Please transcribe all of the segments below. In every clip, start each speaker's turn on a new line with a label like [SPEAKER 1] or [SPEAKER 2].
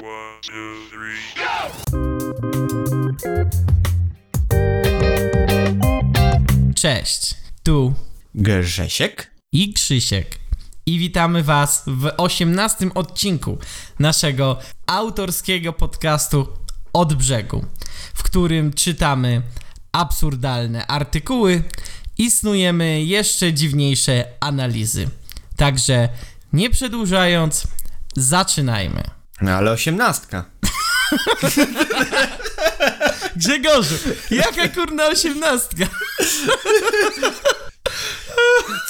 [SPEAKER 1] One, two, three.
[SPEAKER 2] Cześć, tu
[SPEAKER 3] Grzesiek?
[SPEAKER 2] i Krzysiek i witamy Was w 18 odcinku naszego autorskiego podcastu Od Brzegu, w którym czytamy absurdalne artykuły i snujemy jeszcze dziwniejsze analizy. Także nie przedłużając, zaczynajmy.
[SPEAKER 3] No ale osiemnastka.
[SPEAKER 2] Grzegorzu, jaka kurna osiemnastka?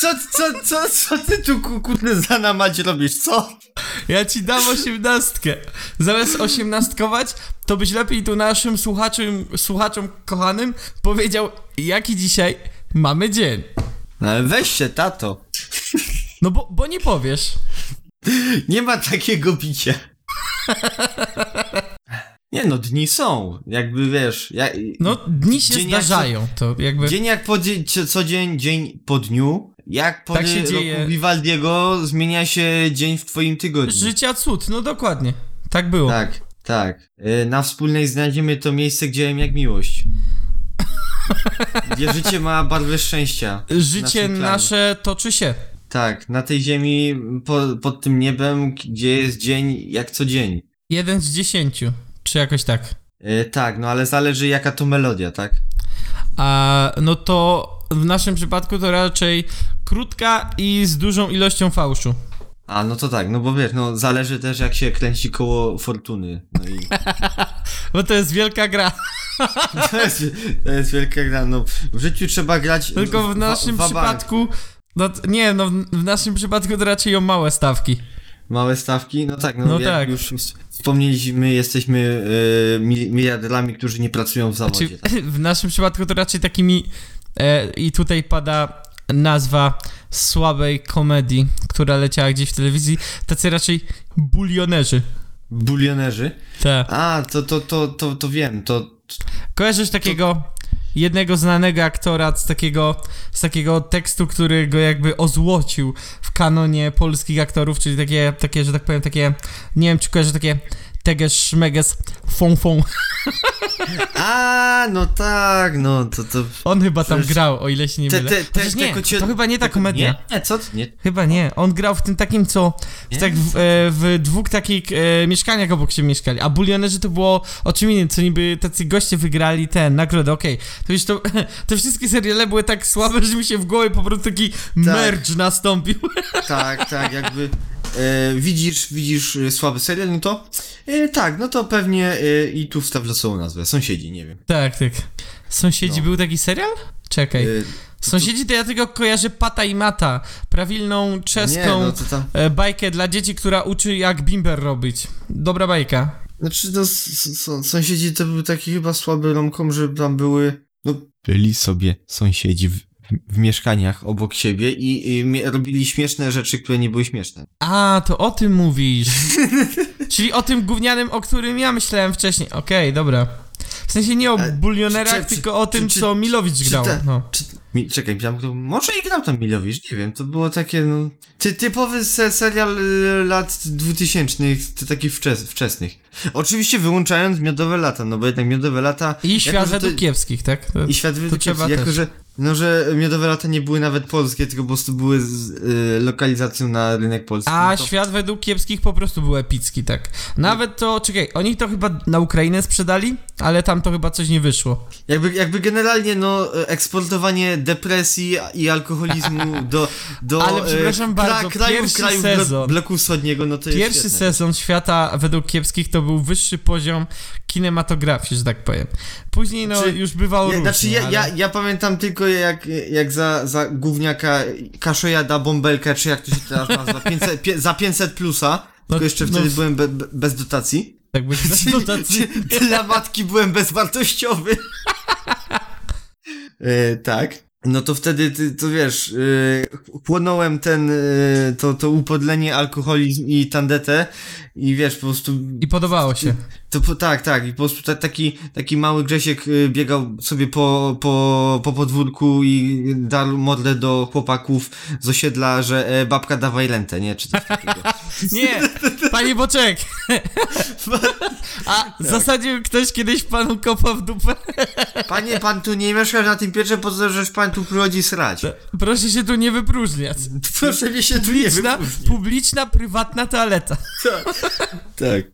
[SPEAKER 3] Co, co, co, co ty tu ku- kurde za namać robisz, co?
[SPEAKER 2] Ja ci dam osiemnastkę. Zamiast osiemnastkować, to byś lepiej tu naszym słuchaczom, słuchaczom kochanym powiedział, jaki dzisiaj mamy dzień.
[SPEAKER 3] No ale weź się, tato.
[SPEAKER 2] No bo, bo nie powiesz.
[SPEAKER 3] Nie ma takiego bicia. Nie no, dni są, jakby wiesz, ja,
[SPEAKER 2] No, dni się
[SPEAKER 3] Dzień jak
[SPEAKER 2] zdarzają, to jakby...
[SPEAKER 3] dzień jak po dzie- co- co dzień, dzień po dniu, jak po
[SPEAKER 2] Tak
[SPEAKER 3] dy-
[SPEAKER 2] się
[SPEAKER 3] roku
[SPEAKER 2] dzieje.
[SPEAKER 3] Vivaldiego zmienia się dzień w twoim tygodniu.
[SPEAKER 2] Życia cud, no dokładnie. Tak było.
[SPEAKER 3] Tak, tak. Y, Na wspólnej znajdziemy to miejsce, gdzie wiem jak miłość. Gdzie życie ma barwę szczęścia.
[SPEAKER 2] Życie
[SPEAKER 3] Naszym planie.
[SPEAKER 2] nasze toczy się.
[SPEAKER 3] Tak, na tej ziemi, po, pod tym niebem, gdzie jest dzień jak co dzień.
[SPEAKER 2] Jeden z dziesięciu, czy jakoś tak.
[SPEAKER 3] Y, tak, no ale zależy jaka to melodia, tak?
[SPEAKER 2] A no to w naszym przypadku to raczej krótka i z dużą ilością fałszu.
[SPEAKER 3] A, no to tak, no bo wiesz, no zależy też jak się kręci koło fortuny. No i
[SPEAKER 2] Bo to jest wielka gra.
[SPEAKER 3] to jest, to jest wielka gra, no w życiu trzeba grać
[SPEAKER 2] Tylko w
[SPEAKER 3] wa-
[SPEAKER 2] naszym
[SPEAKER 3] wabank.
[SPEAKER 2] przypadku. No, t- nie, no w, w naszym przypadku to raczej o małe stawki.
[SPEAKER 3] Małe stawki? No tak, no,
[SPEAKER 2] No
[SPEAKER 3] jak
[SPEAKER 2] tak.
[SPEAKER 3] już s- wspomnieliśmy, jesteśmy e, mil- miliarderami, którzy nie pracują w zawodzie.
[SPEAKER 2] Czy,
[SPEAKER 3] tak.
[SPEAKER 2] w naszym przypadku to raczej takimi. E, I tutaj pada nazwa słabej komedii, która leciała gdzieś w telewizji. Tacy raczej bulionerzy.
[SPEAKER 3] Bulionerzy?
[SPEAKER 2] Te.
[SPEAKER 3] A, to, to, to, to, to wiem, to... to-
[SPEAKER 2] Kojarzysz takiego jednego znanego aktora z takiego, z takiego tekstu, który go jakby ozłocił w kanonie polskich aktorów, czyli takie, takie że tak powiem, takie. Nie wiem, czy kojarzysz takie. Teges, szmeges, fon, fon.
[SPEAKER 3] A, no tak, no to... to...
[SPEAKER 2] On chyba tam
[SPEAKER 3] Przecież-
[SPEAKER 2] grał, o ile się nie
[SPEAKER 3] Te-
[SPEAKER 2] mylę.
[SPEAKER 3] te- te-
[SPEAKER 2] Chociaż nie,
[SPEAKER 3] te kocie-
[SPEAKER 2] to chyba nie ta komedia.
[SPEAKER 3] Nie, nie, co? ty? Nie.
[SPEAKER 2] Chyba nie. On grał w tym takim, co w, tak, w, e, w dwóch takich e, mieszkaniach obok siebie mieszkali. A bulionerzy to było o czym innym, co niby tacy goście wygrali ten nagrodę. Okej, to już to, te wszystkie seriale były tak słabe, że mi się w głowie po prostu taki merge nastąpił.
[SPEAKER 3] Tak, tak, jakby... E, widzisz, widzisz e, słaby serial, no to... E, tak, no to pewnie e, i tu wstawia całą nazwę, sąsiedzi, nie wiem.
[SPEAKER 2] tak, tak. Sąsiedzi
[SPEAKER 3] No.
[SPEAKER 2] był taki serial? Czekaj.
[SPEAKER 3] E,
[SPEAKER 2] Sąsiedzi to ja tylko kojarzę Pata i Mata, prawilną czeską
[SPEAKER 3] nie, no to tam...
[SPEAKER 2] e, bajkę dla dzieci, która uczy jak bimber robić. Dobra bajka.
[SPEAKER 3] Znaczy, no, s- s- s- sąsiedzi to był taki chyba słaby romkom, że tam były. No, byli sobie sąsiedzi w, w mieszkaniach obok siebie i, i mie- robili śmieszne rzeczy, które nie były śmieszne.
[SPEAKER 2] A, to o tym mówisz. Czyli o tym gównianym, o którym ja myślałem wcześniej. Okej, dobra. W sensie nie o
[SPEAKER 3] Ale
[SPEAKER 2] bulionerach,
[SPEAKER 3] E, czy- czy-
[SPEAKER 2] tylko o
[SPEAKER 3] czy-
[SPEAKER 2] tym,
[SPEAKER 3] czy-
[SPEAKER 2] co Milowicz
[SPEAKER 3] czy
[SPEAKER 2] grał.
[SPEAKER 3] te-
[SPEAKER 2] No.
[SPEAKER 3] Czy, mi, czekaj, tam, kto- może i grał tam Milowicz, nie wiem, to było takie, no. Ty, typowy se, serial y, lat 2000, ty, takich wczes, wczesnych. Oczywiście wyłączając miodowe lata, no bo jednak miodowe lata.
[SPEAKER 2] I
[SPEAKER 3] jako,
[SPEAKER 2] świat
[SPEAKER 3] że to-
[SPEAKER 2] według kiepskich, tak? To-
[SPEAKER 3] I świat
[SPEAKER 2] trzeba
[SPEAKER 3] wytyczny, jako
[SPEAKER 2] też.
[SPEAKER 3] że, no, że miodowe lata nie były nawet polskie, tylko po prostu były z y, lokalizacją na rynek polski.
[SPEAKER 2] A
[SPEAKER 3] no to,
[SPEAKER 2] świat według kiepskich po prostu był epicki, tak. Nawet to, czekaj, oni to chyba na Ukrainę sprzedali, ale tam to chyba coś nie wyszło.
[SPEAKER 3] jakby, jakby generalnie no, y, eksportowanie depresji i alkoholizmu do, do
[SPEAKER 2] Ale
[SPEAKER 3] y,
[SPEAKER 2] przepraszam bardzo,
[SPEAKER 3] krajów,
[SPEAKER 2] pierwszy
[SPEAKER 3] krajów
[SPEAKER 2] sezon.
[SPEAKER 3] blo, bloku wschodniego, no to
[SPEAKER 2] Pierwszy
[SPEAKER 3] jest świetne.
[SPEAKER 2] sezon świata według kiepskich to był wyższy poziom kinematografii, że tak powiem. Później no
[SPEAKER 3] Znaczy,
[SPEAKER 2] już bywało
[SPEAKER 3] Ja,
[SPEAKER 2] różnie,
[SPEAKER 3] znaczy ja,
[SPEAKER 2] ale...
[SPEAKER 3] ja, ja pamiętam tylko jak, jak za, za gówniaka Kaszojada Bąbelkę, czy jak to się teraz nazywa, 500, pie, za 500 plusa, tylko jeszcze
[SPEAKER 2] no.
[SPEAKER 3] wtedy byłem be, be, bez dotacji.
[SPEAKER 2] Tak by...
[SPEAKER 3] Czyli- czyli Dla matki byłem bezwartościowy. e, tak. No to wtedy, ty, to wiesz, e, płonąłem ten, e, to, to upodlenie, alkoholizm i tandetę i wiesz, po prostu,
[SPEAKER 2] I podobało się.
[SPEAKER 3] to, po- tak, tak, i po prostu ta, taki, taki mały Grzesiek e, biegał sobie po, po, po podwórku i darł modlę do chłopaków z osiedla, że e, babka dawaj lentę, nie, czy coś takiego.
[SPEAKER 2] Nie, Panie Boczek!
[SPEAKER 3] Tak.
[SPEAKER 2] A zasadził ktoś kiedyś panu kopa w dupę?
[SPEAKER 3] Panie, pan tu nie mieszkasz na tym piętrze, po co żeś pan tu przychodzi srać?
[SPEAKER 2] Proszę się tu nie wypróżniać.
[SPEAKER 3] Proszę mi się tu nie
[SPEAKER 2] Publiczna,
[SPEAKER 3] wypuścić.
[SPEAKER 2] publiczna, prywatna toaleta.
[SPEAKER 3] Tak.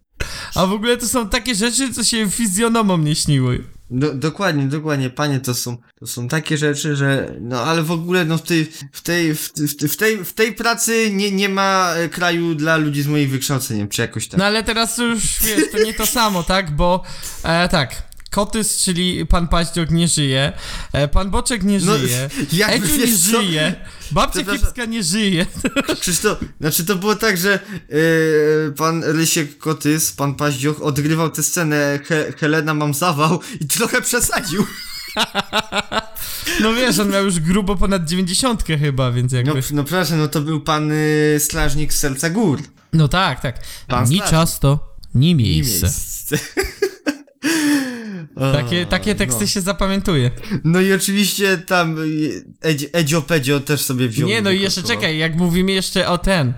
[SPEAKER 2] A w ogóle to są takie rzeczy, co się fizjonomom nie śniły.
[SPEAKER 3] Do, dokładnie, dokładnie, panie, to są, to są takie rzeczy, że, no ale w ogóle, no w tej, w tej, w, w, w tej, w tej pracy nie, nie ma e, kraju dla ludzi z moim wykształceniem, czy jakoś tak.
[SPEAKER 2] No ale teraz to już wiesz, to nie to samo, tak? Bo e, tak. Kotys, czyli pan Paździok nie żyje, e, pan Boczek nie
[SPEAKER 3] No,
[SPEAKER 2] żyje,
[SPEAKER 3] jakby
[SPEAKER 2] Edziu nie
[SPEAKER 3] wiesz co?
[SPEAKER 2] żyje, babcia
[SPEAKER 3] Przepraszam.
[SPEAKER 2] kiepska nie żyje.
[SPEAKER 3] Przecież to, znaczy to było tak, że e, pan Rysiek Kotys, pan Paździoch odgrywał tę scenę He, Helena mam zawał i trochę przesadził.
[SPEAKER 2] No wiesz, on miał już grubo ponad 90 chyba, więc
[SPEAKER 3] No,
[SPEAKER 2] jakby...
[SPEAKER 3] no przepraszam, no to był pan y, Slażnik z Serca Gór.
[SPEAKER 2] No tak, tak.
[SPEAKER 3] Pan
[SPEAKER 2] Ni
[SPEAKER 3] Staś.
[SPEAKER 2] czas to, ni
[SPEAKER 3] I
[SPEAKER 2] miejsce.
[SPEAKER 3] miejsce. O,
[SPEAKER 2] Takie, takie teksty
[SPEAKER 3] no.
[SPEAKER 2] się zapamiętuje.
[SPEAKER 3] No i oczywiście tam y, Edzi- Edzio Pedzio też sobie wziął.
[SPEAKER 2] Nie, no i jeszcze
[SPEAKER 3] wykotował.
[SPEAKER 2] czekaj, jak mówimy jeszcze o ten,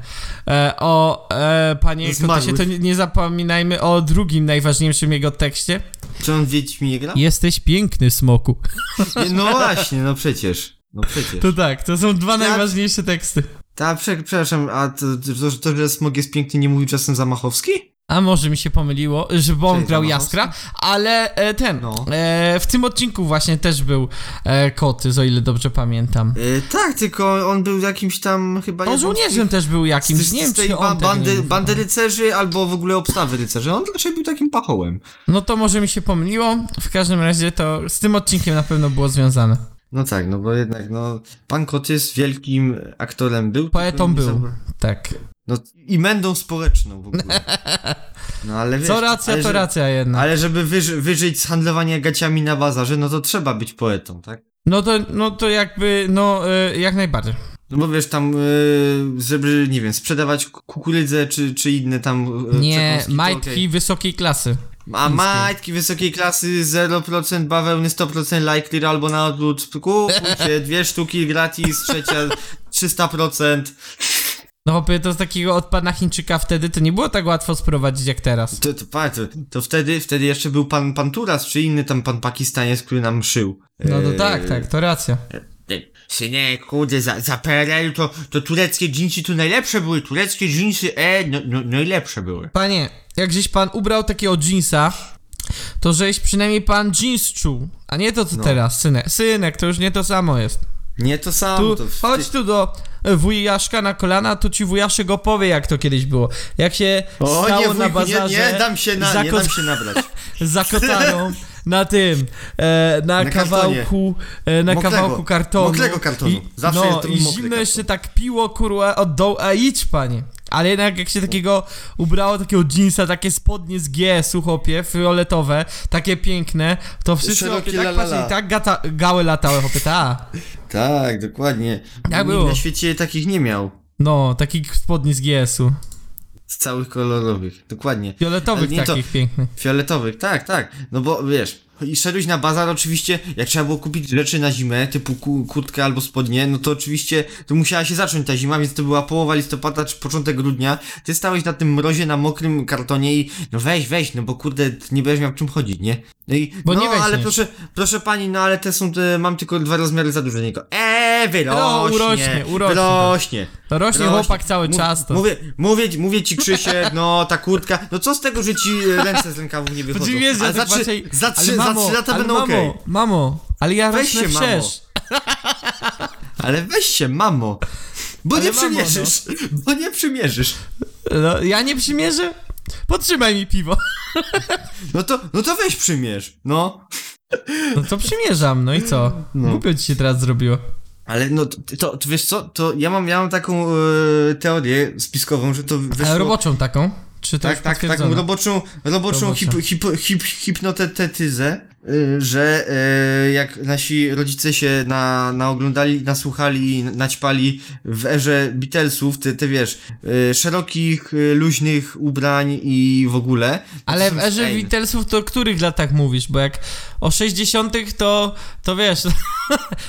[SPEAKER 2] e, o e, panie
[SPEAKER 3] Zmarłych.
[SPEAKER 2] Kotysie, to nie, nie zapominajmy o drugim najważniejszym jego tekście.
[SPEAKER 3] Czy on Wiedźminie gra?
[SPEAKER 2] Jesteś piękny, smoku.
[SPEAKER 3] Nie, No właśnie, no przecież. No przecież.
[SPEAKER 2] To tak, to są dwa
[SPEAKER 3] Ja-
[SPEAKER 2] najważniejsze teksty.
[SPEAKER 3] Ta, prze, przepraszam, a to, to, to, że smog jest piękny, nie mówi czasem Zamachowski?
[SPEAKER 2] A może mi się pomyliło, że on
[SPEAKER 3] Czyli
[SPEAKER 2] grał
[SPEAKER 3] Romanowski?
[SPEAKER 2] Jaskra, ale e, ten,
[SPEAKER 3] No.
[SPEAKER 2] e, w tym odcinku właśnie też był e, Koty, o ile dobrze pamiętam.
[SPEAKER 3] E, tak, tylko on był jakimś tam chyba...
[SPEAKER 2] On
[SPEAKER 3] jedną z tych-
[SPEAKER 2] żołnierzem też był jakimś,
[SPEAKER 3] z-
[SPEAKER 2] nie
[SPEAKER 3] z
[SPEAKER 2] wiem
[SPEAKER 3] tej
[SPEAKER 2] czy
[SPEAKER 3] ba-
[SPEAKER 2] on tego nie
[SPEAKER 3] bandy,
[SPEAKER 2] nazywał.
[SPEAKER 3] bandy rycerzy albo w ogóle obstawy rycerzy. On raczej był takim pachołem.
[SPEAKER 2] No to może mi się pomyliło, w każdym razie to z tym odcinkiem na pewno było związane.
[SPEAKER 3] No tak, no bo jednak, no... Pan Kotys wielkim aktorem był. tylko
[SPEAKER 2] Poetą
[SPEAKER 3] nie
[SPEAKER 2] był.
[SPEAKER 3] zabra-
[SPEAKER 2] Tak.
[SPEAKER 3] No i mędą społeczną w ogóle. No ale wiesz...
[SPEAKER 2] Co racja,
[SPEAKER 3] ale
[SPEAKER 2] to
[SPEAKER 3] że-
[SPEAKER 2] racja no. jednak.
[SPEAKER 3] Ale żeby wyży, wyżyć z handlowania gaciami na bazarze, no to trzeba być poetą, tak?
[SPEAKER 2] No to, no to jakby, no e, jak najbardziej.
[SPEAKER 3] No bo wiesz, tam, yy, żeby, nie wiem, sprzedawać ku- kukurydzę czy, czy inne tam... e,
[SPEAKER 2] Nie,
[SPEAKER 3] przekąski, to
[SPEAKER 2] majtki
[SPEAKER 3] okej.
[SPEAKER 2] wysokiej klasy.
[SPEAKER 3] A majtki wysokiej klasy 0% bawełny, 100% Lightyear albo na odwrót. Kupujcie dwie sztuki gratis, trzecia 300%.
[SPEAKER 2] No chłopie, to z takiego od pana Chińczyka wtedy to nie było tak łatwo sprowadzić jak teraz.
[SPEAKER 3] To, to, patrz, to, to wtedy, wtedy jeszcze był pan, pan Turas czy inny tam pan Pakistaniec, który nam szył.
[SPEAKER 2] No to
[SPEAKER 3] Eee,
[SPEAKER 2] tak, tak, to racja.
[SPEAKER 3] Synek, kurde, za, za PRL to, to tureckie dżinsy tu najlepsze były, tureckie dżinsy, e, no, no, najlepsze były.
[SPEAKER 2] Panie, jak żeś pan ubrał takiego jeansa, to żeś przynajmniej pan jeans czuł, a nie to co
[SPEAKER 3] No.
[SPEAKER 2] teraz, synek. Synek, to już nie to samo jest.
[SPEAKER 3] Nie to samo,
[SPEAKER 2] Tu,
[SPEAKER 3] No to w-
[SPEAKER 2] chodź tu do e, wujaszka na kolana, to ci wujaszek opowie jak to kiedyś było. Jak się
[SPEAKER 3] O
[SPEAKER 2] stało
[SPEAKER 3] nie,
[SPEAKER 2] na
[SPEAKER 3] wujku, nie,
[SPEAKER 2] bazarze
[SPEAKER 3] nie dam się, na,
[SPEAKER 2] za
[SPEAKER 3] nie
[SPEAKER 2] kot-
[SPEAKER 3] dam się nabrać.
[SPEAKER 2] za kotarą na tym, e, na,
[SPEAKER 3] Na kartonie.
[SPEAKER 2] kawałku, e, na
[SPEAKER 3] Mokrego.
[SPEAKER 2] kawałku kartonu.
[SPEAKER 3] Mokrego kartonu. Zawsze
[SPEAKER 2] no,
[SPEAKER 3] jest to
[SPEAKER 2] i
[SPEAKER 3] mokry
[SPEAKER 2] zimno
[SPEAKER 3] karton.
[SPEAKER 2] jeszcze tak piło, kurwa, od dołu, a idź, panie. Ale jednak jak się takiego ubrało, takiego jeansa, takie spodnie z G, słuchopie, fioletowe, takie piękne, to wszyscy
[SPEAKER 3] Szerokie
[SPEAKER 2] opie, tak
[SPEAKER 3] la, la, la.
[SPEAKER 2] patrzyli, tak gata, gały latały, chłopie, ta.
[SPEAKER 3] Tak, dokładnie. Nikt
[SPEAKER 2] było.
[SPEAKER 3] na świecie takich nie miał.
[SPEAKER 2] No, takich spodni z GS-u.
[SPEAKER 3] Z całych kolorowych, dokładnie.
[SPEAKER 2] Fioletowych
[SPEAKER 3] Ale nie to-
[SPEAKER 2] takich pięknych.
[SPEAKER 3] Fioletowych, tak, tak. No bo wiesz, i szedłeś na bazar oczywiście, jak trzeba było kupić rzeczy na zimę, typu ku- kurtkę albo spodnie, no to oczywiście to musiała się zacząć ta zima, więc to była połowa listopada czy początek grudnia. Ty stałeś na tym mrozie na mokrym kartonie i no weź, weź, no bo kurde, ty nie będziesz miał czym chodzić, nie? No i
[SPEAKER 2] Bo
[SPEAKER 3] no
[SPEAKER 2] nie weźmiesz.
[SPEAKER 3] ale proszę, proszę pani, no ale te są, te, mam tylko dwa rozmiary za dużo niego. Eee, wyrośnie,
[SPEAKER 2] No, urośnie, urośnie. no.
[SPEAKER 3] wyrośnie.
[SPEAKER 2] To rośnie
[SPEAKER 3] Rośnie.
[SPEAKER 2] chłopak cały
[SPEAKER 3] Mów-
[SPEAKER 2] czas, to.
[SPEAKER 3] Mówię, mówię, ci- mówię ci Krzysiek, no ta kurtka, no co z tego, że ci e, ręce z rękawów nie wychodzą?
[SPEAKER 2] Dziwię, że
[SPEAKER 3] Ale
[SPEAKER 2] ja
[SPEAKER 3] za,
[SPEAKER 2] tak
[SPEAKER 3] trzy,
[SPEAKER 2] patrzę i-
[SPEAKER 3] za, trzy,
[SPEAKER 2] ale mamo,
[SPEAKER 3] za trzy lata
[SPEAKER 2] ale
[SPEAKER 3] będą
[SPEAKER 2] mamo,
[SPEAKER 3] okej.
[SPEAKER 2] Mamo, ale ja
[SPEAKER 3] Weź
[SPEAKER 2] rosnę
[SPEAKER 3] się, mamo.
[SPEAKER 2] wszerz.
[SPEAKER 3] Ale weź się, mamo. Bo
[SPEAKER 2] Ale
[SPEAKER 3] nie
[SPEAKER 2] mamo, no.
[SPEAKER 3] przymierzysz, bo nie przymierzysz.
[SPEAKER 2] No, ja nie przymierzę? Potrzymaj mi piwo.
[SPEAKER 3] No to, no to weź przymierz, no.
[SPEAKER 2] No to przymierzam, no i co?
[SPEAKER 3] No.
[SPEAKER 2] Głupio ci się teraz zrobiło.
[SPEAKER 3] Ale no, to, to, to wiesz co, to ja mam, ja mam taką e, teorię spiskową, że to wyszło...
[SPEAKER 2] Ale roboczą taką? Czy to
[SPEAKER 3] tak,
[SPEAKER 2] już
[SPEAKER 3] tak, taką
[SPEAKER 2] potwierdzone?
[SPEAKER 3] roboczą, roboczą hip,
[SPEAKER 2] Robocza.
[SPEAKER 3] hip, hip, hipnotetyzę, y, że y, jak nasi rodzice się na, naoglądali, nasłuchali, naćpali w erze Beatlesów, te, te wiesz, y, szerokich, y, luźnych ubrań i w ogóle. to
[SPEAKER 2] Ale
[SPEAKER 3] są
[SPEAKER 2] w erze
[SPEAKER 3] fajne.
[SPEAKER 2] Beatlesów to o których latach mówisz? Bo jak o 60 to, to wiesz,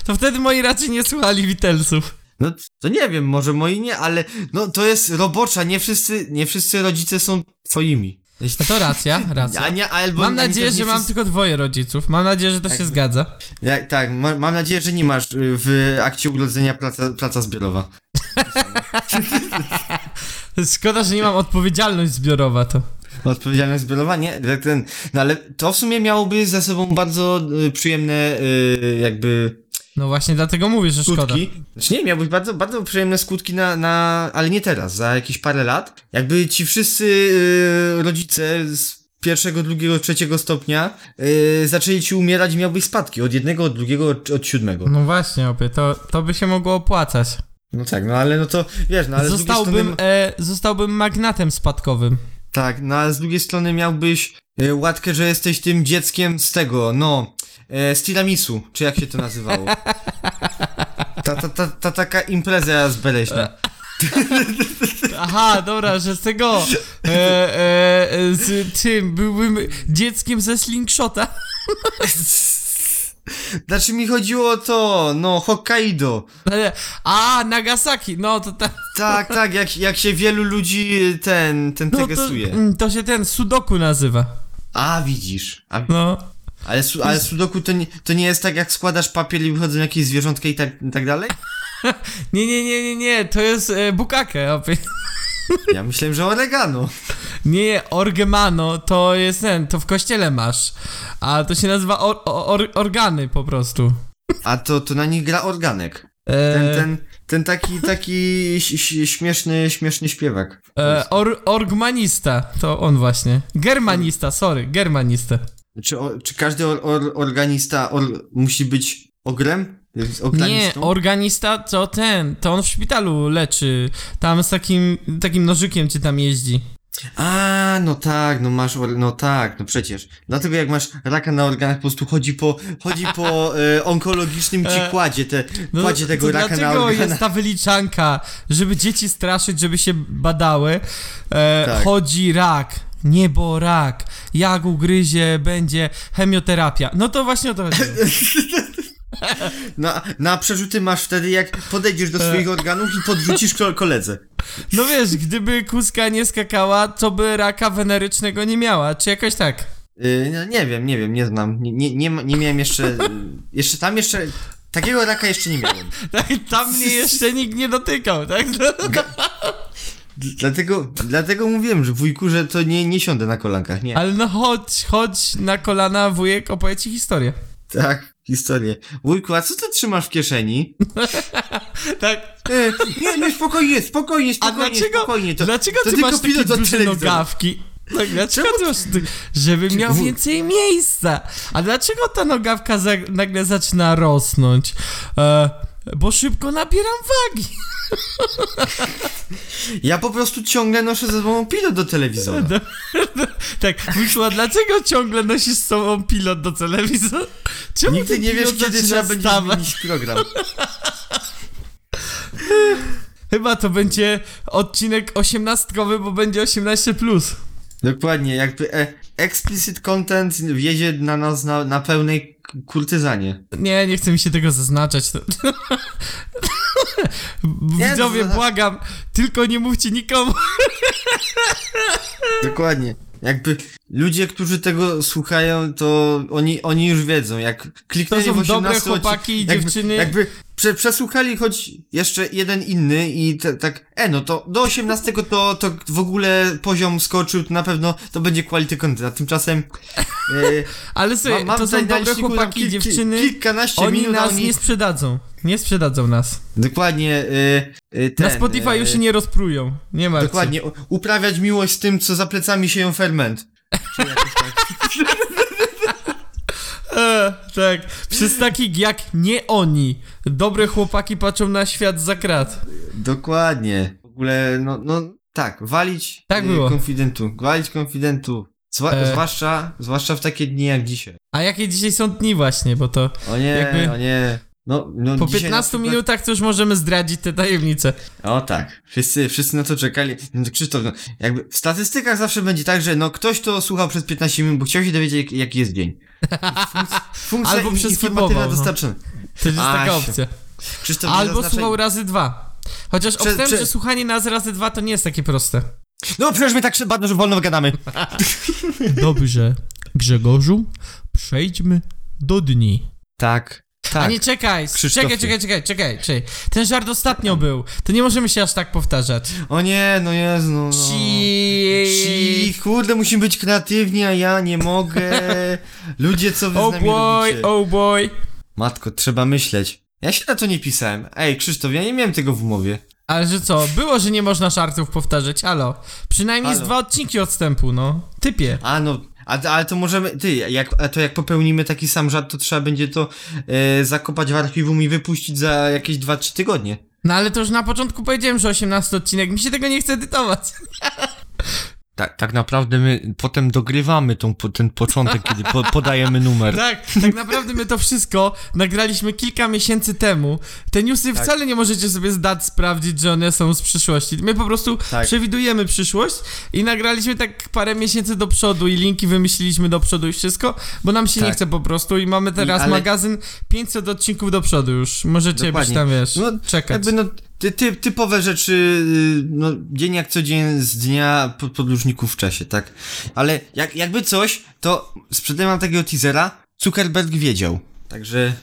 [SPEAKER 2] to wtedy moi raczej nie słuchali Beatlesów.
[SPEAKER 3] No to nie wiem, może moi nie, ale no to jest robocza, nie wszyscy, nie wszyscy rodzice są twoimi.
[SPEAKER 2] No to racja, racja.
[SPEAKER 3] A nie, albo,
[SPEAKER 2] Mam
[SPEAKER 3] ani
[SPEAKER 2] nadzieję,
[SPEAKER 3] też nie
[SPEAKER 2] że mam
[SPEAKER 3] wszyscy-
[SPEAKER 2] tylko dwoje rodziców. Mam nadzieję, że to się
[SPEAKER 3] Jakby.
[SPEAKER 2] zgadza.
[SPEAKER 3] Ja, tak, ma, mam nadzieję, że nie masz y, w akcie urodzenia praca, praca zbiorowa.
[SPEAKER 2] Szkoda, że nie mam odpowiedzialność zbiorowa to.
[SPEAKER 3] Odpowiedzialność zbiorowa? Nie, tak ten, no ale to w sumie miałoby za sobą bardzo y, przyjemne y, jakby
[SPEAKER 2] No właśnie dlatego mówię, że szkoda.
[SPEAKER 3] skutki. Znaczy nie, miałbyś bardzo, bardzo przyjemne skutki na, na, ale nie teraz, za jakieś parę lat. Jakby ci wszyscy yy, rodzice z pierwszego, drugiego, trzeciego stopnia yy, zaczęli ci umierać i miałbyś spadki od jednego, od drugiego, od, od siódmego.
[SPEAKER 2] No właśnie, opie, to, to by się mogło opłacać.
[SPEAKER 3] No tak, no ale no to wiesz, no ale z drugiej
[SPEAKER 2] zostałbym,
[SPEAKER 3] strony,
[SPEAKER 2] e, zostałbym magnatem spadkowym.
[SPEAKER 3] tak, no ale z drugiej strony miałbyś yy, łatkę, że jesteś tym dzieckiem z tego, no, yy, z tiramisu, czy jak się to nazywało. Ta, ta, ta, ta taka impreza z Beleśna.
[SPEAKER 2] Aha, dobra, że z tego. E, e, e, z tym byłbym dzieckiem ze slingshota.
[SPEAKER 3] Znaczy mi chodziło o to, no, Hokkaido.
[SPEAKER 2] Ale- A, Nagasaki, no to ta,
[SPEAKER 3] Tak, tak, jak, jak się wielu ludzi e, ten, ten
[SPEAKER 2] no to,
[SPEAKER 3] tegesuje.
[SPEAKER 2] mm, to się ten Sudoku nazywa.
[SPEAKER 3] A, widzisz. A,
[SPEAKER 2] No.
[SPEAKER 3] ale, su, ale sudoku to nie, to nie jest tak, jak składasz papier i wychodzą jakieś zwierzątka i tak, tak dalej?
[SPEAKER 2] Nie, nie, nie, nie, nie, to jest e, Bukake. opie.
[SPEAKER 3] Ja myślałem, że oregano.
[SPEAKER 2] Nie, nie, Orgemano to jest ten, to w kościele masz. A to się nazywa or, or, organy po prostu.
[SPEAKER 3] A to, to na nich gra organek.
[SPEAKER 2] E,
[SPEAKER 3] Ten, ten, ten taki, taki ś- ś- śmieszny, śmieszny śpiewak.
[SPEAKER 2] E, or, orgmanista, to on właśnie. Germanista, sorry, germanista.
[SPEAKER 3] Czy, o, czy każdy or, or, organista or, musi być ogrem? Z
[SPEAKER 2] Nie,
[SPEAKER 3] Organistą?
[SPEAKER 2] organista to ten, to on w szpitalu leczy. Tam z takim, takim nożykiem cię tam jeździ.
[SPEAKER 3] A, no tak, no masz, or- no tak, no przecież. Dlatego jak masz raka na organach, po prostu chodzi po, chodzi po e, onkologicznym ci
[SPEAKER 2] E,
[SPEAKER 3] kładzie, te,
[SPEAKER 2] No,
[SPEAKER 3] kładzie tego
[SPEAKER 2] to
[SPEAKER 3] raka na
[SPEAKER 2] dlaczego
[SPEAKER 3] organach.
[SPEAKER 2] jest ta wyliczanka, żeby dzieci straszyć, żeby się badały? E,
[SPEAKER 3] Tak.
[SPEAKER 2] Chodzi rak, niebo rak, jak ugryzie, będzie chemioterapia. No to właśnie o to chodzi.
[SPEAKER 3] Na, na przerzuty masz wtedy, jak podejdziesz do
[SPEAKER 2] E.
[SPEAKER 3] swoich organów i podrzucisz ko- koledze.
[SPEAKER 2] No wiesz, gdyby kuska nie skakała, to by raka wenerycznego nie miała, czy jakoś tak.
[SPEAKER 3] Y, no, nie wiem, nie wiem, nie znam. Nie, nie, nie, ma- nie miałem jeszcze, y, jeszcze tam jeszcze, takiego raka jeszcze nie miałem.
[SPEAKER 2] Tak, tam mnie jeszcze nikt nie dotykał, tak?
[SPEAKER 3] D- Dlatego, dlatego mówiłem, że wujku, że to nie, nie siądę na kolankach, nie.
[SPEAKER 2] Ale no chodź, chodź na kolana, wujek, opowie ci historię.
[SPEAKER 3] Tak, historię. Wujku, a co ty trzymasz w kieszeni?
[SPEAKER 2] Tak.
[SPEAKER 3] E, nie, nie, spokojnie, spokojnie,
[SPEAKER 2] A
[SPEAKER 3] spokojnie,
[SPEAKER 2] dlaczego,
[SPEAKER 3] spokojnie. To,
[SPEAKER 2] dlaczego
[SPEAKER 3] to
[SPEAKER 2] ty
[SPEAKER 3] tylko
[SPEAKER 2] masz takie
[SPEAKER 3] pilot od
[SPEAKER 2] duże
[SPEAKER 3] telewizora.
[SPEAKER 2] nogawki? Tak, dlaczego ty masz... ty- Żeby miał
[SPEAKER 3] Wu-
[SPEAKER 2] więcej miejsca. A dlaczego ta nogawka za, nagle zaczyna rosnąć? E, bo szybko nabieram wagi.
[SPEAKER 3] Ja po prostu ciągle noszę ze sobą pilot do telewizora.
[SPEAKER 2] No, Tak, myślę, dlaczego ciągle nosisz z sobą pilot do telewizora? Czemu
[SPEAKER 3] Nigdy
[SPEAKER 2] ten
[SPEAKER 3] nie wiesz,
[SPEAKER 2] pilot
[SPEAKER 3] kiedy
[SPEAKER 2] zaczyna
[SPEAKER 3] trzeba będzie
[SPEAKER 2] stawać?
[SPEAKER 3] zmienić program.
[SPEAKER 2] Chyba to będzie odcinek osiemnastkowy, bo będzie 18+. Plus.
[SPEAKER 3] Dokładnie, jakby e, explicit content wjedzie na nas na, na pełnej k- kurtyzanie.
[SPEAKER 2] Nie, nie chcę mi się tego zaznaczać. To...
[SPEAKER 3] Nie,
[SPEAKER 2] Widzowie,
[SPEAKER 3] to-
[SPEAKER 2] błagam, tylko nie mówcie nikomu.
[SPEAKER 3] Dokładnie. Jakby ludzie, którzy tego słuchają, to oni, oni już wiedzą, jak kliknęli
[SPEAKER 2] To są
[SPEAKER 3] w 18
[SPEAKER 2] dobre
[SPEAKER 3] odcinek-
[SPEAKER 2] chłopaki i
[SPEAKER 3] jakby,
[SPEAKER 2] dziewczyny.
[SPEAKER 3] Jakby prze, przesłuchali choć jeszcze jeden inny i te, tak, e no to do 18 to, to w ogóle poziom skoczył, to na pewno to będzie quality content, a tymczasem e,
[SPEAKER 2] Ale
[SPEAKER 3] mam,
[SPEAKER 2] sobie,
[SPEAKER 3] mam
[SPEAKER 2] to
[SPEAKER 3] tutaj
[SPEAKER 2] są dobre
[SPEAKER 3] naleśniku tam
[SPEAKER 2] chłopaki i
[SPEAKER 3] kilk-
[SPEAKER 2] dziewczyny.
[SPEAKER 3] kilkanaście
[SPEAKER 2] Oni
[SPEAKER 3] minut, a
[SPEAKER 2] nas
[SPEAKER 3] oni...
[SPEAKER 2] nie sprzedadzą. Nie sprzedadzą nas.
[SPEAKER 3] Dokładnie, e, e, ten,
[SPEAKER 2] Na Spotify
[SPEAKER 3] e,
[SPEAKER 2] już się nie rozprują. Nie ma.
[SPEAKER 3] Dokładnie, u- uprawiać miłość z tym, co za plecami się ją ferment. Czy jakoś tak.
[SPEAKER 2] E, tak. Przez takich jak nie oni. Dobre chłopaki patrzą na świat za krat.
[SPEAKER 3] Dokładnie. W ogóle, no, no tak, walić
[SPEAKER 2] Tak
[SPEAKER 3] e,
[SPEAKER 2] było.
[SPEAKER 3] konfidentu. Walić konfidentu. Zwa,
[SPEAKER 2] E.
[SPEAKER 3] zwłaszcza, zwłaszcza w takie dni jak dzisiaj.
[SPEAKER 2] A jakie dzisiaj są dni właśnie, bo to
[SPEAKER 3] O nie,
[SPEAKER 2] Jakby-
[SPEAKER 3] o nie. No, no
[SPEAKER 2] po
[SPEAKER 3] dzisiaj na
[SPEAKER 2] 15
[SPEAKER 3] przykład-
[SPEAKER 2] minutach to już możemy zdradzić te tajemnice.
[SPEAKER 3] O tak, wszyscy, wszyscy na to czekali. No, to Krzysztof, no, jakby w statystykach zawsze będzie tak, że no ktoś to słuchał przez 15 minut, bo chciał się dowiedzieć, jak- jaki jest dzień. Funkcja
[SPEAKER 2] Albo
[SPEAKER 3] in-
[SPEAKER 2] przeskipował,
[SPEAKER 3] informatywna
[SPEAKER 2] no.
[SPEAKER 3] dostarczona.
[SPEAKER 2] To jest
[SPEAKER 3] Aś.
[SPEAKER 2] taka opcja.
[SPEAKER 3] Krzysztof nie
[SPEAKER 2] Albo
[SPEAKER 3] zaznacza...
[SPEAKER 2] słuchał razy dwa. Chociaż
[SPEAKER 3] Prze-
[SPEAKER 2] obstawiam,
[SPEAKER 3] prze-
[SPEAKER 2] że słuchanie nas razy dwa to nie jest takie proste.
[SPEAKER 3] No przecież my tak się badno, że wolno gadamy.
[SPEAKER 2] Dobrze, Grzegorzu, przejdźmy do dni.
[SPEAKER 3] Tak, tak.
[SPEAKER 2] A nie czekaj, s-
[SPEAKER 3] Krzysztofie.
[SPEAKER 2] czekaj, czekaj, czekaj, czekaj, czekaj. Ten żart ostatnio był. To nie możemy się aż tak powtarzać.
[SPEAKER 3] O nie, no Jezu, no. Ci,
[SPEAKER 2] Ci...
[SPEAKER 3] kurde, musimy być kreatywni, a ja nie mogę. Ludzie, co wy z
[SPEAKER 2] Oh
[SPEAKER 3] nami
[SPEAKER 2] boy,
[SPEAKER 3] robicie?
[SPEAKER 2] oh boy.
[SPEAKER 3] Matko, trzeba myśleć. Ja się na to nie pisałem. Ej, Krzysztof, ja nie miałem tego w umowie.
[SPEAKER 2] Ale że co, było, że nie można żartów powtarzać, halo. Przynajmniej z
[SPEAKER 3] Halo.
[SPEAKER 2] dwa odcinki odstępu, no. Typie.
[SPEAKER 3] A no, a, ale to możemy, ty, jak, a to jak popełnimy taki sam żart, to trzeba będzie to e, zakopać w archiwum i wypuścić za jakieś 2-3 tygodnie.
[SPEAKER 2] No ale to już na początku powiedziałem, że 18 odcinek, mi się tego nie chce edytować.
[SPEAKER 3] Tak, tak naprawdę my potem dogrywamy tą, po- ten początek, kiedy po, podajemy numer.
[SPEAKER 2] Tak, tak naprawdę my to wszystko nagraliśmy kilka miesięcy temu. Te newsy
[SPEAKER 3] Tak.
[SPEAKER 2] wcale nie możecie sobie zdać sprawdzić, że one są z przyszłości. My po prostu
[SPEAKER 3] Tak.
[SPEAKER 2] przewidujemy przyszłość i nagraliśmy tak parę miesięcy do przodu i linki wymyśliliśmy do przodu i wszystko, bo nam się nie
[SPEAKER 3] Tak.
[SPEAKER 2] chce po prostu i mamy teraz
[SPEAKER 3] ale-
[SPEAKER 2] magazyn 500 odcinków do przodu już. Możecie być
[SPEAKER 3] Dokładnie.
[SPEAKER 2] tam, wiesz,
[SPEAKER 3] No,
[SPEAKER 2] czekać.
[SPEAKER 3] Jakby no, ty, ty, typowe rzeczy, y, no, dzień jak co dzień z dnia pod- podróżników w czasie, tak? Ale jak, jakby coś, to sprzedaj mam takiego teasera, Zuckerberg wiedział. Także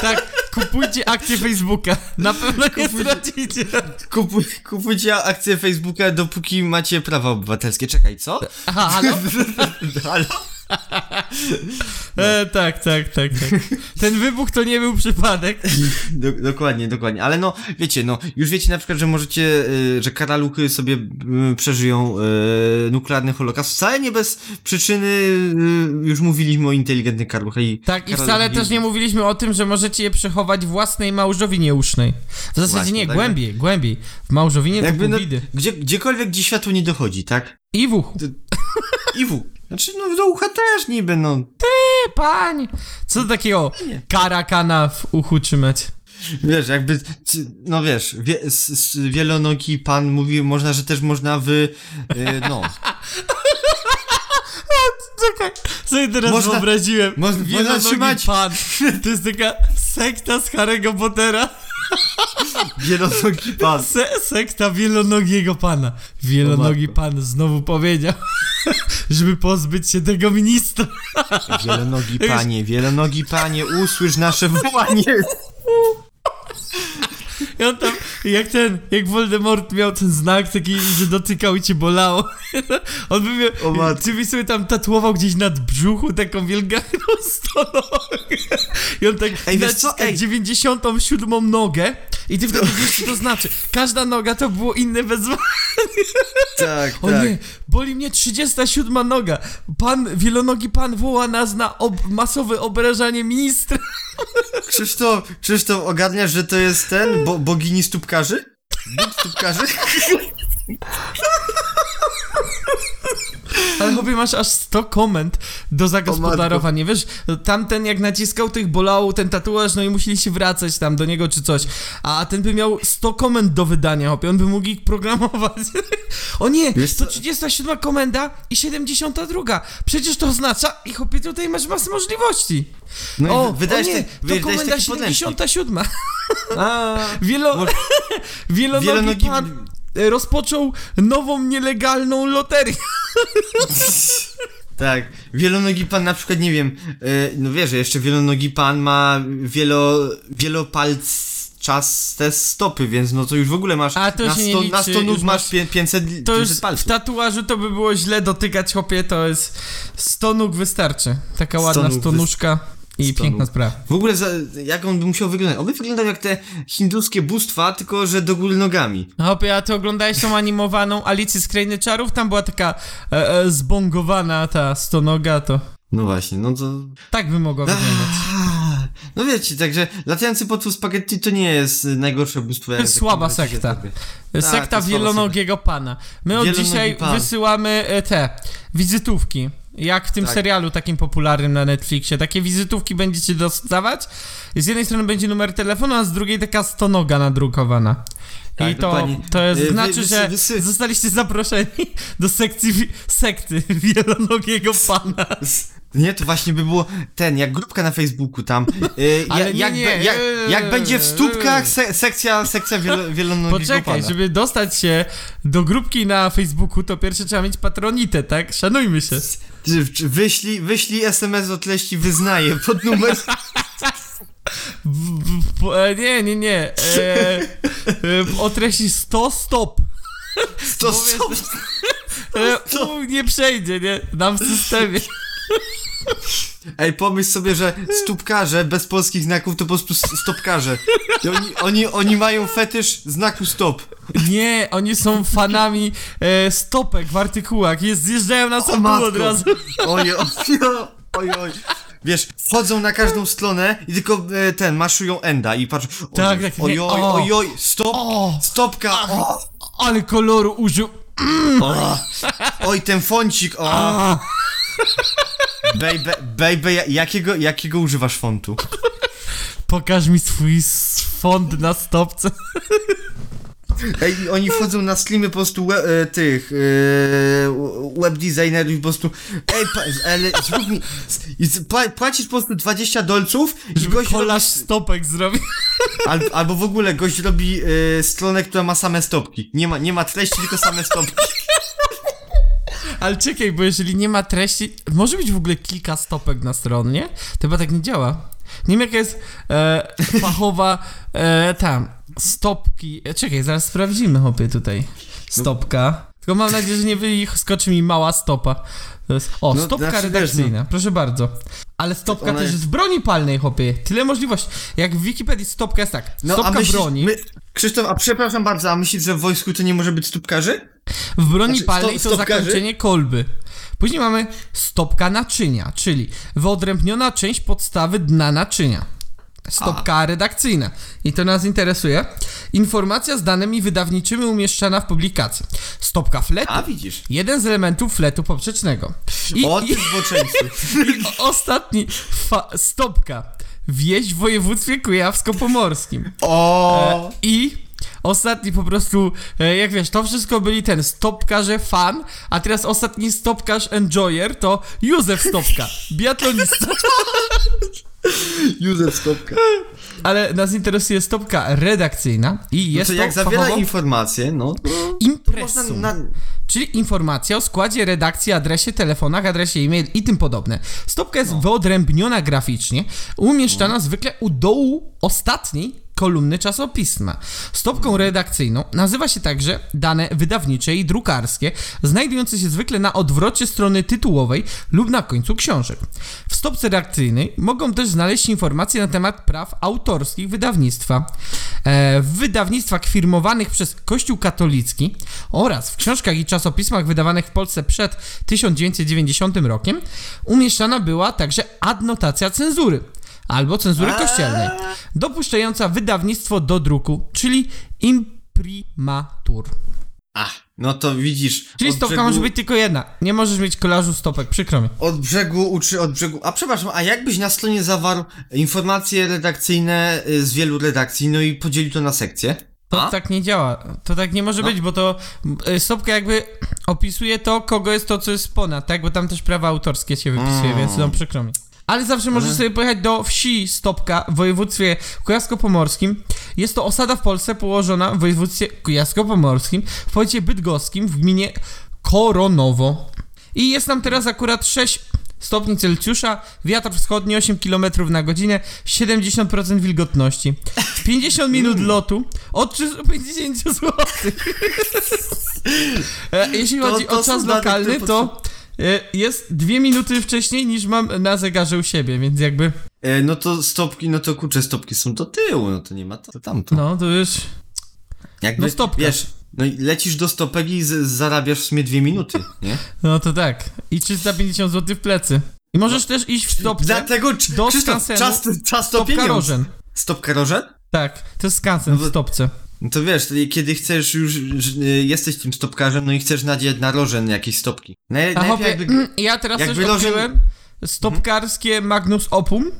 [SPEAKER 2] Tak, kupujcie akcje Facebooka. Na pewno nie stracicie.
[SPEAKER 3] kupuj, kupujcie akcję Facebooka, dopóki macie prawa obywatelskie. Czekaj, co?
[SPEAKER 2] Aha, halo?
[SPEAKER 3] Ale...
[SPEAKER 2] E, tak, tak, tak, tak. Ten wybuch to nie był przypadek.
[SPEAKER 3] Do, dokładnie, dokładnie. Ale no, wiecie, no, już wiecie na przykład, że możecie, y, że karaluchy sobie y, przeżyją y, nuklearny holokaust. Wcale nie bez przyczyny, y, już mówiliśmy o inteligentnych karaluchach i...
[SPEAKER 2] Tak, i wcale
[SPEAKER 3] karaluchy-
[SPEAKER 2] też nie mówiliśmy o tym, że możecie je przechować w własnej małżowinie usznej. W zasadzie
[SPEAKER 3] Właśnie,
[SPEAKER 2] nie,
[SPEAKER 3] tak.
[SPEAKER 2] głębiej, głębiej. W małżowinie
[SPEAKER 3] Jakby
[SPEAKER 2] to
[SPEAKER 3] no,
[SPEAKER 2] widy.
[SPEAKER 3] gdzie, gdziekolwiek, gdzie światło nie dochodzi, tak?
[SPEAKER 2] I w uchu.
[SPEAKER 3] I w. Znaczy, no do ucha też niby, no.
[SPEAKER 2] Ty, pań! Co do takiego karakana w uchu trzymać?
[SPEAKER 3] Wiesz, jakby, c- no wiesz, wie, s, s, wielonogi pan mówi, można, że też można wy, y, no.
[SPEAKER 2] Czekaj, sobie teraz
[SPEAKER 3] Można-
[SPEAKER 2] wyobraziłem.
[SPEAKER 3] mo- można
[SPEAKER 2] Wielonogi
[SPEAKER 3] trzymać-
[SPEAKER 2] pan. To jest taka sekta z Harry'ego Pottera.
[SPEAKER 3] Wielonogi pan.
[SPEAKER 2] Se, sekta wielonogiego pana. Wielonogi
[SPEAKER 3] O matko.
[SPEAKER 2] pan znowu powiedział, żeby pozbyć się tego ministra.
[SPEAKER 3] Wielonogi panie, wielonogi panie, usłysz nasze wołanie.
[SPEAKER 2] I on tam, jak ten, jak Voldemort miał ten znak taki, że dotykał i cię bolało. On by
[SPEAKER 3] O
[SPEAKER 2] miał,
[SPEAKER 3] matko.
[SPEAKER 2] ty byś sobie tam tatuował gdzieś nad brzuchu taką wielgachną stologę. I on tak
[SPEAKER 3] Ej, wiesz co?
[SPEAKER 2] naciska
[SPEAKER 3] Ej.
[SPEAKER 2] 97 nogę i ty wtedy wiesz, co to znaczy. Każda noga to było inne wezwanie.
[SPEAKER 3] Tak,
[SPEAKER 2] O nie, boli mnie 37 noga. Pan, wielonogi pan woła nas na ob- masowe obrażanie ministra.
[SPEAKER 3] Krzysztof, Krzysztof, ogarniasz, że to jest ten, bo, bogini stópkarzy? Bóg stópkarzy?
[SPEAKER 2] Ale chłopie, masz aż 100 koment do zagospodarowania, wiesz, tamten jak naciskał tych bolał ten tatuaż, no i musieli się wracać tam do niego czy coś, a ten by miał 100 koment do wydania, chłopie, on by mógł ich programować. O nie,
[SPEAKER 3] Wiesz co?
[SPEAKER 2] 137 komenda i 72, przecież to oznacza, i chłopie, tutaj masz masę możliwości.
[SPEAKER 3] No i
[SPEAKER 2] o,
[SPEAKER 3] wy- wydajesz
[SPEAKER 2] o nie,
[SPEAKER 3] te- wydajesz
[SPEAKER 2] to komenda
[SPEAKER 3] taki podręcznik.
[SPEAKER 2] 77.
[SPEAKER 3] A,
[SPEAKER 2] Wielo...
[SPEAKER 3] Może-
[SPEAKER 2] Wielonogi,
[SPEAKER 3] Wielonogi-
[SPEAKER 2] pan e, rozpoczął nową nielegalną loterię.
[SPEAKER 3] tak. Wielonogi pan na przykład, nie wiem, y, no wiesz, że jeszcze wielonogi pan ma wielo, wielopalc czas te stopy, więc no to już w ogóle masz
[SPEAKER 2] A, to
[SPEAKER 3] na,
[SPEAKER 2] się nie
[SPEAKER 3] sto, na
[SPEAKER 2] liczy,
[SPEAKER 3] 100 nóg
[SPEAKER 2] już
[SPEAKER 3] masz
[SPEAKER 2] masz-
[SPEAKER 3] pię- 500,
[SPEAKER 2] To już
[SPEAKER 3] 500
[SPEAKER 2] w
[SPEAKER 3] palców.
[SPEAKER 2] tatuażu to by było źle dotykać, chłopie, to jest 100 nóg wystarczy. Taka ładna
[SPEAKER 3] nóg wys-
[SPEAKER 2] stonuszka i
[SPEAKER 3] 100
[SPEAKER 2] piękna
[SPEAKER 3] nóg.
[SPEAKER 2] sprawa.
[SPEAKER 3] W ogóle za, jak on by musiał wyglądać? On by wyglądał jak te hinduskie bóstwa, tylko że do góry nogami.
[SPEAKER 2] No Chłopie, a ty oglądałeś tą animowaną Alicję z Krainy Czarów? Tam była taka e, e, zbongowana ta stonoga, to
[SPEAKER 3] No właśnie, no to...
[SPEAKER 2] tak by mogła wyglądać.
[SPEAKER 3] Ah, No wiecie, także latający potwór spaghetti to nie jest y, najgorsze bóstwo.
[SPEAKER 2] To jest słaba sekta.
[SPEAKER 3] Tak, to
[SPEAKER 2] Sekta
[SPEAKER 3] jest
[SPEAKER 2] wielonogiego pana. My od
[SPEAKER 3] Wielonogi
[SPEAKER 2] dzisiaj
[SPEAKER 3] pan.
[SPEAKER 2] wysyłamy e, te wizytówki. Jak w tym
[SPEAKER 3] Tak.
[SPEAKER 2] serialu takim popularnym na Netflixie. Takie wizytówki będziecie dostawać. Z jednej strony będzie numer telefonu, a z drugiej taka stonoga nadrukowana.
[SPEAKER 3] Tak,
[SPEAKER 2] I to,
[SPEAKER 3] dokładnie.
[SPEAKER 2] to jest,
[SPEAKER 3] E, wy-
[SPEAKER 2] znaczy,
[SPEAKER 3] wysy-
[SPEAKER 2] że
[SPEAKER 3] wysy-
[SPEAKER 2] zostaliście zaproszeni do sekcji wi- sekty wielonogiego pana.
[SPEAKER 3] Nie, to właśnie by było ten, jak grupka na Facebooku tam. Yy,
[SPEAKER 2] Ale
[SPEAKER 3] ja-
[SPEAKER 2] nie,
[SPEAKER 3] jak,
[SPEAKER 2] nie,
[SPEAKER 3] be- jak,
[SPEAKER 2] eee,
[SPEAKER 3] jak będzie w stópkach se, sekcja, sekcja wielo, wielonogiego
[SPEAKER 2] Poczekaj,
[SPEAKER 3] pana.
[SPEAKER 2] żeby dostać się do grupki na Facebooku, to pierwsze trzeba mieć patronitę, tak? Szanujmy się.
[SPEAKER 3] Ty- czy Wyślij, wyślij SMS o treści wyznaję pod numer...
[SPEAKER 2] W, w, w, e, nie, nie, nie. E, e, o treści 100 stop.
[SPEAKER 3] To są...
[SPEAKER 2] E, u, nie przejdzie, nie? Nam w systemie.
[SPEAKER 3] Ej, pomyśl sobie, że stópkarze bez polskich znaków to po prostu s- stopkarze. I oni, oni, oni mają fetysz znaku stop.
[SPEAKER 2] Nie, oni są fanami e, stopek w artykułach. Jest, zjeżdżają na sam dół
[SPEAKER 3] matko.
[SPEAKER 2] od razu.
[SPEAKER 3] Oj, oj, oj, oj. Wiesz, wchodzą na każdą stronę i tylko e, ten, maszują enda i patrzą. Oj,
[SPEAKER 2] Tak, tak,
[SPEAKER 3] oj,
[SPEAKER 2] nie,
[SPEAKER 3] oj,
[SPEAKER 2] o.
[SPEAKER 3] oj, oj, stop,
[SPEAKER 2] O.
[SPEAKER 3] stopka. O,
[SPEAKER 2] Ale koloru użył.
[SPEAKER 3] o. Oj, ten foncik, o.
[SPEAKER 2] A,
[SPEAKER 3] Baby, baby, ja- jakiego, jakiego używasz fontu?
[SPEAKER 2] pokaż mi swój s- font na stopce.
[SPEAKER 3] Ej, i oni wchodzą na slimy po prostu we, e, tych e, web designerów i po prostu ej, pa, ale zrób mi i z- pła, płacisz po prostu 20 dolców i
[SPEAKER 2] Żeby
[SPEAKER 3] gość robi,
[SPEAKER 2] kolaż stopek zrobił.
[SPEAKER 3] al, albo w ogóle gość robi e, stronę, która ma same stopki. Nie ma, nie ma treści, tylko same stopki.
[SPEAKER 2] Ale czekaj, bo jeżeli nie ma treści, może być w ogóle kilka stopek na stronie? To chyba tak nie działa. Nie wiem, jaka jest e, fachowa e, tam stopki. E, Czekaj, zaraz sprawdzimy, hopie, tutaj. Stopka. Tylko mam nadzieję, że nie wyskoczy mi mała stopa. To jest, o,
[SPEAKER 3] No,
[SPEAKER 2] stopka
[SPEAKER 3] znaczy, wiesz,
[SPEAKER 2] redakcyjna, proszę bardzo. Ale stopka
[SPEAKER 3] Ona
[SPEAKER 2] też
[SPEAKER 3] jest-
[SPEAKER 2] jest w broni palnej, hopie. Tyle możliwości. Jak w Wikipedii stopka jest tak, stopka broni.
[SPEAKER 3] No, my- Krzysztof, a przepraszam bardzo, a myślisz, że w wojsku to nie może być stópkarzy?
[SPEAKER 2] W broni
[SPEAKER 3] Znaczy,
[SPEAKER 2] palnej
[SPEAKER 3] sto-
[SPEAKER 2] to
[SPEAKER 3] stopkarzy?
[SPEAKER 2] zakończenie kolby. Później mamy stopka naczynia, czyli wyodrębniona część podstawy dna naczynia. Stopka redakcyjna. I to nas interesuje. Informacja z danymi wydawniczymi umieszczana w publikacji. Stopka fletu.
[SPEAKER 3] A widzisz.
[SPEAKER 2] Jeden z elementów fletu poprzecznego. I,
[SPEAKER 3] o,
[SPEAKER 2] i
[SPEAKER 3] ty zboczeńcu.
[SPEAKER 2] ostatni. Fa- stopka. Wieś w województwie kujawsko-pomorskim.
[SPEAKER 3] O,
[SPEAKER 2] I ostatni po prostu, e, jak wiesz, to wszystko byli ten stopkarze fan, a teraz ostatni stopkarz enjoyer to Józef Stopka, biatlonista.
[SPEAKER 3] E, Józef Stopka.
[SPEAKER 2] Ale nas interesuje stopka redakcyjna i
[SPEAKER 3] No
[SPEAKER 2] jest
[SPEAKER 3] to
[SPEAKER 2] to
[SPEAKER 3] jak zawiera
[SPEAKER 2] fachowo
[SPEAKER 3] informacje, no, można
[SPEAKER 2] impresum,
[SPEAKER 3] na,
[SPEAKER 2] czyli informacja o składzie redakcji, adresie, telefonach, adresie e-mail i tym podobne. Stopka jest wyodrębniona graficznie, umieszczana zwykle u dołu ostatniej kolumny czasopisma. Stopką redakcyjną nazywa się także dane wydawnicze i drukarskie, znajdujące się zwykle na odwrocie strony tytułowej lub na końcu książek. W stopce redakcyjnej mogą też znaleźć informacje na temat praw autorskich wydawnictwa. E, w wydawnictwach firmowanych przez Kościół katolicki oraz w książkach i czasopismach wydawanych w Polsce przed 1990 rokiem umieszczana była także adnotacja cenzury albo cenzury kościelnej, dopuszczająca wydawnictwo do druku, czyli imprimatur.
[SPEAKER 3] A, no to widzisz.
[SPEAKER 2] Czyli
[SPEAKER 3] od
[SPEAKER 2] stopka
[SPEAKER 3] brzegu-
[SPEAKER 2] może być tylko jedna. Nie możesz mieć kolażu stopek, przykro mi.
[SPEAKER 3] Od brzegu uczy, od brzegu. A przepraszam, a jakbyś na stronie zawarł informacje redakcyjne y, z wielu redakcji, no i podzielił to na sekcje?
[SPEAKER 2] To
[SPEAKER 3] A?
[SPEAKER 2] tak nie działa. To tak nie może być, bo to y, stopka jakby opisuje to, kogo jest to, co jest ponad, tak? Bo tam też prawa autorskie się wypisuje, więc no przykro mi. Ale zawsze możesz sobie pojechać do wsi Stopka w województwie kujawsko-pomorskim. Jest to osada w Polsce położona w województwie kujawsko-pomorskim, w powiecie bydgoskim, w gminie Koronowo. I jest tam teraz akurat 6 stopni Celsjusza, wiatr wschodni 8 km na godzinę, 70% wilgotności. 50
[SPEAKER 3] Mm.
[SPEAKER 2] minut lotu od 350 zł. E, Jeśli
[SPEAKER 3] To-
[SPEAKER 2] chodzi
[SPEAKER 3] to
[SPEAKER 2] o
[SPEAKER 3] są
[SPEAKER 2] czas
[SPEAKER 3] dane,
[SPEAKER 2] lokalny,
[SPEAKER 3] które
[SPEAKER 2] to e, jest dwie minuty wcześniej niż mam na zegarze u siebie, więc jakby
[SPEAKER 3] E, no to stopki, no to kurczę, stopki są do tyłu, no to nie ma to, to tamto.
[SPEAKER 2] no to już
[SPEAKER 3] Jakby,
[SPEAKER 2] no stopka.
[SPEAKER 3] Wiesz, no i lecisz do stopek i z, zarabiasz w sumie dwie minuty, nie?
[SPEAKER 2] no to tak. I 350 zł w plecy. I możesz też iść w stopce.
[SPEAKER 3] No. Dlatego, czy,
[SPEAKER 2] do
[SPEAKER 3] Krzysztof,
[SPEAKER 2] skansenu
[SPEAKER 3] czas, czas to
[SPEAKER 2] Stopka
[SPEAKER 3] pieniądz.
[SPEAKER 2] rożen.
[SPEAKER 3] Stopka rożen?
[SPEAKER 2] Tak, to jest skansen w
[SPEAKER 3] No to-
[SPEAKER 2] stopce.
[SPEAKER 3] No to wiesz, to kiedy chcesz już, że, y, jesteś tym stopkarzem, no i chcesz nadzieć na rożen jakieś stopki. Naj,
[SPEAKER 2] A
[SPEAKER 3] najlepiej
[SPEAKER 2] hopie,
[SPEAKER 3] jakby- Mhm.
[SPEAKER 2] mm, ja teraz
[SPEAKER 3] jakby
[SPEAKER 2] też
[SPEAKER 3] loży-
[SPEAKER 2] odkryłem stopkarskie Magnus Opum.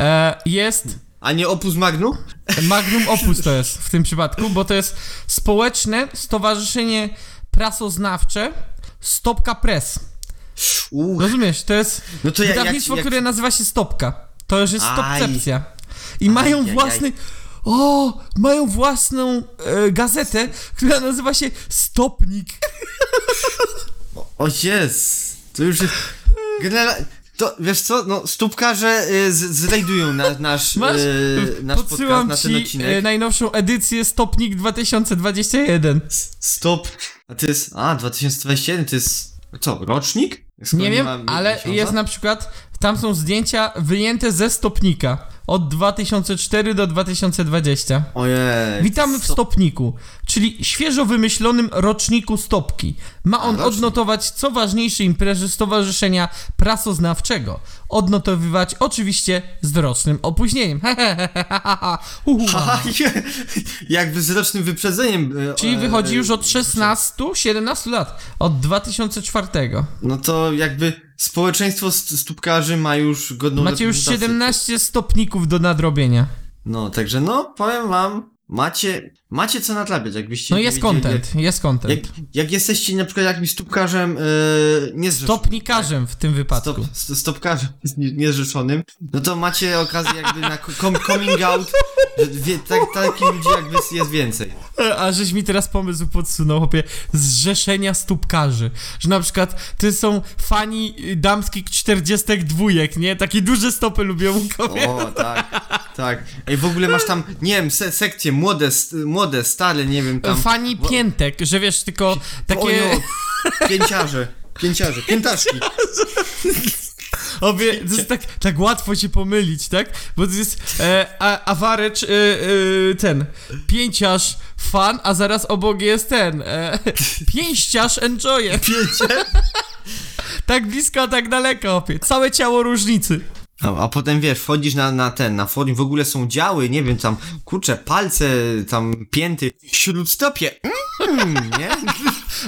[SPEAKER 2] E, jest
[SPEAKER 3] A nie opus magnum?
[SPEAKER 2] Magnum Opus to jest w tym przypadku, bo to jest społeczne stowarzyszenie prasoznawcze Stopka Press.
[SPEAKER 3] Uch.
[SPEAKER 2] Rozumiesz, to jest
[SPEAKER 3] No to ja- jak-
[SPEAKER 2] wydawnictwo,
[SPEAKER 3] jak-
[SPEAKER 2] które nazywa się Stopka. To już jest
[SPEAKER 3] Aj.
[SPEAKER 2] Stopcepcja. I
[SPEAKER 3] Aj,
[SPEAKER 2] mają
[SPEAKER 3] aj, aj.
[SPEAKER 2] własny... O, mają własną e, gazetę, która nazywa się Stopnik.
[SPEAKER 3] O jest! To już jest... General... To, wiesz co, no, stópkarze y, z- znajdują na, nasz,
[SPEAKER 2] Masz?
[SPEAKER 3] y, nasz podcast,
[SPEAKER 2] Podsyłam
[SPEAKER 3] na ten
[SPEAKER 2] ci e,
[SPEAKER 3] odcinek.
[SPEAKER 2] najnowszą edycję Stopnik 2021.
[SPEAKER 3] S- Stop. A to jest... A, 2021 to jest... Co, rocznik? Skoro
[SPEAKER 2] Nie wiem,
[SPEAKER 3] ma mi-
[SPEAKER 2] ale
[SPEAKER 3] miesiąca?
[SPEAKER 2] jest na przykład, tam są zdjęcia wyjęte ze stopnika od 2004 do 2020.
[SPEAKER 3] Ojej.
[SPEAKER 2] Witamy w stopniku, czyli świeżo wymyślonym roczniku stopki. Ma on
[SPEAKER 3] rocznik.
[SPEAKER 2] odnotować co ważniejsze imprezy Stowarzyszenia Prasoznawczego. Odnotowywać oczywiście z rocznym opóźnieniem. Uhu.
[SPEAKER 3] Aha, je- jakby z rocznym wyprzedzeniem. y,
[SPEAKER 2] Czyli
[SPEAKER 3] e,
[SPEAKER 2] wychodzi już
[SPEAKER 3] e,
[SPEAKER 2] od 16-17 lat, od 2004.
[SPEAKER 3] No to jakby społeczeństwo st- stópkarzy ma już godną
[SPEAKER 2] Macie już
[SPEAKER 3] reprezentację.
[SPEAKER 2] 17 stopników do nadrobienia.
[SPEAKER 3] No, także no, powiem wam, macie, macie co nadrabiać, jakbyście...
[SPEAKER 2] No
[SPEAKER 3] nie
[SPEAKER 2] jest
[SPEAKER 3] wiedzieli,
[SPEAKER 2] content, jest
[SPEAKER 3] Jak,
[SPEAKER 2] content.
[SPEAKER 3] jak, jak jesteście na przykład jakimś stópkarzem yy, niezrzeszonym...
[SPEAKER 2] Stopnikarzem w tym
[SPEAKER 3] Stop,
[SPEAKER 2] wypadku.
[SPEAKER 3] st- stopkarzem nie- niezrzeszonym, no to macie okazję jakby na ko- com, coming out, że wie, tak, takich ludzi jakby jest więcej.
[SPEAKER 2] A żeś mi teraz pomysł podsunął, chłopie, zrzeszenia stópkarzy. Że na przykład ty są fani y, damskich 42, nie? Takie duże stopy lubią kobiety.
[SPEAKER 3] O, tak, tak. Ej, w ogóle masz tam, nie wiem, se, sekcje młode, st- młode, stare, nie wiem, tam...
[SPEAKER 2] Fani
[SPEAKER 3] Wo-
[SPEAKER 2] piętek, że wiesz, tylko
[SPEAKER 3] Ojo,
[SPEAKER 2] takie...
[SPEAKER 3] pięciarze, pięciarze, piętaszki.
[SPEAKER 2] Obie, to jest tak, tak łatwo się pomylić, tak? Bo to jest e, a, awarecz, e, e, ten, pięciarz, fan, a zaraz obok jest ten, e, pięściarz, enjoyer.
[SPEAKER 3] Pięcie.
[SPEAKER 2] Tak blisko, a tak daleko, opie. Całe ciało różnicy.
[SPEAKER 3] No, A, a potem wiesz, wchodzisz na, na ten, na forum, w ogóle są działy, nie wiem, tam, kurczę, palce, tam, pięty, śródstopie, mm, nie?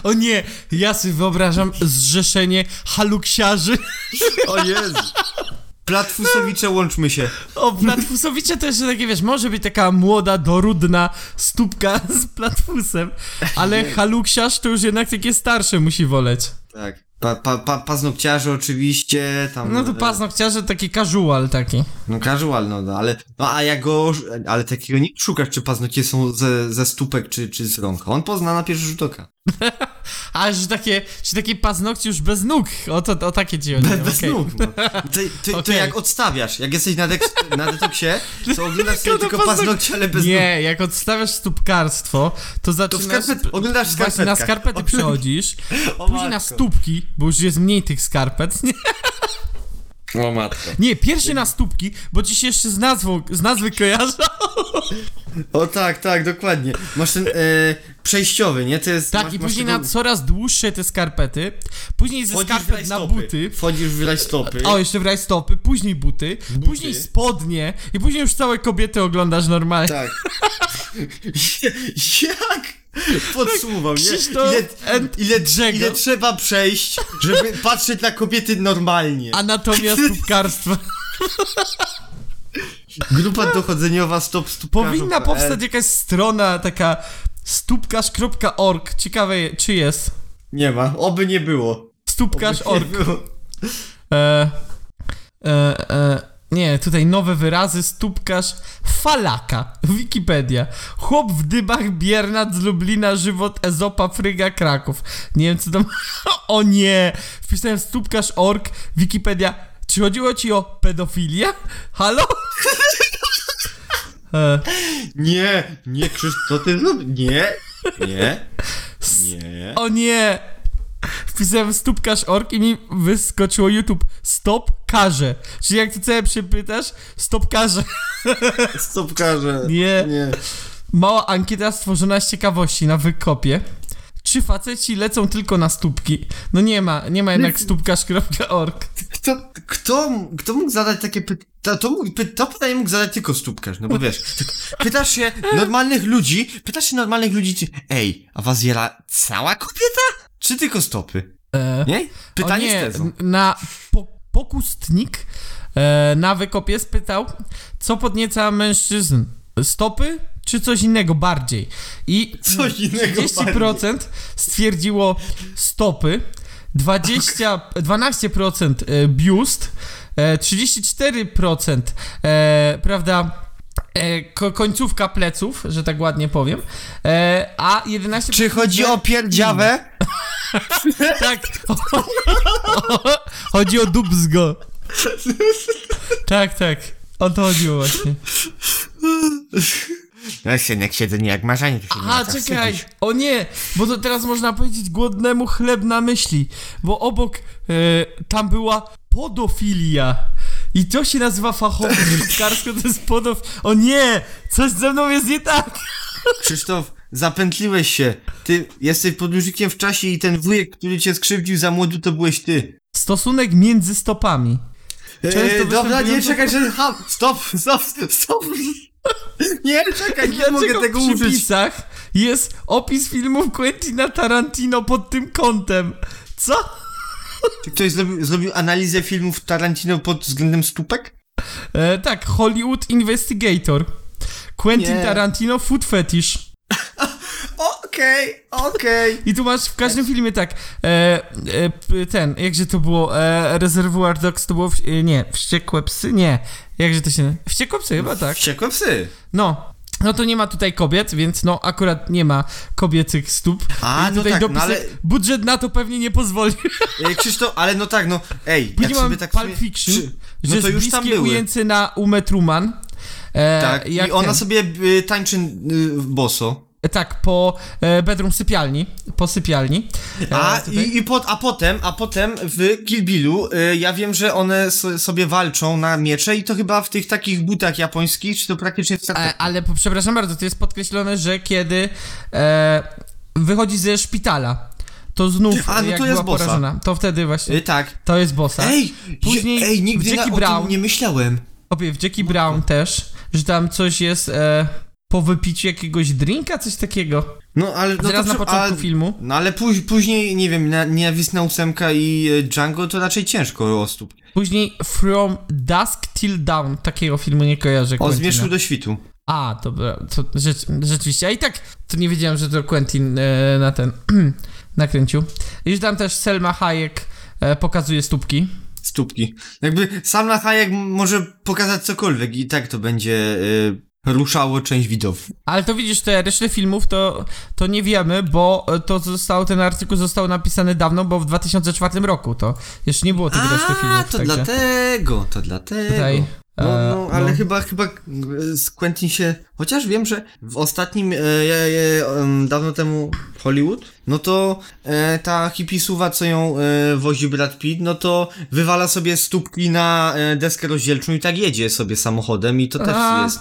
[SPEAKER 2] O nie, ja sobie wyobrażam zrzeszenie haluksiarzy.
[SPEAKER 3] O Jezu. Platfusowicze, łączmy się.
[SPEAKER 2] O, platfusowicze to jeszcze takie, wiesz, może być taka młoda, dorudna stópka z platfusem, ale haluksiarz to już jednak takie starsze musi woleć.
[SPEAKER 3] Tak. Pa, pa, pa, paznokciarze oczywiście, tam...
[SPEAKER 2] No to
[SPEAKER 3] e,
[SPEAKER 2] paznokciarze taki casual taki.
[SPEAKER 3] No casual, no, no ale... No a ja go... Ale takiego nie szukasz, czy paznokcie są ze, ze stópek, czy, czy z rąk. On pozna na pierwszy rzut oka.
[SPEAKER 2] A, że takie, czy takie paznokcie już bez nóg, o, to, o takie ci chodzi.
[SPEAKER 3] Be, bez
[SPEAKER 2] okej.
[SPEAKER 3] nóg. No. To, to, to
[SPEAKER 2] Okej.
[SPEAKER 3] jak odstawiasz, jak jesteś na, dek- na detoksie, to oglądasz sobie
[SPEAKER 2] Tylko
[SPEAKER 3] tylko
[SPEAKER 2] paznok-
[SPEAKER 3] paznokcie, ale bez nóg.
[SPEAKER 2] Nie, jak odstawiasz stópkarstwo, to zaczynasz...
[SPEAKER 3] skarpet- oglądasz w
[SPEAKER 2] Właśnie na
[SPEAKER 3] skarpetkach.
[SPEAKER 2] skarpety przechodzisz,
[SPEAKER 3] O
[SPEAKER 2] później na
[SPEAKER 3] matko.
[SPEAKER 2] stópki, bo już jest mniej tych skarpet, nie?
[SPEAKER 3] O matko.
[SPEAKER 2] Nie, pierwszy na stópki, bo ci się jeszcze z, nazwą, z nazwy kojarzą.
[SPEAKER 3] O tak, tak, dokładnie. Masz ten e, przejściowy, nie? To jest...
[SPEAKER 2] Tak,
[SPEAKER 3] masz,
[SPEAKER 2] i
[SPEAKER 3] masz
[SPEAKER 2] później
[SPEAKER 3] tego-
[SPEAKER 2] na coraz dłuższe te skarpety, później ze
[SPEAKER 3] Wchodzisz w
[SPEAKER 2] skarpet na
[SPEAKER 3] rajstopy.
[SPEAKER 2] buty.
[SPEAKER 3] Wchodzisz w rajstopy.
[SPEAKER 2] O, jeszcze w stopy, później buty, później spodnie i później już całe kobiety oglądasz normalnie.
[SPEAKER 3] Tak. jak? Podsuwał, nie?
[SPEAKER 2] Krzysztof
[SPEAKER 3] Ile,
[SPEAKER 2] and
[SPEAKER 3] ile,
[SPEAKER 2] Grzegorz.
[SPEAKER 3] ile trzeba przejść, żeby patrzeć na kobiety normalnie.
[SPEAKER 2] Anatomia stópkarstwa.
[SPEAKER 3] Grupa dochodzeniowa stop stop.
[SPEAKER 2] Powinna powstać jakaś strona taka stópkarz.org. Ciekawe, je- czy jest.
[SPEAKER 3] Nie ma, oby nie było.
[SPEAKER 2] Stópkarz.org.
[SPEAKER 3] Oby nie było.
[SPEAKER 2] E, e, e, nie, tutaj nowe wyrazy, stópkarz, falaka, Wikipedia. Chłop w dybach, Biernat z Lublina, żywot Ezopa, Fryga, Kraków. Nie wiem, co tam... O nie! Wpisałem stópkarz.org, Wikipedia. Czy chodziło ci o pedofilię? Halo? E,
[SPEAKER 3] Nie, nie Krzysztof, co ty zrobi- Nie, nie, nie.
[SPEAKER 2] o nie! Wpisałem stópkarz.org i mi wyskoczyło YouTube. Stop karze. Czyli jak ty E całe przepytasz, stop karze.
[SPEAKER 3] Stopkarze.
[SPEAKER 2] Nie.
[SPEAKER 3] nie.
[SPEAKER 2] Mała ankieta stworzona z ciekawości na wykopie. Czy faceci lecą tylko na stópki? No nie ma, nie ma jednak stópkarz.org.
[SPEAKER 3] Kto, kto, kto mógł zadać takie pytanie? To, to, mógł- py- to pytanie mógł zadać tylko stópkarz, no bo wiesz, pytasz się normalnych ludzi, pytasz się normalnych ludzi, czy, ej, a was jela cała kobieta? Czy tylko stopy?
[SPEAKER 2] E,
[SPEAKER 3] Nie? Pytanie
[SPEAKER 2] o nie,
[SPEAKER 3] z tezą.
[SPEAKER 2] Na po, pokustnik e, na wykopie spytał, co podnieca mężczyzn? Stopy czy coś innego bardziej? I
[SPEAKER 3] Coś innego
[SPEAKER 2] 30% stwierdziło stopy, 20, 12% e, biust, e, 34% e, prawda e, ko- końcówka pleców, że tak ładnie powiem, e, a 11%
[SPEAKER 3] Czy chodzi o pierdziawę?
[SPEAKER 2] tak. chodzi o Dubzgo. Tak, tak. O to chodziło właśnie.
[SPEAKER 3] No się jak siedzenie jak marzenie. to się nie
[SPEAKER 2] Aha,
[SPEAKER 3] ma co
[SPEAKER 2] czekaj.
[SPEAKER 3] wstydzić.
[SPEAKER 2] O nie, bo to teraz można powiedzieć głodnemu chleb na myśli, bo obok e, tam była podofilia. I to się nazywa fachowo szutkarsko, to jest podof... O nie! Coś ze mną jest nie tak!
[SPEAKER 3] Krzysztof, zapętliłeś się. Ty jesteś podróżnikiem w czasie i ten wujek, który cię skrzywdził za młodu, to byłeś ty.
[SPEAKER 2] Stosunek między stopami.
[SPEAKER 3] Eee, dobra, nie
[SPEAKER 2] występująco-
[SPEAKER 3] czekaj, że... Ha, stop, stop, stop. Nie, czekaj, nie
[SPEAKER 2] Dlaczego
[SPEAKER 3] mogę tego
[SPEAKER 2] w
[SPEAKER 3] użyć.
[SPEAKER 2] przypisach jest opis filmów Quentina Tarantino pod tym kątem? Co?
[SPEAKER 3] Czy ktoś zrobił, zrobił analizę filmów Tarantino pod względem stópek?
[SPEAKER 2] E, tak, Hollywood Investigator. Quentin
[SPEAKER 3] Nie.
[SPEAKER 2] Tarantino Food Fetish.
[SPEAKER 3] Okej, okej.
[SPEAKER 2] I tu masz w każdym filmie tak. E, e, p- ten, jakże to było? E, Reservoir Dogs to było. W, e, nie, wściekłe psy? Nie. Jakże to się. Wściekłe psy chyba tak.
[SPEAKER 3] Wściekłe psy.
[SPEAKER 2] No. No to nie ma tutaj kobiet, więc no akurat nie ma kobiecych stóp.
[SPEAKER 3] A,
[SPEAKER 2] I
[SPEAKER 3] no
[SPEAKER 2] tutaj
[SPEAKER 3] tak, no
[SPEAKER 2] dopisek,
[SPEAKER 3] ale-
[SPEAKER 2] Budżet na to pewnie nie pozwoli.
[SPEAKER 3] Eee, Krzysztof, ale no tak, no, ej, jak
[SPEAKER 2] Później mamy
[SPEAKER 3] sobie tak
[SPEAKER 2] Pulp
[SPEAKER 3] sobie-
[SPEAKER 2] Fiction,
[SPEAKER 3] Czy-
[SPEAKER 2] że
[SPEAKER 3] No to
[SPEAKER 2] jest
[SPEAKER 3] już tam
[SPEAKER 2] bliskie
[SPEAKER 3] były.
[SPEAKER 2] ujęcie na Umę Truman. E,
[SPEAKER 3] Tak,
[SPEAKER 2] jak
[SPEAKER 3] i ona
[SPEAKER 2] ten-
[SPEAKER 3] sobie y, tańczy y, boso.
[SPEAKER 2] Tak, po e, bedroom sypialni, po sypialni. E,
[SPEAKER 3] A,
[SPEAKER 2] tutaj.
[SPEAKER 3] i, i pot, a potem, a potem w Kill Billu, y, ja wiem, że one so, sobie walczą na miecze i to chyba w tych takich butach japońskich, czy to praktycznie w
[SPEAKER 2] E, ale po- przepraszam bardzo, to jest podkreślone, że kiedy e, wychodzi ze szpitala, to znów
[SPEAKER 3] A, no
[SPEAKER 2] jak
[SPEAKER 3] to jest
[SPEAKER 2] była
[SPEAKER 3] bossa.
[SPEAKER 2] porażona, to wtedy właśnie
[SPEAKER 3] y, Tak.
[SPEAKER 2] to jest bossa.
[SPEAKER 3] Ej,
[SPEAKER 2] Później
[SPEAKER 3] je, ej, nigdy
[SPEAKER 2] w
[SPEAKER 3] na,
[SPEAKER 2] Jackie
[SPEAKER 3] o
[SPEAKER 2] Brown,
[SPEAKER 3] tym nie myślałem.
[SPEAKER 2] obie, w Jackie Brown też, że tam coś jest e, po wypiciu jakiegoś drinka, coś takiego.
[SPEAKER 3] No, ale... No
[SPEAKER 2] Zaraz
[SPEAKER 3] to,
[SPEAKER 2] na
[SPEAKER 3] przy-
[SPEAKER 2] początku
[SPEAKER 3] a,
[SPEAKER 2] filmu.
[SPEAKER 3] No, ale póź, później, nie wiem, na, nienawistna ósemka i y, Django to raczej ciężko o stóp.
[SPEAKER 2] Później From Dusk Till Dawn, takiego filmu nie kojarzę. no.
[SPEAKER 3] O
[SPEAKER 2] Quentina.
[SPEAKER 3] zmierzchu do świtu.
[SPEAKER 2] A, dobra, to rzecz, rzeczywiście. A i tak to nie wiedziałem, że to Quentin e, na ten nakręcił. Już tam też Selma Hayek e, pokazuje stópki.
[SPEAKER 3] Stópki. Jakby sam na Hayek m- może pokazać cokolwiek i tak to będzie y, ruszało część widowów.
[SPEAKER 2] Ale to widzisz, te resztę filmów to, to nie wiemy, bo e, to zostało, ten artykuł został napisany dawno, bo w 2004 roku to jeszcze nie było tych reszty
[SPEAKER 3] A,
[SPEAKER 2] filmów.
[SPEAKER 3] to
[SPEAKER 2] także
[SPEAKER 3] dlatego, to dlatego.
[SPEAKER 2] Tutaj,
[SPEAKER 3] No, no,
[SPEAKER 2] e,
[SPEAKER 3] ale
[SPEAKER 2] no.
[SPEAKER 3] chyba, chyba z Quentin się, chociaż wiem, że w ostatnim, e, e, e, em, dawno temu Hollywood, no to e, ta hipisuwa, co ją e, wozi Brad Pitt, no to wywala sobie stópki na e, deskę rozdzielczą i tak jedzie sobie samochodem i to też
[SPEAKER 2] A.
[SPEAKER 3] jest.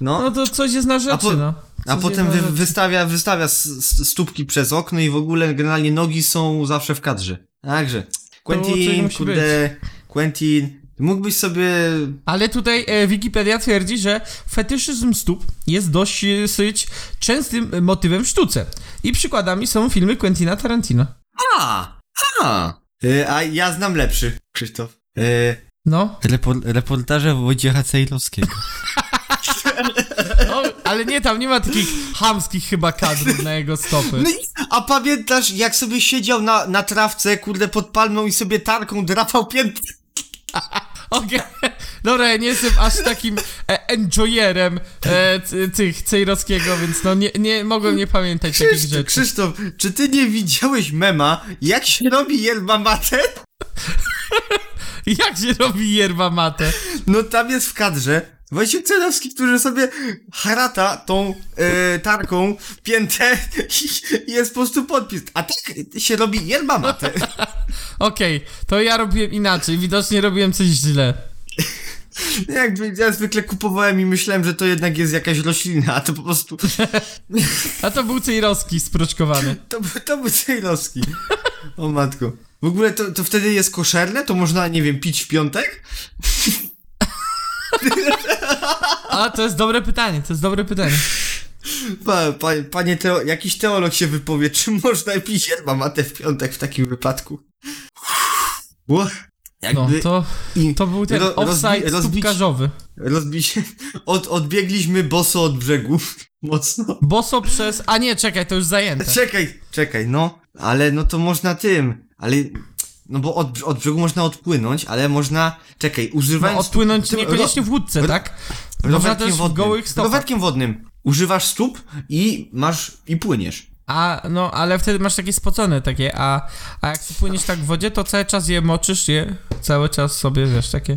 [SPEAKER 3] No,
[SPEAKER 2] No to coś jest na rzeczy,
[SPEAKER 3] po-
[SPEAKER 2] no.
[SPEAKER 3] a
[SPEAKER 2] Coś
[SPEAKER 3] potem
[SPEAKER 2] jest na
[SPEAKER 3] wy,
[SPEAKER 2] rzeczy.
[SPEAKER 3] wystawia, wystawia s- s- stópki przez okno i w ogóle generalnie nogi są zawsze w kadrze. Także,
[SPEAKER 2] czego
[SPEAKER 3] Quentin,
[SPEAKER 2] musi
[SPEAKER 3] kurde, Quentin, mógłbyś sobie...
[SPEAKER 2] Ale tutaj e, Wikipedia twierdzi, że fetyszyzm stóp jest dość e, syć częstym e, motywem w sztuce. I przykładami są filmy Quentina Tarantino.
[SPEAKER 3] A! A! Y, a ja znam lepszy, Krzysztof. Y,
[SPEAKER 2] No,
[SPEAKER 3] reportaże Wojciecha Cejlowskiego.
[SPEAKER 2] no, ale nie, tam nie ma takich hamskich chyba kadrów na jego stopy.
[SPEAKER 3] No i, a pamiętasz, jak sobie siedział na, na trawce, kurde, pod palmą i sobie tarką drapał piętę?
[SPEAKER 2] Okej, dobra, ja nie jestem aż takim e, enjoyerem e, c- tych Cejrowskiego, więc no nie, nie mogłem nie pamiętać takich
[SPEAKER 3] Krzysztof,
[SPEAKER 2] rzeczy.
[SPEAKER 3] Krzysztof, czy ty nie widziałeś mema, jak się robi yerba mate?
[SPEAKER 2] Jak się robi yerba mate?
[SPEAKER 3] No tam jest w kadrze Wojciech Celowski, który sobie harata tą e, tarką piętę i jest po prostu podpis. A tak się robi yerba mate.
[SPEAKER 2] Okej, to ja robiłem inaczej, widocznie robiłem coś źle.
[SPEAKER 3] Jakby ja zwykle kupowałem i myślałem, że to jednak jest jakaś roślina, a to po prostu
[SPEAKER 2] A to był Cejrowski sproczkowany.
[SPEAKER 3] to, był- to był Celowski. O matko. W ogóle to, to wtedy jest koszerne? To można, nie wiem, pić w piątek?
[SPEAKER 2] A, to jest dobre pytanie, to jest dobre pytanie.
[SPEAKER 3] Pa, pa, panie, teo, jakiś teolog się wypowie, czy można pić yerba mate w piątek w takim wypadku? Ło,
[SPEAKER 2] No,
[SPEAKER 3] jakby
[SPEAKER 2] to,
[SPEAKER 3] i-
[SPEAKER 2] to był ten
[SPEAKER 3] ro-
[SPEAKER 2] offside
[SPEAKER 3] rozbi- rozbić-
[SPEAKER 2] stópkarzowy.
[SPEAKER 3] Rozbi się. Od, odbiegliśmy boso od brzegu. Mocno.
[SPEAKER 2] Boso Tak. przez... A nie, czekaj, to już zajęte.
[SPEAKER 3] Czekaj, czekaj, no. Ale no to można tym. Ale No bo od, od brzegu można odpłynąć, ale można. Czekaj, używając.
[SPEAKER 2] No, odpłynąć
[SPEAKER 3] tym
[SPEAKER 2] niekoniecznie
[SPEAKER 3] ro-
[SPEAKER 2] w łódce,
[SPEAKER 3] ro-
[SPEAKER 2] tak? Można
[SPEAKER 3] rowerkiem
[SPEAKER 2] też w
[SPEAKER 3] wodnym.
[SPEAKER 2] gołych stopach.
[SPEAKER 3] Rowerkiem wodnym. Używasz stóp i masz. i płyniesz.
[SPEAKER 2] A, no, ale wtedy masz takie spocone takie, a, a jak płyniesz tak w wodzie, to cały czas je moczysz, je cały czas sobie, wiesz, takie...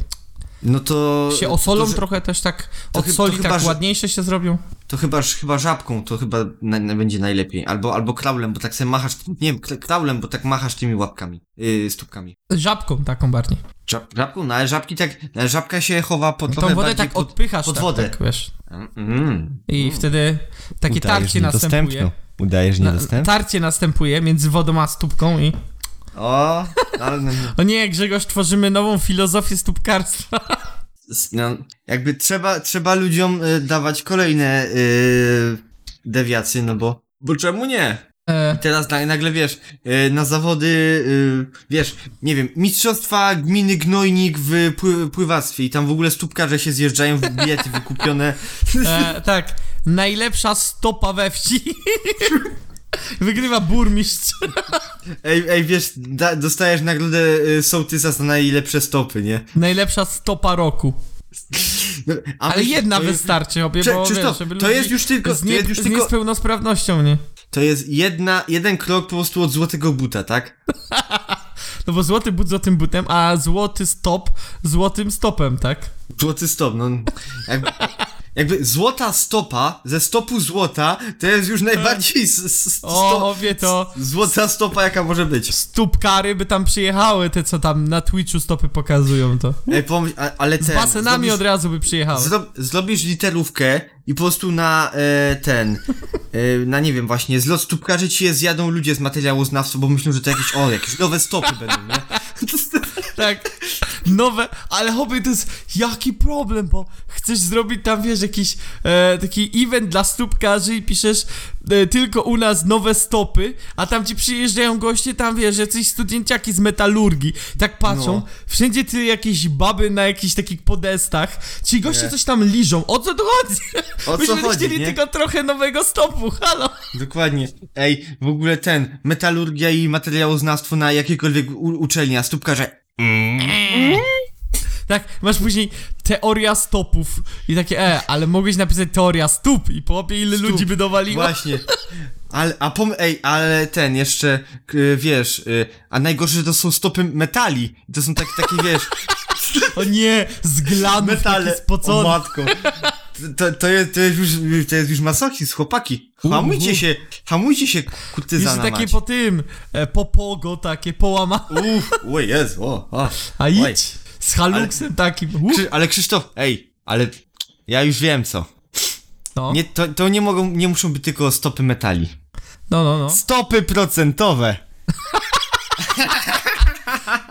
[SPEAKER 3] No to.
[SPEAKER 2] Się osolą
[SPEAKER 3] to, że-
[SPEAKER 2] trochę też tak,
[SPEAKER 3] to
[SPEAKER 2] od
[SPEAKER 3] chy-
[SPEAKER 2] soli
[SPEAKER 3] to chyba,
[SPEAKER 2] tak
[SPEAKER 3] że-
[SPEAKER 2] ładniejsze się zrobią.
[SPEAKER 3] To chyba, chyba żabką, to chyba na, na, będzie najlepiej. Albo, albo kraulem, bo tak sobie machasz. Nie wiem, kra- kraulem, bo tak machasz tymi łapkami. Yy, stópkami.
[SPEAKER 2] Żabką taką bardziej.
[SPEAKER 3] Żab, żabką? No ale żabki tak. Ale żabka się chowa pod
[SPEAKER 2] Tą
[SPEAKER 3] trochę
[SPEAKER 2] wodę
[SPEAKER 3] bardziej
[SPEAKER 2] tak
[SPEAKER 3] pod,
[SPEAKER 2] odpychasz
[SPEAKER 3] pod
[SPEAKER 2] tak,
[SPEAKER 3] wodę.
[SPEAKER 2] tak, wiesz.
[SPEAKER 3] Mm.
[SPEAKER 2] I wtedy takie tarcie następuje.
[SPEAKER 1] Udajesz
[SPEAKER 2] Na,
[SPEAKER 1] niedostępną.
[SPEAKER 2] tarcie następuje między wodą a stópką i...
[SPEAKER 3] O, ale no,
[SPEAKER 2] O nie, Grzegorz, tworzymy nową filozofię stópkarstwa.
[SPEAKER 3] s- no, jakby trzeba, trzeba ludziom y, dawać kolejne y, dewiacje, no bo, bo czemu nie?
[SPEAKER 2] E,
[SPEAKER 3] I teraz na, nagle wiesz, y, na zawody, y, wiesz, nie wiem, mistrzostwa gminy Gnojnik w pły, pływactwie i tam w ogóle stópkarze się zjeżdżają w bilety wykupione.
[SPEAKER 2] e, tak, najlepsza stopa we wsi. Wygrywa burmistrz.
[SPEAKER 3] Ej, ej wiesz, da, dostajesz nagrodę y, sołtysa za najlepsze stopy, nie?
[SPEAKER 2] Najlepsza stopa roku.
[SPEAKER 3] No, a
[SPEAKER 2] Ale
[SPEAKER 3] myśl-
[SPEAKER 2] jedna
[SPEAKER 3] to jest-
[SPEAKER 2] wystarczy, obie,
[SPEAKER 3] Prze-
[SPEAKER 2] bo
[SPEAKER 3] Krzysztof,
[SPEAKER 2] wiesz, żeby
[SPEAKER 3] to
[SPEAKER 2] ludzi
[SPEAKER 3] jest już tylko-
[SPEAKER 2] z,
[SPEAKER 3] to jest już
[SPEAKER 2] z
[SPEAKER 3] tylko-
[SPEAKER 2] niepełnosprawnością, nie?
[SPEAKER 3] To jest jedna, jeden krok po prostu od złotego buta, tak?
[SPEAKER 2] No bo złoty but złotym butem, a złoty stop złotym stopem, tak?
[SPEAKER 3] Złoty stop, no. Jakby, jakby złota stopa ze stopu złota to jest już najbardziej. S, s,
[SPEAKER 2] O,
[SPEAKER 3] sto,
[SPEAKER 2] obie to
[SPEAKER 3] złota stopa, jaka może być.
[SPEAKER 2] stópkary by tam przyjechały, te co tam na Twitchu stopy pokazują to.
[SPEAKER 3] Ej, pomyśl, a, ale
[SPEAKER 2] Z
[SPEAKER 3] ten.
[SPEAKER 2] basenami od
[SPEAKER 3] zrobisz,
[SPEAKER 2] razu by przyjechały.
[SPEAKER 3] zro, zrobisz literówkę i po prostu na e, ten. E, na nie wiem, właśnie. Zlot stópkarzy ci je zjadą ludzie z materiału znawstwa, bo myślą, że to jakieś. O, jakieś nowe stopy będą, nie?
[SPEAKER 2] Tak. Nowe, ale hobby to jest jaki problem, bo chcesz zrobić tam, wiesz, jakiś e, taki event dla stópkarzy i piszesz e, tylko u nas nowe stopy, a tam ci przyjeżdżają goście, tam wiesz, jacyś studenciaki z metalurgii, tak patrzą,
[SPEAKER 3] No.
[SPEAKER 2] wszędzie ty jakieś baby na jakichś takich podestach, ci goście coś tam liżą, o co tu chodzi?
[SPEAKER 3] O co
[SPEAKER 2] Myśmy
[SPEAKER 3] chodzi?
[SPEAKER 2] chcieli
[SPEAKER 3] Nie?
[SPEAKER 2] tylko trochę nowego stopu, halo.
[SPEAKER 3] Dokładnie. Ej, w ogóle ten. Metalurgia i materiałoznawstwo na jakiejkolwiek u, uczelni, a stópkarze.
[SPEAKER 2] Tak, masz później teoria stopów i takie, e, ale mogłeś napisać teoria stóp i po obie ile ludzi by dowaliło.
[SPEAKER 3] Właśnie. Ale, a pom, ej, ale ten jeszcze, k- wiesz, y, a najgorsze, że to są stopy metali. To są tak, takie, wiesz,
[SPEAKER 2] O nie, z glanów
[SPEAKER 3] metale.
[SPEAKER 2] taki spocony.
[SPEAKER 3] O matko. To, to, jest, to, jest już, to jest już masochizm, chłopaki. Hamujcie
[SPEAKER 2] Uhu.
[SPEAKER 3] się, hamujcie się,
[SPEAKER 2] Jeszcze
[SPEAKER 3] kurtyzana
[SPEAKER 2] takie
[SPEAKER 3] mać.
[SPEAKER 2] po tym, e, po pogo takie, połama.
[SPEAKER 3] Uff, oj, jest, o, o.
[SPEAKER 2] A
[SPEAKER 3] Oj.
[SPEAKER 2] idź, z haluksem takim. Uff,
[SPEAKER 3] Krzy, ale Krzysztof, ej, ale ja już wiem co.
[SPEAKER 2] no.
[SPEAKER 3] Nie, to, to nie mogą, nie muszą być tylko stopy metali.
[SPEAKER 2] no, no, no.
[SPEAKER 3] Stopy procentowe.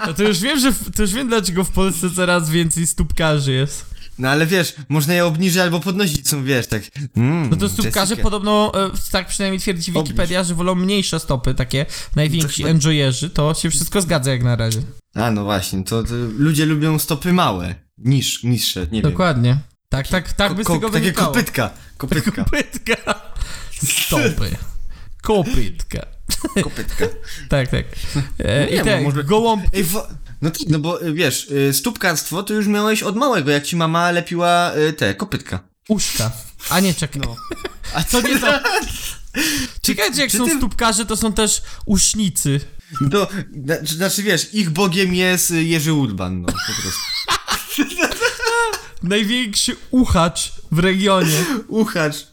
[SPEAKER 2] No to już wiem, że, w- to już wiem dlaczego w Polsce coraz więcej stópkarzy jest.
[SPEAKER 3] No ale wiesz, można je obniżyć albo podnosić, są, wiesz, tak. Mm,
[SPEAKER 2] No to stópkarze
[SPEAKER 3] Jessica.
[SPEAKER 2] podobno, e, tak przynajmniej twierdzi Wikipedia, że wolą mniejsze stopy, takie
[SPEAKER 3] tak-
[SPEAKER 2] najwięksi enjoyerzy, to się wszystko zgadza jak na razie.
[SPEAKER 3] A no właśnie, to, to ludzie lubią stopy małe, niż, niższe, nie
[SPEAKER 2] Dokładnie. Tak, tak, tak
[SPEAKER 3] wiem.
[SPEAKER 2] by z
[SPEAKER 3] Ko-
[SPEAKER 2] tego
[SPEAKER 3] takie
[SPEAKER 2] wynikało.
[SPEAKER 3] kopytka, kopytka,
[SPEAKER 2] Kopytka. Stopy. Kopytka.
[SPEAKER 3] kopytka.
[SPEAKER 2] Tak, tak. E,
[SPEAKER 3] No Nie,
[SPEAKER 2] I tak,
[SPEAKER 3] może-
[SPEAKER 2] gołąb...
[SPEAKER 3] Ej, wo- no, tak, no bo y, wiesz, y, stópkarstwo to już miałeś od małego, jak ci mama lepiła y, te, kopytka.
[SPEAKER 2] Uszka. A nie, czekaj.
[SPEAKER 3] No. A
[SPEAKER 2] To nie to. Czekajcie, jak
[SPEAKER 3] czy
[SPEAKER 2] są
[SPEAKER 3] ty-
[SPEAKER 2] stópkarze, to są też usznicy.
[SPEAKER 3] To, znaczy, znaczy wiesz, ich bogiem jest y, Jerzy Urban, no po prostu.
[SPEAKER 2] Największy uchacz w regionie.
[SPEAKER 3] Uchacz.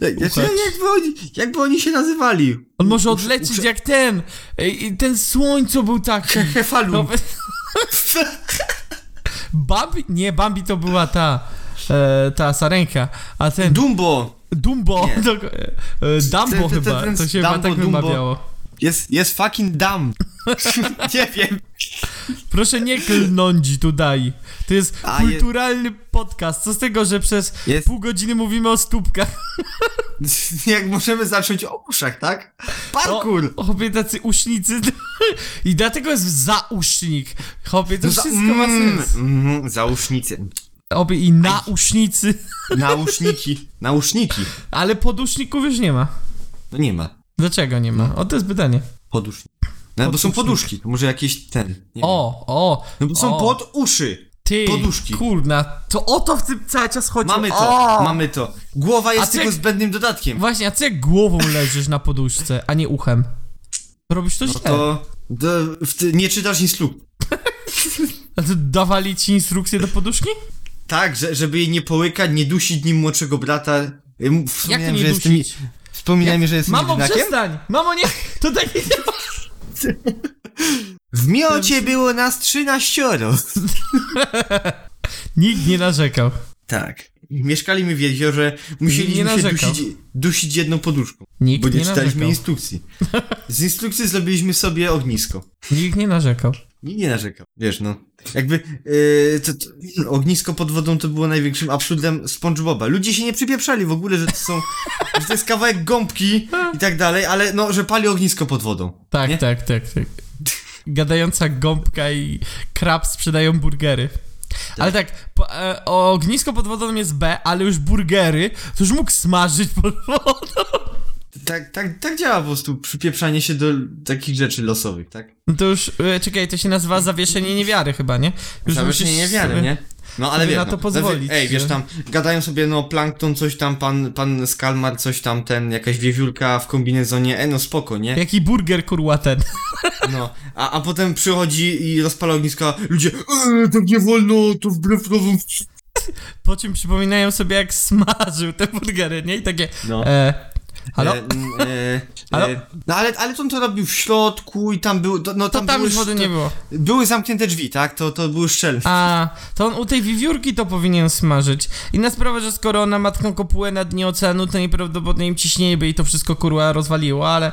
[SPEAKER 3] Jak, znaczy,
[SPEAKER 2] Uchacz.
[SPEAKER 3] jakby, oni, jakby oni się nazywali?
[SPEAKER 2] On może odlecieć jak ten. Ej, i ten słońco był taki. No.
[SPEAKER 3] Hefalum.
[SPEAKER 2] Bambi? Nie, Bambi to była ta. E, ta sarenka. A ten.
[SPEAKER 3] Dumbo.
[SPEAKER 2] Dumbo.
[SPEAKER 3] Nie.
[SPEAKER 2] To, e, Dumbo
[SPEAKER 3] Ten- ten-
[SPEAKER 2] chyba.
[SPEAKER 3] ten
[SPEAKER 2] to się
[SPEAKER 3] Dumbo,
[SPEAKER 2] chyba tak
[SPEAKER 3] Dumbo.
[SPEAKER 2] wymawiało.
[SPEAKER 3] Jest, jest fucking dumb. nie wiem.
[SPEAKER 2] Proszę nie klnąć tutaj. To jest
[SPEAKER 3] A, je-
[SPEAKER 2] kulturalny podcast. Co z tego, że przez
[SPEAKER 3] Jest-
[SPEAKER 2] pół godziny mówimy o stópkach?
[SPEAKER 3] Jak możemy zacząć o uszach, tak? Parkour!
[SPEAKER 2] O, obie tacy usznicy. I dlatego jest zausznik. Obie to
[SPEAKER 3] za,
[SPEAKER 2] No, wszystko ma sens.
[SPEAKER 3] mm, zausznicy.
[SPEAKER 2] Obie i nausznicy.
[SPEAKER 3] Nauszniki. Nauszniki.
[SPEAKER 2] Ale poduszników już nie ma.
[SPEAKER 3] No nie ma.
[SPEAKER 2] Dlaczego nie ma? O, to jest pytanie.
[SPEAKER 3] Podusznik. No, bo są
[SPEAKER 2] Podusznik.
[SPEAKER 3] poduszki, to może jakiś ten. Nie Wiem.
[SPEAKER 2] O, o,
[SPEAKER 3] No bo są
[SPEAKER 2] o.
[SPEAKER 3] pod uszy.
[SPEAKER 2] ty,
[SPEAKER 3] poduszki.
[SPEAKER 2] kurna, to o to w tym cały czas chodzi.
[SPEAKER 3] Mamy to,
[SPEAKER 2] o!
[SPEAKER 3] mamy to. Głowa
[SPEAKER 2] A
[SPEAKER 3] jest
[SPEAKER 2] ty-
[SPEAKER 3] tylko zbędnym dodatkiem.
[SPEAKER 2] Właśnie, a co jak głową leżysz na poduszce, a nie uchem? Robisz to
[SPEAKER 3] No
[SPEAKER 2] źle.
[SPEAKER 3] to do, w ty, nie czytasz instrukcji.
[SPEAKER 2] A to dawali ci instrukcje do poduszki?
[SPEAKER 3] Tak, że, żeby jej nie połykać, nie dusić nim młodszego brata. Ja mu-
[SPEAKER 2] Jak to
[SPEAKER 3] Wspominałem,
[SPEAKER 2] nie
[SPEAKER 3] że
[SPEAKER 2] dusić?
[SPEAKER 3] jestem, wspominałem, że jestem
[SPEAKER 2] Mamo,
[SPEAKER 3] jedynakiem.
[SPEAKER 2] przestań! Mamo, nie! To tak nie działa!
[SPEAKER 3] W miocie było nas trzynaścioro.
[SPEAKER 2] Nikt nie narzekał.
[SPEAKER 3] Tak. Mieszkaliśmy w jeziorze, musieliśmy
[SPEAKER 2] Nie
[SPEAKER 3] się
[SPEAKER 2] narzekał.
[SPEAKER 3] dusić, dusić jedną poduszką,
[SPEAKER 2] Nikt
[SPEAKER 3] bo nie,
[SPEAKER 2] nie
[SPEAKER 3] czytaliśmy
[SPEAKER 2] narzekał.
[SPEAKER 3] instrukcji. Z instrukcji zrobiliśmy sobie ognisko.
[SPEAKER 2] Nikt nie narzekał.
[SPEAKER 3] Nikt nie narzekał, wiesz no. Jakby yy, to, to, ognisko pod wodą to było największym absurdem SpongeBoba. Ludzie się nie przypieprzali w ogóle, że to są, że to jest kawałek gąbki i tak dalej, ale no, że pali ognisko pod wodą.
[SPEAKER 2] Tak,
[SPEAKER 3] Nie?
[SPEAKER 2] tak, tak, tak. Gadająca gąbka i krab sprzedają burgery. Ale tak, po, e, ognisko pod wodą jest B, ale już burgery, to już mógł smażyć pod wodą.
[SPEAKER 3] Tak, tak, tak działa po prostu przypieprzanie się do takich rzeczy losowych, tak?
[SPEAKER 2] No to już, e, czekaj, to się nazywa zawieszenie niewiary chyba, nie? Już
[SPEAKER 3] Zawieszenie
[SPEAKER 2] musisz
[SPEAKER 3] niewiary,
[SPEAKER 2] sobie-
[SPEAKER 3] nie? No ale
[SPEAKER 2] sobie
[SPEAKER 3] wiesz,
[SPEAKER 2] na
[SPEAKER 3] no,
[SPEAKER 2] to pozwolić,
[SPEAKER 3] Ej, wiesz
[SPEAKER 2] że-
[SPEAKER 3] tam, gadają sobie, no plankton, coś tam, pan, pan Skalmar, coś tam, ten, jakaś wiewiórka w kombinezonie, e no spoko, nie?
[SPEAKER 2] Jaki burger kurwa ten?
[SPEAKER 3] No, a, a potem przychodzi i rozpala ognisko, a ludzie, eee, tak nie wolno, to wbrew nowym...
[SPEAKER 2] Po czym przypominają sobie jak smażył te burgery, nie? I takie,
[SPEAKER 3] No.
[SPEAKER 2] e, halo?
[SPEAKER 3] E, m, e,
[SPEAKER 2] Halo?
[SPEAKER 3] e, no ale, ale on to robił w środku i tam był, to, no
[SPEAKER 2] to
[SPEAKER 3] tam,
[SPEAKER 2] tam
[SPEAKER 3] były,
[SPEAKER 2] już wody
[SPEAKER 3] to-
[SPEAKER 2] nie było.
[SPEAKER 3] były zamknięte drzwi, tak, to, to były szczelne.
[SPEAKER 2] A, to on u tej wiewiórki to powinien smażyć. Inna sprawa, że skoro ona ma taką kopułę na dnie oceanu, to najprawdopodobniej im ciśnienie by jej to wszystko kurwa rozwaliło, ale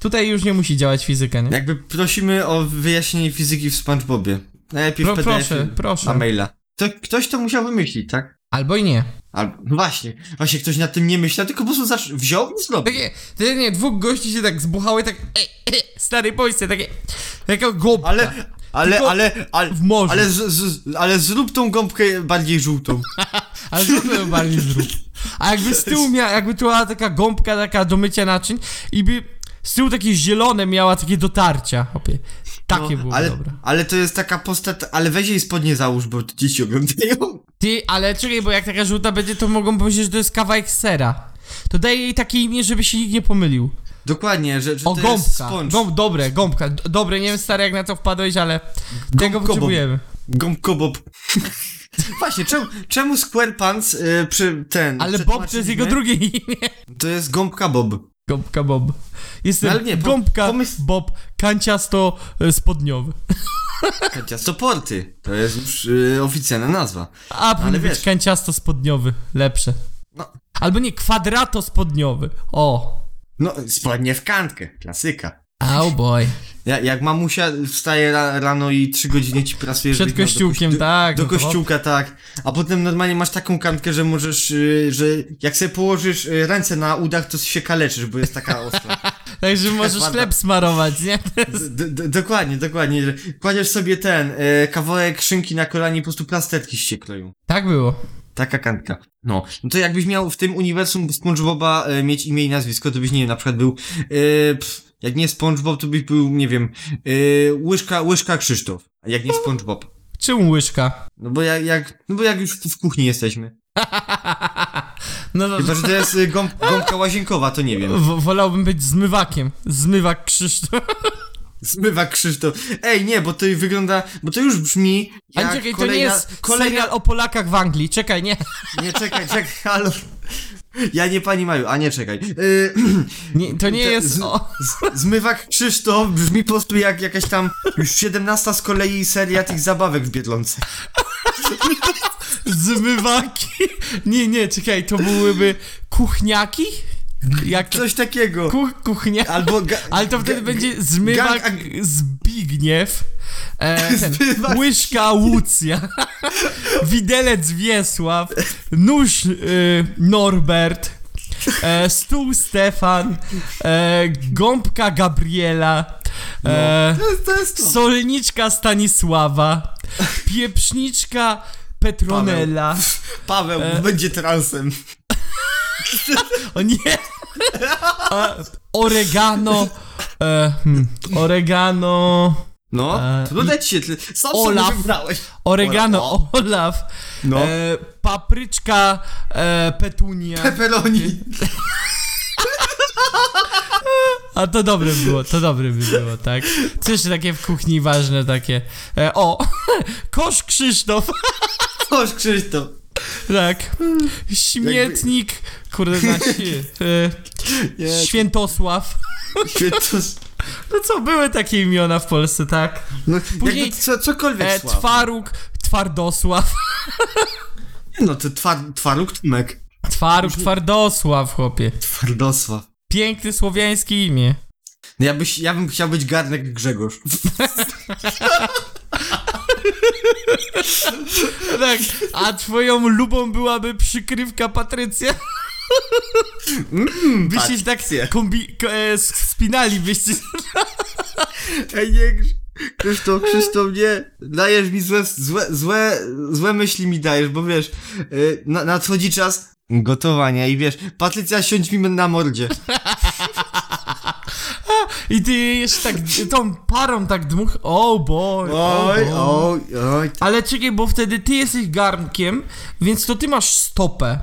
[SPEAKER 2] tutaj już nie musi działać fizyka, nie?
[SPEAKER 3] Jakby prosimy o wyjaśnienie fizyki w SpongeBobie. Najlepiej
[SPEAKER 2] Pro,
[SPEAKER 3] w PDF
[SPEAKER 2] proszę,
[SPEAKER 3] na
[SPEAKER 2] proszę.
[SPEAKER 3] maila. To, ktoś to musiał wymyślić, tak?
[SPEAKER 2] Albo i nie.
[SPEAKER 3] Albo, no właśnie, właśnie ktoś nad tym nie myślał, tylko po prostu zasz, wziął i zrobił.
[SPEAKER 2] Takie, te, nie, dwóch gości się tak zbuchały, tak, e, e, stary bojce, takie, taka gąbka
[SPEAKER 3] Ale, ale,
[SPEAKER 2] Tylko
[SPEAKER 3] ale, ale,
[SPEAKER 2] w morzu.
[SPEAKER 3] ale, z, z, ale zrób tą gąbkę bardziej żółtą.
[SPEAKER 2] Ale zrób to bardziej zrób. A jakby z tyłu miała, jakby tu była taka gąbka taka do mycia naczyń i by z tyłu takie zielone miała takie dotarcia. Opie. Takie było
[SPEAKER 3] No, ale,
[SPEAKER 2] dobre.
[SPEAKER 3] ale to jest taka postać, ale weź jej spodnie załóż, bo dzieci oglądają.
[SPEAKER 2] Ty, ale czekaj, bo jak taka żółta będzie, to mogą powiedzieć, że to jest kawałek sera. To daje jej takie imię, żeby się nikt nie pomylił.
[SPEAKER 3] Dokładnie, że, że
[SPEAKER 2] O,
[SPEAKER 3] to jest
[SPEAKER 2] gąbka.
[SPEAKER 3] sponge.
[SPEAKER 2] Gąb, dobre, gąbka. D- Dobre, nie wiem stary jak na to wpadłeś, ale tego
[SPEAKER 3] Gąbkobob.
[SPEAKER 2] potrzebujemy.
[SPEAKER 3] Gąbkobob. Właśnie, czemu, czemu SquarePants y, przy ten...
[SPEAKER 2] Ale Bob to jest jego
[SPEAKER 3] przetłumaczyliśmy?
[SPEAKER 2] drugie imię.
[SPEAKER 3] To jest gąbka Bob.
[SPEAKER 2] Gąbka Bob. Jestem
[SPEAKER 3] No, Ale nie, po-
[SPEAKER 2] gąbka
[SPEAKER 3] pomysł-
[SPEAKER 2] Bob, kanciasto e, spodniowy. Tak.
[SPEAKER 3] Ciastoporty. To jest już y, oficjalna nazwa.
[SPEAKER 2] A, powinien być
[SPEAKER 3] wiesz.
[SPEAKER 2] kanciasto spodniowy, lepsze.
[SPEAKER 3] No.
[SPEAKER 2] Albo nie, kwadrato spodniowy. O.
[SPEAKER 3] No, spodnie w kantkę. Klasyka.
[SPEAKER 2] Oh boy.
[SPEAKER 3] Ja, jak mamusia wstaje ra, rano i trzy godziny ci pracuje
[SPEAKER 2] Przed
[SPEAKER 3] żeby- no,
[SPEAKER 2] kościółkiem,
[SPEAKER 3] do, kości-
[SPEAKER 2] tak,
[SPEAKER 3] Do
[SPEAKER 2] no to-
[SPEAKER 3] kościółka, tak. A potem normalnie masz taką kantkę, że możesz, y, że jak sobie położysz y, ręce na udach, to się kaleczysz, bo jest taka ostra.
[SPEAKER 2] Także możesz
[SPEAKER 3] Kwadrat.
[SPEAKER 2] chleb smarować, nie?
[SPEAKER 3] D- d- dokładnie, dokładnie. że Kładziesz sobie ten y, kawałek szynki na kolanie i po prostu plasterki się kleją.
[SPEAKER 2] Tak było.
[SPEAKER 3] Taka kantka. No. no to jakbyś miał w tym uniwersum SpongeBoba y, mieć imię i nazwisko, to byś, nie wiem, na przykład był, y, pff, jak nie SpongeBob, to byś był, nie wiem, y, łyżka, łyżka Krzysztof. A jak nie SpongeBob.
[SPEAKER 2] Czemu łyżka?
[SPEAKER 3] No bo jak, jak, no bo jak już w w kuchni jesteśmy.
[SPEAKER 2] No to
[SPEAKER 3] Chyba, że to jest y, gąb, gąbka łazienkowa, to nie wiem.
[SPEAKER 2] w- wolałbym być zmywakiem. Zmywak Krzysztof.
[SPEAKER 3] Zmywa Krzysztof. Ej, nie, bo to wygląda, bo to już brzmi
[SPEAKER 2] A
[SPEAKER 3] jak
[SPEAKER 2] czekaj, to nie
[SPEAKER 3] kolejna,
[SPEAKER 2] jest
[SPEAKER 3] kolejna...
[SPEAKER 2] serial o Polakach w Anglii. Czekaj, nie.
[SPEAKER 3] Nie, czekaj, czekaj, halo. Ja nie pani Maju, a nie, czekaj. Y,
[SPEAKER 2] nie to nie
[SPEAKER 3] to-
[SPEAKER 2] jest...
[SPEAKER 3] z-
[SPEAKER 2] O,
[SPEAKER 3] z, zmywak Krzysztof brzmi po prostu jak jakaś tam już 17 z kolei seria tych zabawek w Biedlonce.
[SPEAKER 2] zmywaki. Nie, nie, czekaj, to byłyby kuchniaki? Jak to?
[SPEAKER 3] Coś takiego.
[SPEAKER 2] Kuch, kuchnia...
[SPEAKER 3] Albo... Ga...
[SPEAKER 2] Ale to wtedy
[SPEAKER 3] ga-
[SPEAKER 2] będzie zmywak
[SPEAKER 3] gang
[SPEAKER 2] Zbigniew, e, ten,
[SPEAKER 3] Zmywak-
[SPEAKER 2] łyżka Łucja, widelec Wiesław, nóż e, Norbert, e, stół Stefan, e, gąbka Gabriela, e,
[SPEAKER 3] To jest, to jest to.
[SPEAKER 2] solniczka Stanisława, pieprzniczka Petronella.
[SPEAKER 3] Paweł
[SPEAKER 2] E-
[SPEAKER 3] będzie transem.
[SPEAKER 2] O nie! A, oregano, E, hmm, oregano.
[SPEAKER 3] No,
[SPEAKER 2] E,
[SPEAKER 3] trudno ci się, ty sam
[SPEAKER 2] Olaf. E-
[SPEAKER 3] sobie wybrałeś.
[SPEAKER 2] Oregano, Olaf.
[SPEAKER 3] No.
[SPEAKER 2] E, papryczka, e, petunia.
[SPEAKER 3] Pepperoni.
[SPEAKER 2] e- A to dobre było, to dobre by było, tak? Co jeszcze takie w kuchni ważne takie? E, o, kosz Krzysztof,
[SPEAKER 3] Chodź Krzysztof.
[SPEAKER 2] tak. Śmietnik, kurde, znaczy, e,
[SPEAKER 3] Nie,
[SPEAKER 2] Świętosław.
[SPEAKER 3] Świętos...
[SPEAKER 2] No co, były takie imiona w Polsce, tak?
[SPEAKER 3] No,
[SPEAKER 2] Później-
[SPEAKER 3] jakby co, cokolwiek
[SPEAKER 2] E,
[SPEAKER 3] e,
[SPEAKER 2] twaruk, Twardosław.
[SPEAKER 3] Nie No, to twar, twaruk tmek.
[SPEAKER 2] Twaruk, Twardosław, chłopie.
[SPEAKER 3] Twardosław.
[SPEAKER 2] Piękne słowiańskie imię.
[SPEAKER 3] No ja, byś, ja bym chciał być garnek Grzegorz.
[SPEAKER 2] Tak, a twoją lubą byłaby przykrywka Patrycja? Mm, byście się tak
[SPEAKER 3] Patrycja.
[SPEAKER 2] kombi- ko- e, s- spinali, byście...
[SPEAKER 3] Ej, nie, Krz- Krzysztof, Krzysztof, nie. Dajesz mi złe, złe, złe, złe myśli mi dajesz, bo wiesz, y, na, nadchodzi czas gotowania i wiesz, Patrycja, siądź mi na mordzie.
[SPEAKER 2] I ty jeszcze tak tą parą tak dmuch... Oh boy, oh
[SPEAKER 3] Oj,
[SPEAKER 2] boy.
[SPEAKER 3] oj, oj.
[SPEAKER 2] Ale czekaj, bo wtedy ty jesteś garnkiem, więc to ty masz stopę,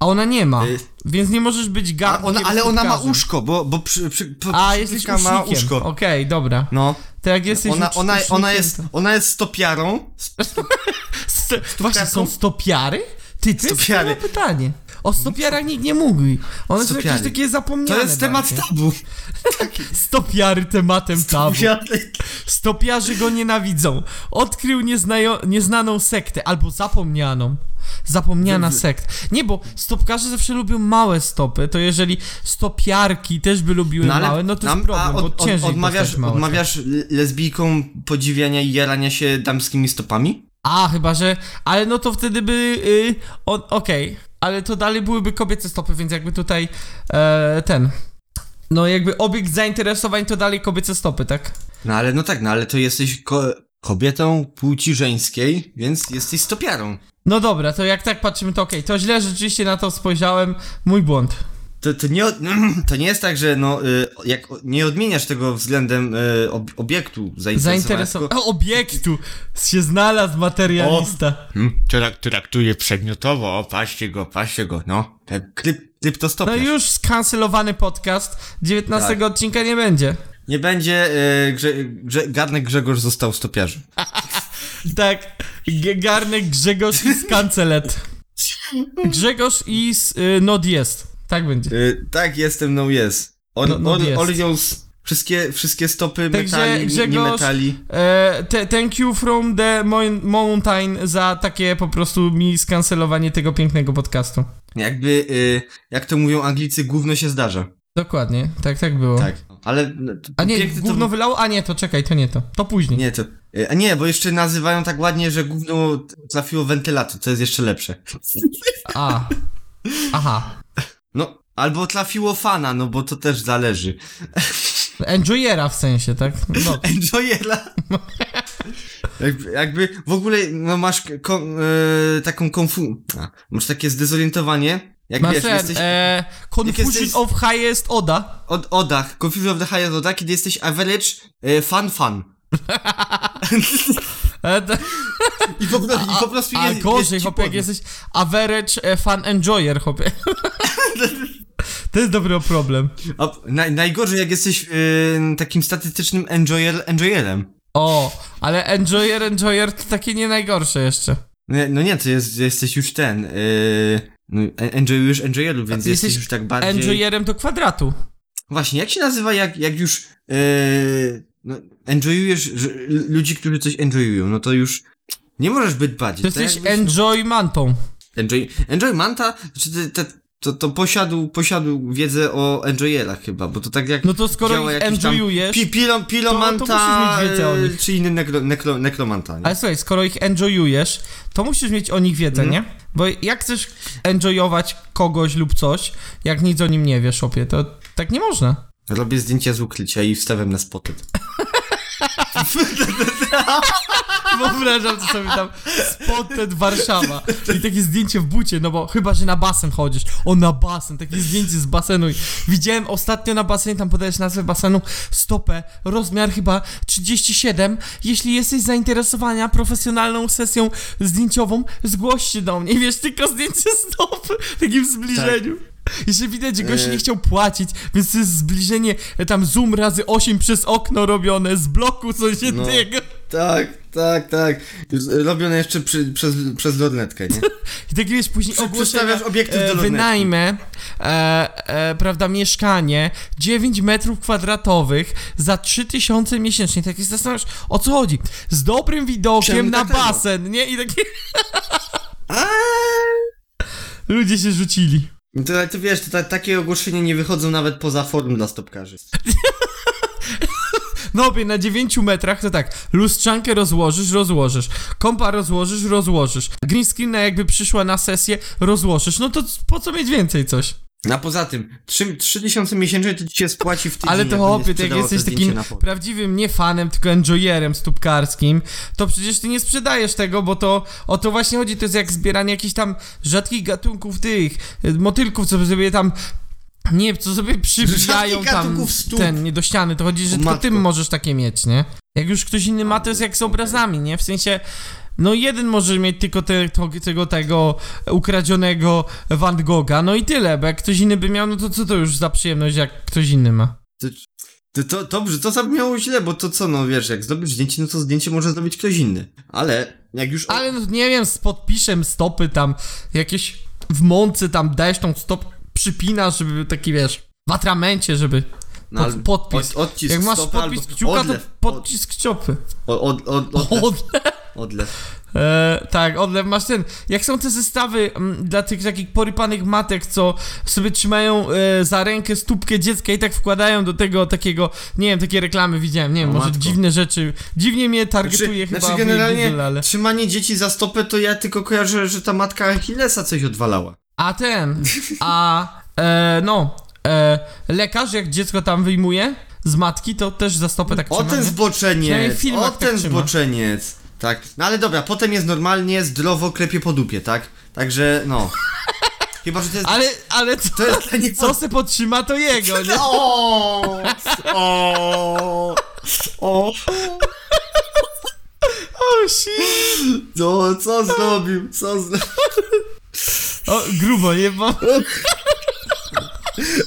[SPEAKER 2] a ona nie ma,
[SPEAKER 3] Y.
[SPEAKER 2] więc nie możesz być
[SPEAKER 3] A
[SPEAKER 2] garnkiem
[SPEAKER 3] ona, ale ona ma
[SPEAKER 2] piłkarzem.
[SPEAKER 3] uszko, bo, bo przy, przy, przy,
[SPEAKER 2] A, jesteś
[SPEAKER 3] przyczepka ma
[SPEAKER 2] usznikiem.
[SPEAKER 3] uszko.
[SPEAKER 2] Okej, dobra.
[SPEAKER 3] No,
[SPEAKER 2] To jak jesteś
[SPEAKER 3] ona,
[SPEAKER 2] ucz-
[SPEAKER 3] ona, ona,
[SPEAKER 2] ucznikiem,
[SPEAKER 3] jest,
[SPEAKER 2] to-
[SPEAKER 3] ona jest stopiarą.
[SPEAKER 2] St- Właśnie są stopiary? Ty, to jest
[SPEAKER 3] Stopiary.
[SPEAKER 2] dobre pytanie. O stopiarach nikt nie mówi. One są jakieś
[SPEAKER 3] Stopiary.
[SPEAKER 2] takie zapomniane.
[SPEAKER 3] To jest temat tak-
[SPEAKER 2] bardziej.
[SPEAKER 3] tabu.
[SPEAKER 2] Stopiary tematem tabu.
[SPEAKER 3] Stopiary.
[SPEAKER 2] Stopiarzy go nienawidzą. Odkrył nieznajo- nieznaną sektę, albo zapomnianą. Zapomniana sekta. Nie, bo stopkarze zawsze lubią małe stopy, to jeżeli stopiarki też by lubiły
[SPEAKER 3] No ale
[SPEAKER 2] małe, no to
[SPEAKER 3] nam-
[SPEAKER 2] jest problem,
[SPEAKER 3] a od-
[SPEAKER 2] bo
[SPEAKER 3] od-
[SPEAKER 2] ciężej
[SPEAKER 3] odmawiasz,
[SPEAKER 2] postawić małe.
[SPEAKER 3] odmawiasz l- lesbijkom podziwiania i jarania się damskimi stopami?
[SPEAKER 2] A, chyba, że... Ale no to wtedy by... Y, on- Okej. Ale to dalej byłyby kobiece stopy, więc jakby tutaj e, ten... No jakby obiekt zainteresowań to dalej kobiece stopy, tak?
[SPEAKER 3] No ale no tak, no ale to jesteś ko- kobietą płci żeńskiej, więc jesteś stopiarą.
[SPEAKER 2] No dobra, to jak tak patrzymy, to okej. To źle rzeczywiście na to spojrzałem. Mój błąd.
[SPEAKER 3] To, to, nie, od- to nie jest tak, że no, y, jak o- nie odmieniasz tego względem y, ob- obiektu zainteresowania. tylko-
[SPEAKER 2] Zainteresował. Obiektu! Się znalazł materialista.
[SPEAKER 3] Hmm, trak- traktuje przedmiotowo, o, paście go, paście go, no. Te Kryp,
[SPEAKER 2] No
[SPEAKER 3] kryptostopiarz.
[SPEAKER 2] już skancelowany podcast. 19 odcinka nie będzie.
[SPEAKER 3] Nie będzie, y, grze, grze, garnek Grzegorz został stopiarzem.
[SPEAKER 2] Tak. G- Garnek Grzegorz i skancelet. Grzegorz i s- y, Nod jest. Tak będzie.
[SPEAKER 3] Y, tak, jestem, no jest. On,
[SPEAKER 2] No, no
[SPEAKER 3] on,
[SPEAKER 2] jest.
[SPEAKER 3] Olią z- wszystkie, wszystkie stopy
[SPEAKER 2] Także
[SPEAKER 3] metali, nie- nie
[SPEAKER 2] Grzegorz-
[SPEAKER 3] metali.
[SPEAKER 2] E, te, thank you from the mon- mountain za takie po prostu mi skancelowanie tego pięknego podcastu.
[SPEAKER 3] Jakby, y, jak to mówią Anglicy, gówno się zdarza.
[SPEAKER 2] Dokładnie, tak, tak było.
[SPEAKER 3] Tak. Ale no, to,
[SPEAKER 2] A nie,
[SPEAKER 3] piękny
[SPEAKER 2] gówno
[SPEAKER 3] to...
[SPEAKER 2] wylało? A nie, to czekaj, to nie to. To później.
[SPEAKER 3] Nie, to... y, A nie, bo jeszcze nazywają tak ładnie, że gówno trafiło wentylator, to jest jeszcze lepsze.
[SPEAKER 2] A. Aha.
[SPEAKER 3] No, albo trafiło fana, no bo to też zależy.
[SPEAKER 2] Enjoyera w sensie, tak? No,
[SPEAKER 3] Enjoyela. jakby, jakby w ogóle no, masz ko- y, taką konfu... A, masz takie zdezorientowanie. Jak
[SPEAKER 2] masz
[SPEAKER 3] wiesz,
[SPEAKER 2] ten,
[SPEAKER 3] jesteś...
[SPEAKER 2] e, Confusion
[SPEAKER 3] jak jesteś-
[SPEAKER 2] of Highest Oda.
[SPEAKER 3] od Odach, Confusion of the Higher Odach, kiedy jesteś average e, fan fan.
[SPEAKER 2] E, d-
[SPEAKER 3] I po, pro- i po prostu
[SPEAKER 2] a
[SPEAKER 3] jest,
[SPEAKER 2] gorzej,
[SPEAKER 3] jest ci
[SPEAKER 2] chłopie, jak
[SPEAKER 3] podnie.
[SPEAKER 2] jesteś average e, fan enjoyer, chłopie. to jest dobry problem.
[SPEAKER 3] A, No, naj, najgorzej jak jesteś e, takim statystycznym enjoyer, enjoyerem.
[SPEAKER 2] O, ale enjoyer, enjoyer to takie nie najgorsze jeszcze.
[SPEAKER 3] Nie, no nie, to jest, jesteś już ten, e, no, en- enjoyujesz enjoyerów, więc jesteś,
[SPEAKER 2] Jesteś
[SPEAKER 3] już tak bardziej...
[SPEAKER 2] Enjoyerem do kwadratu.
[SPEAKER 3] Właśnie, jak się nazywa, jak, jak już e, no, enjoyujesz że, l- ludzi, którzy coś enjoyują, no to już nie możesz być bardziej.
[SPEAKER 2] To jesteś
[SPEAKER 3] jakbyś-
[SPEAKER 2] enjoymantą.
[SPEAKER 3] Enjoy, Enjoy Manta, czy te, te, to, to posiadł, posiadł wiedzę o Enjoyelach chyba, bo to tak jak...
[SPEAKER 2] No to skoro
[SPEAKER 3] działa
[SPEAKER 2] ich
[SPEAKER 3] jakiś tam
[SPEAKER 2] enjoyujesz...
[SPEAKER 3] Pi, pilo, pilomanta,
[SPEAKER 2] to musisz mieć wiedzę o
[SPEAKER 3] e,
[SPEAKER 2] nich.
[SPEAKER 3] czy inny nekro, nekro, nekromanta, nie?
[SPEAKER 2] Ale słuchaj, skoro ich enjoyujesz, to musisz mieć o nich wiedzę,
[SPEAKER 3] Mhm.
[SPEAKER 2] nie? Bo jak chcesz enjoyować kogoś lub coś, jak nic o nim nie wiesz, opie, to tak nie można.
[SPEAKER 3] Robię zdjęcia z ukrycia i wstawiam na spotyt.
[SPEAKER 2] wyobrażam to sobie tam spotted Warszawa i takie zdjęcie w bucie, no bo chyba, że na basen chodzisz. O, na basen, takie zdjęcie z basenu. I Widziałem ostatnio na basenie, tam podajesz nazwę basenu, stopę, rozmiar chyba 37. Jeśli jesteś zainteresowana profesjonalną sesją zdjęciową, zgłoś się do mnie. Wiesz, tylko zdjęcie stopy w takim zbliżeniu. I że widać, że gość
[SPEAKER 3] E.
[SPEAKER 2] nie chciał płacić, więc to jest zbliżenie, e, tam zoom razy 8 przez okno robione z bloku sąsiedniego.
[SPEAKER 3] Tak, tak, tak. Z- Robione jeszcze przy, przez, przez lornetkę, nie?
[SPEAKER 2] I tak wiesz, później
[SPEAKER 3] Prze-
[SPEAKER 2] ogłoszenia,
[SPEAKER 3] przedstawiasz obiektyw do
[SPEAKER 2] e,
[SPEAKER 3] lornetki.
[SPEAKER 2] wynajmę, e, e, prawda, mieszkanie, 9 metrów kwadratowych za 3000 miesięcznie. I Tak się zastanawiasz, o co chodzi? Z dobrym widokiem
[SPEAKER 3] Czemu
[SPEAKER 2] na
[SPEAKER 3] tak długo?
[SPEAKER 2] basen, nie? I takie
[SPEAKER 3] A,
[SPEAKER 2] ludzie się rzucili.
[SPEAKER 3] to, to wiesz, to, ta- takie ogłoszenia nie wychodzą nawet poza forum dla stopkarzy.
[SPEAKER 2] No obie na 9 metrach to tak, lustrzankę rozłożysz, rozłożysz, kompa rozłożysz, rozłożysz, green screena jakby przyszła na sesję, rozłożysz, no to po co mieć więcej coś?
[SPEAKER 3] A poza tym, 3, 3000 miesięcznie to ci się spłaci w tydzień.
[SPEAKER 2] Ale
[SPEAKER 3] jak
[SPEAKER 2] to
[SPEAKER 3] będzie
[SPEAKER 2] chłopie, ty jak
[SPEAKER 3] sprzedało to
[SPEAKER 2] jesteś
[SPEAKER 3] zdjęcie
[SPEAKER 2] takim
[SPEAKER 3] na forum.
[SPEAKER 2] prawdziwym nie fanem, tylko enjoyerem stópkarskim, to przecież ty nie sprzedajesz tego, bo to o to właśnie chodzi, to jest jak zbieranie jakichś tam rzadkich gatunków tych, y, motylków, co sobie tam nie, co sobie przybijają tam
[SPEAKER 3] gatunków stóp.
[SPEAKER 2] ten, nie do ściany, to chodzi, że
[SPEAKER 3] O
[SPEAKER 2] tylko
[SPEAKER 3] matko.
[SPEAKER 2] ty możesz takie mieć, nie? Jak już ktoś inny ma, to jest jak z obrazami, nie? W sensie, no jeden może mieć tylko te, to, tego, tego ukradzionego Van Gogha, no i tyle, bo jak ktoś inny by miał, no to co to już za przyjemność, jak ktoś inny ma?
[SPEAKER 3] To, to, dobrze, to zabrzmiało źle, bo to co, no wiesz, jak zrobisz zdjęcie, no to zdjęcie może zrobić ktoś inny. Ale, jak już...
[SPEAKER 2] Ale no, nie wiem, z podpiszem stopy tam, jakieś w mące tam dajesz tą stop, przypinasz, żeby taki wiesz, w atramencie, żeby
[SPEAKER 3] no, ale
[SPEAKER 2] pod, podpis.
[SPEAKER 3] Od, odcisk
[SPEAKER 2] Jak masz
[SPEAKER 3] stopy
[SPEAKER 2] podpis
[SPEAKER 3] albo
[SPEAKER 2] kciuka, to
[SPEAKER 3] odlew.
[SPEAKER 2] podcisk ciopy.
[SPEAKER 3] Od, od, od, od, odlew.
[SPEAKER 2] Od,
[SPEAKER 3] odlew.
[SPEAKER 2] e, tak, odlew masz ten. Jak są te zestawy m, dla tych takich porypanych matek, co sobie trzymają e, za rękę stópkę dziecka i tak wkładają do tego takiego, nie wiem, takie reklamy widziałem, nie wiem,
[SPEAKER 3] O
[SPEAKER 2] może
[SPEAKER 3] No matko.
[SPEAKER 2] dziwne rzeczy. Dziwnie mnie targetuje
[SPEAKER 3] Znaczy,
[SPEAKER 2] chyba
[SPEAKER 3] znaczy
[SPEAKER 2] w
[SPEAKER 3] generalnie
[SPEAKER 2] Google, ale...
[SPEAKER 3] trzymanie dzieci za stopę, to ja tylko kojarzę, że ta matka Achillesa coś odwalała.
[SPEAKER 2] A ten, a e, no, e, lekarz jak dziecko tam wyjmuje z matki, to też za stopę tak
[SPEAKER 3] O
[SPEAKER 2] trzyma, nie?
[SPEAKER 3] ten
[SPEAKER 2] Przynajmniej w
[SPEAKER 3] zboczeniec!
[SPEAKER 2] filmach
[SPEAKER 3] O
[SPEAKER 2] tak
[SPEAKER 3] ten
[SPEAKER 2] trzyma.
[SPEAKER 3] zboczeniec! Tak. No ale dobra, potem jest normalnie, zdrowo klepie po dupie, tak? Także, no. Chyba, że to jest...
[SPEAKER 2] Ale, ale co,
[SPEAKER 3] To jest dla niego...
[SPEAKER 2] co se podtrzyma, to jego, nie?
[SPEAKER 3] O! O! O!
[SPEAKER 2] O, shit.
[SPEAKER 3] No, co zrobił? Co zrobił?
[SPEAKER 2] o grubo, nie? Bo...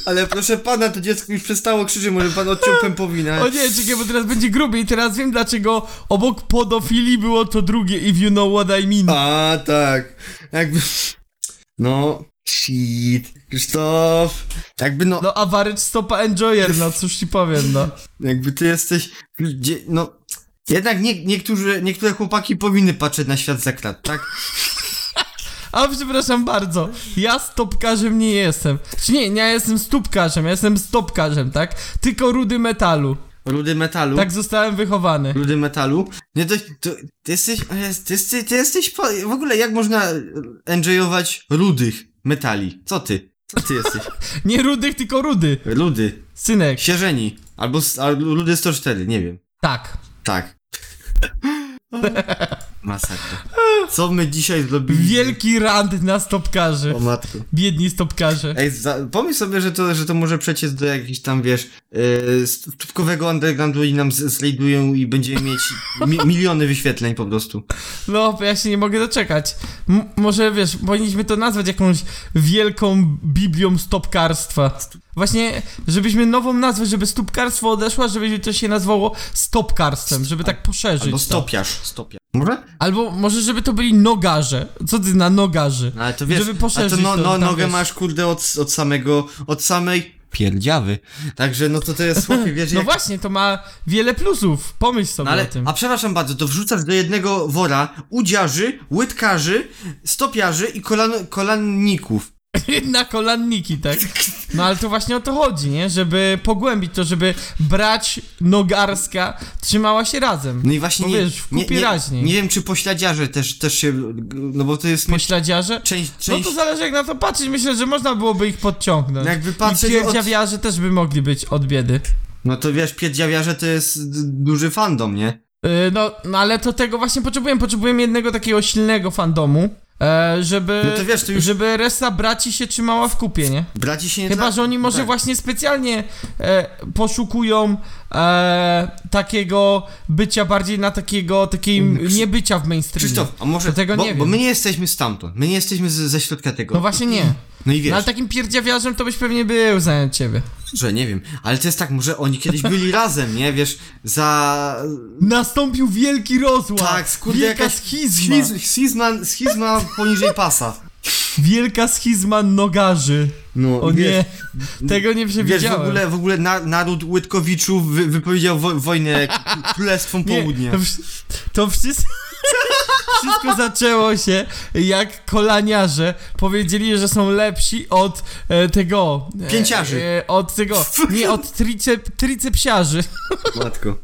[SPEAKER 3] Ale proszę pana, to dziecko już przestało krzyczy, może pan odciął pępowinę.
[SPEAKER 2] O nie, czekaj, bo teraz będzie gruby i teraz wiem, dlaczego obok podofilii było to drugie, if you know what I mean.
[SPEAKER 3] A, tak. Jakby... No... Shit. Krzysztof... Jakby no...
[SPEAKER 2] No, average stopa enjoyer, no cóż ci powiem, no.
[SPEAKER 3] Jakby ty jesteś. Gdzie, no. Jednak nie, niektórzy, niektóre chłopaki powinny patrzeć na świat za krat, tak?
[SPEAKER 2] A przepraszam bardzo, ja stopkarzem nie jestem. Czy nie, nie, ja jestem stópkarzem, ja jestem stopkarzem, tak? Tylko rudy metalu.
[SPEAKER 3] Rudy metalu.
[SPEAKER 2] Tak zostałem wychowany.
[SPEAKER 3] Rudy metalu. Nie, to, to, ty jesteś. ale Ty jesteś. Ty jesteś po, w ogóle jak można enjoyować rudych metali? Co ty? Co ty jesteś?
[SPEAKER 2] Nie rudych, tylko rudy.
[SPEAKER 3] Rudy.
[SPEAKER 2] Synek.
[SPEAKER 3] Sierzeni. Albo, s- albo Rudy 104, nie wiem.
[SPEAKER 2] Tak.
[SPEAKER 3] Tak. Masakra. Co my dzisiaj zrobili?
[SPEAKER 2] Wielki rand na stopkarzy.
[SPEAKER 3] O matko.
[SPEAKER 2] Biedni stopkarze.
[SPEAKER 3] Ej, za, pomyśl sobie, że to, że to może przeciec do jakichś tam, wiesz, yy, czubkowego undergroundu i nam z- zrejdują i będziemy mieć mi, miliony wyświetleń po prostu.
[SPEAKER 2] No, ja się nie mogę doczekać. M- może wiesz, powinniśmy to nazwać jakąś wielką biblią stopkarstwa. Właśnie, żebyśmy nową nazwę, żeby stópkarstwo odeszła, żeby to się nazwało stopkarstwem, żeby tak poszerzyć.
[SPEAKER 3] Albo
[SPEAKER 2] to.
[SPEAKER 3] stopiarz, stopiarz. Może?
[SPEAKER 2] Albo może, żeby to byli nogarze. Co ty na nogarzy?
[SPEAKER 3] No, ale to wiesz,
[SPEAKER 2] Żeby poszerzyć
[SPEAKER 3] a to no,
[SPEAKER 2] to
[SPEAKER 3] no,
[SPEAKER 2] tam,
[SPEAKER 3] nogę
[SPEAKER 2] wiesz.
[SPEAKER 3] masz, kurde, od, od samego, od samej pierdziawy. Także no to to jest, chłopie, wiesz,
[SPEAKER 2] No
[SPEAKER 3] jak...
[SPEAKER 2] właśnie, to ma wiele plusów. Pomyśl sobie
[SPEAKER 3] No ale,
[SPEAKER 2] o tym.
[SPEAKER 3] a przepraszam bardzo, to wrzucasz do jednego wora udziarzy, łydkarzy, stopiarzy i kolan, kolanników.
[SPEAKER 2] na kolanniki, tak? No ale to właśnie o to chodzi, nie? Żeby pogłębić to, żeby brać nogarska trzymała się razem.
[SPEAKER 3] No i właśnie
[SPEAKER 2] Bo
[SPEAKER 3] nie,
[SPEAKER 2] wiesz, w
[SPEAKER 3] nie,
[SPEAKER 2] kupie
[SPEAKER 3] nie,
[SPEAKER 2] raźniej.
[SPEAKER 3] nie wiem, czy pośladziarze też, też się, no bo to jest myśl,
[SPEAKER 2] Pośladziarze?
[SPEAKER 3] część,
[SPEAKER 2] No
[SPEAKER 3] część No
[SPEAKER 2] to zależy jak na to patrzeć, myślę, że można byłoby ich podciągnąć.
[SPEAKER 3] Jakby patrzeć
[SPEAKER 2] I pierdziawiarze też by mogli być od biedy.
[SPEAKER 3] No to wiesz, pierdziawiarze to jest d- duży fandom, nie?
[SPEAKER 2] E, No, no ale to tego właśnie potrzebujemy. Potrzebujemy jednego takiego silnego fandomu, e, żeby,
[SPEAKER 3] No to wiesz, to już-
[SPEAKER 2] żeby reszta braci się trzymała w kupie, nie?
[SPEAKER 3] Braci się nie
[SPEAKER 2] Chyba,
[SPEAKER 3] tra-
[SPEAKER 2] że oni może
[SPEAKER 3] tak.
[SPEAKER 2] właśnie specjalnie e, poszukują e, takiego bycia bardziej na takiego, takiej
[SPEAKER 3] Krzysz-
[SPEAKER 2] niebycia w mainstreamie.
[SPEAKER 3] Krzysztof, a może.
[SPEAKER 2] To tego
[SPEAKER 3] bo,
[SPEAKER 2] nie
[SPEAKER 3] bo
[SPEAKER 2] wiem.
[SPEAKER 3] my nie jesteśmy stamtąd. My nie jesteśmy z, ze środka tego.
[SPEAKER 2] No właśnie nie.
[SPEAKER 3] No i wiesz,
[SPEAKER 2] No, ale takim pierdziawiarzem to byś pewnie był za ciebie.
[SPEAKER 3] że nie wiem. Ale to jest tak, może oni kiedyś byli razem, nie? Wiesz, za.
[SPEAKER 2] Nastąpił wielki rozłam.
[SPEAKER 3] Tak, skurde,
[SPEAKER 2] wielka
[SPEAKER 3] jakaś
[SPEAKER 2] schizma.
[SPEAKER 3] Schiz, schizma, schizma poniżej pasa.
[SPEAKER 2] Wielka schizma nogarzy.
[SPEAKER 3] No,
[SPEAKER 2] O nie, tego nie przewidziałem.
[SPEAKER 3] Wiesz, w ogóle, w ogóle na, naród Łydkowiczów wy, wypowiedział wo, wojnę k- Królestwom
[SPEAKER 2] Nie,
[SPEAKER 3] Południa.
[SPEAKER 2] To, wsz- to wszystko, wszystko zaczęło się, jak kolaniarze powiedzieli, że są lepsi od e, tego. E,
[SPEAKER 3] Pięciarzy.
[SPEAKER 2] E, od tego. Nie, od tricep, tricepsiarzy.
[SPEAKER 3] Matko.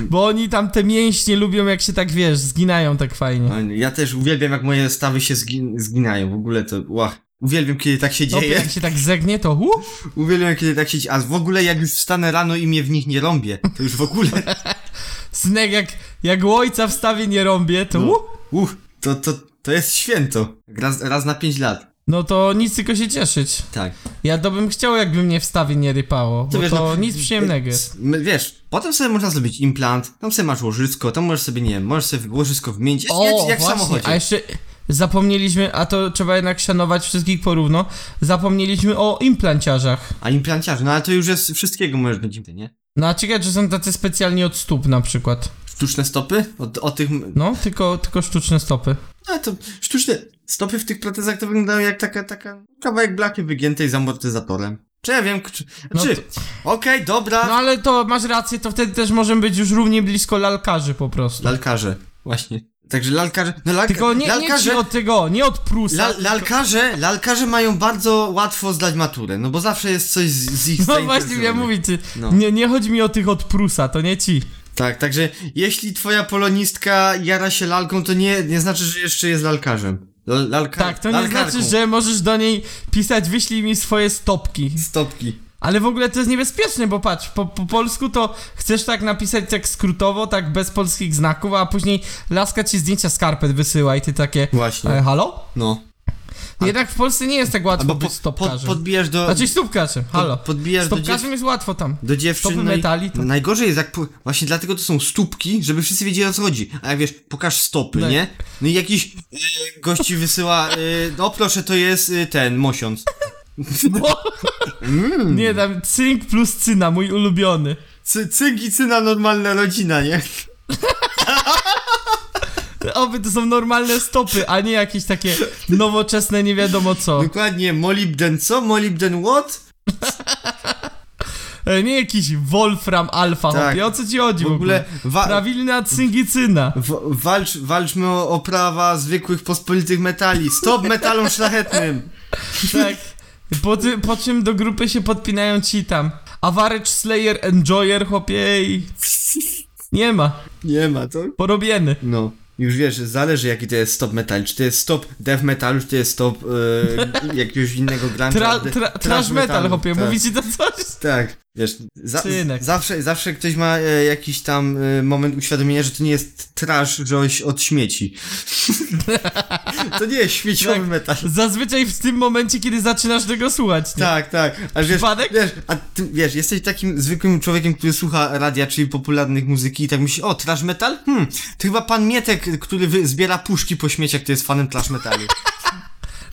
[SPEAKER 2] Bo oni tam te mięśnie lubią, jak się tak wiesz, zginają tak fajnie.
[SPEAKER 3] Ja też uwielbiam, jak moje stawy się zgin, zginają. W ogóle to, łach. Uwielbiam, kiedy tak się
[SPEAKER 2] No,
[SPEAKER 3] dzieje.
[SPEAKER 2] jak się tak zegnie, to hu?
[SPEAKER 3] Uwielbiam, kiedy tak się dzieje. A w ogóle, jak już wstanę rano i mnie w nich nie rąbię, to już w ogóle...
[SPEAKER 2] Snek jak, jak ojca w stawie nie rąbię, to
[SPEAKER 3] No.
[SPEAKER 2] hu?
[SPEAKER 3] Uff, to, to, to jest święto. Raz, raz na pięć lat.
[SPEAKER 2] No to nic, tylko się cieszyć.
[SPEAKER 3] Tak.
[SPEAKER 2] Ja to bym chciał, jakby mnie w stawie nie rypało, bo
[SPEAKER 3] wiesz,
[SPEAKER 2] to
[SPEAKER 3] no,
[SPEAKER 2] nic przyjemnego jest.
[SPEAKER 3] s- m- Wiesz, potem sobie można zrobić implant, tam sobie masz łożysko, tam możesz sobie, nie wiem, możesz sobie łożysko wymienić,
[SPEAKER 2] O,
[SPEAKER 3] jak, jak w
[SPEAKER 2] właśnie,
[SPEAKER 3] samochodzie.
[SPEAKER 2] a jeszcze zapomnieliśmy, a to trzeba jednak szanować wszystkich porówno, zapomnieliśmy o implanciarzach.
[SPEAKER 3] A implanciarz, no ale to już jest wszystkiego możesz być, implant, nie?
[SPEAKER 2] No a ciekawe, że są tacy specjalnie od stóp na przykład.
[SPEAKER 3] Sztuczne stopy? O, o tych... m-
[SPEAKER 2] No, tylko, tylko sztuczne stopy.
[SPEAKER 3] No to sztuczne stopy w tych protezach to wyglądają jak taka, taka kawałek blachy wygiętej z amortyzatorem. Czy ja wiem, czy...
[SPEAKER 2] No
[SPEAKER 3] czy...
[SPEAKER 2] to-
[SPEAKER 3] Okej, dobra,
[SPEAKER 2] No ale to masz rację, to wtedy też możemy być już równie blisko lalkarzy po prostu.
[SPEAKER 3] lalkarze, właśnie. Także lalkarze... No lalka...
[SPEAKER 2] Tylko nie, nie
[SPEAKER 3] lalkarze...
[SPEAKER 2] ci od tego, nie od Prusa.
[SPEAKER 3] La, lalkarze, lalkarze mają bardzo łatwo zdać maturę, no bo zawsze jest coś z, z ich
[SPEAKER 2] No właśnie,
[SPEAKER 3] zainteresowania.
[SPEAKER 2] ja mówię ci,
[SPEAKER 3] No.
[SPEAKER 2] nie, nie chodzi mi o tych od Prusa, to nie ci.
[SPEAKER 3] Tak, także jeśli twoja polonistka jara się lalką, to nie, nie znaczy, że jeszcze jest lalkarzem. L- lalka,
[SPEAKER 2] Tak, to nie
[SPEAKER 3] lalkarką.
[SPEAKER 2] znaczy, że możesz do niej pisać, wyślij mi swoje stopki.
[SPEAKER 3] Stopki.
[SPEAKER 2] Ale w ogóle to jest niebezpieczne, bo patrz, po, po polsku to chcesz tak napisać tak skrótowo, tak bez polskich znaków, a później laska ci zdjęcia skarpet wysyła i ty takie.
[SPEAKER 3] Właśnie.
[SPEAKER 2] E, halo?
[SPEAKER 3] No.
[SPEAKER 2] Jednak w Polsce nie jest tak łatwo
[SPEAKER 3] Albo
[SPEAKER 2] być
[SPEAKER 3] po, po,
[SPEAKER 2] stopkarzem.
[SPEAKER 3] podbijasz do...
[SPEAKER 2] Znaczy stópkarzem, halo.
[SPEAKER 3] Pod, podbijasz do, dziew,
[SPEAKER 2] Stopkarzem jest łatwo tam.
[SPEAKER 3] do dziewczyn.
[SPEAKER 2] stopy
[SPEAKER 3] i-
[SPEAKER 2] metali, to-
[SPEAKER 3] no najgorzej jest, jak. Po, właśnie dlatego to są stópki, żeby wszyscy wiedzieli o co chodzi. A jak wiesz, pokaż stopy,
[SPEAKER 2] Tak.
[SPEAKER 3] nie? No i jakiś yy, gości wysyła. Yy, no proszę, to jest y, ten mosiąc.
[SPEAKER 2] Bo...
[SPEAKER 3] Mm.
[SPEAKER 2] nie, tam cynk plus cyna, mój ulubiony.
[SPEAKER 3] Cy, cygi, cyna, normalna rodzina, nie?
[SPEAKER 2] Oby to są normalne stopy, a nie jakieś takie nowoczesne nie wiadomo co.
[SPEAKER 3] Dokładnie, molibden co? Molibden what?
[SPEAKER 2] E, Nie jakiś Wolfram Alfa,
[SPEAKER 3] Tak.
[SPEAKER 2] hopie, o co ci chodzi
[SPEAKER 3] W ogóle wa,
[SPEAKER 2] Prawilna cyngicyna.
[SPEAKER 3] w, walcz, walczmy o, o prawa zwykłych pospolitych metali. Stop metalom szlachetnym!
[SPEAKER 2] Tak. Po, ty, po czym do grupy się podpinają ci tam. Average Slayer Enjoyer, chłopie i... Nie ma.
[SPEAKER 3] Nie ma to.
[SPEAKER 2] Porobieny.
[SPEAKER 3] No. Już wiesz, zależy jaki to jest stop metal. Czy to jest stop death metalu, czy to jest stop e, jakiegoś innego grunge'a.
[SPEAKER 2] Tra,
[SPEAKER 3] de-
[SPEAKER 2] tra, trash
[SPEAKER 3] thrash
[SPEAKER 2] metal,
[SPEAKER 3] metalu.
[SPEAKER 2] chłopie.
[SPEAKER 3] tak,
[SPEAKER 2] Mówi ci to coś?
[SPEAKER 3] Tak. Wiesz, za,
[SPEAKER 2] Synek.
[SPEAKER 3] zawsze, zawsze ktoś ma e, jakiś tam e, moment uświadomienia, że to nie jest trash, że oś od śmieci. to nie jest śmieciowy
[SPEAKER 2] Tak.
[SPEAKER 3] metal.
[SPEAKER 2] Zazwyczaj w tym momencie, kiedy zaczynasz tego słuchać, nie?
[SPEAKER 3] Tak, tak. A wiesz,
[SPEAKER 2] Przypadek?
[SPEAKER 3] wiesz, a ty, wiesz, jesteś takim zwykłym człowiekiem, który słucha radia, czyli popularnych muzyki i tak myśli, o, trash metal? Hmm, to chyba pan Mietek, który wy, zbiera puszki po śmieciach, to jest fanem trash metalu.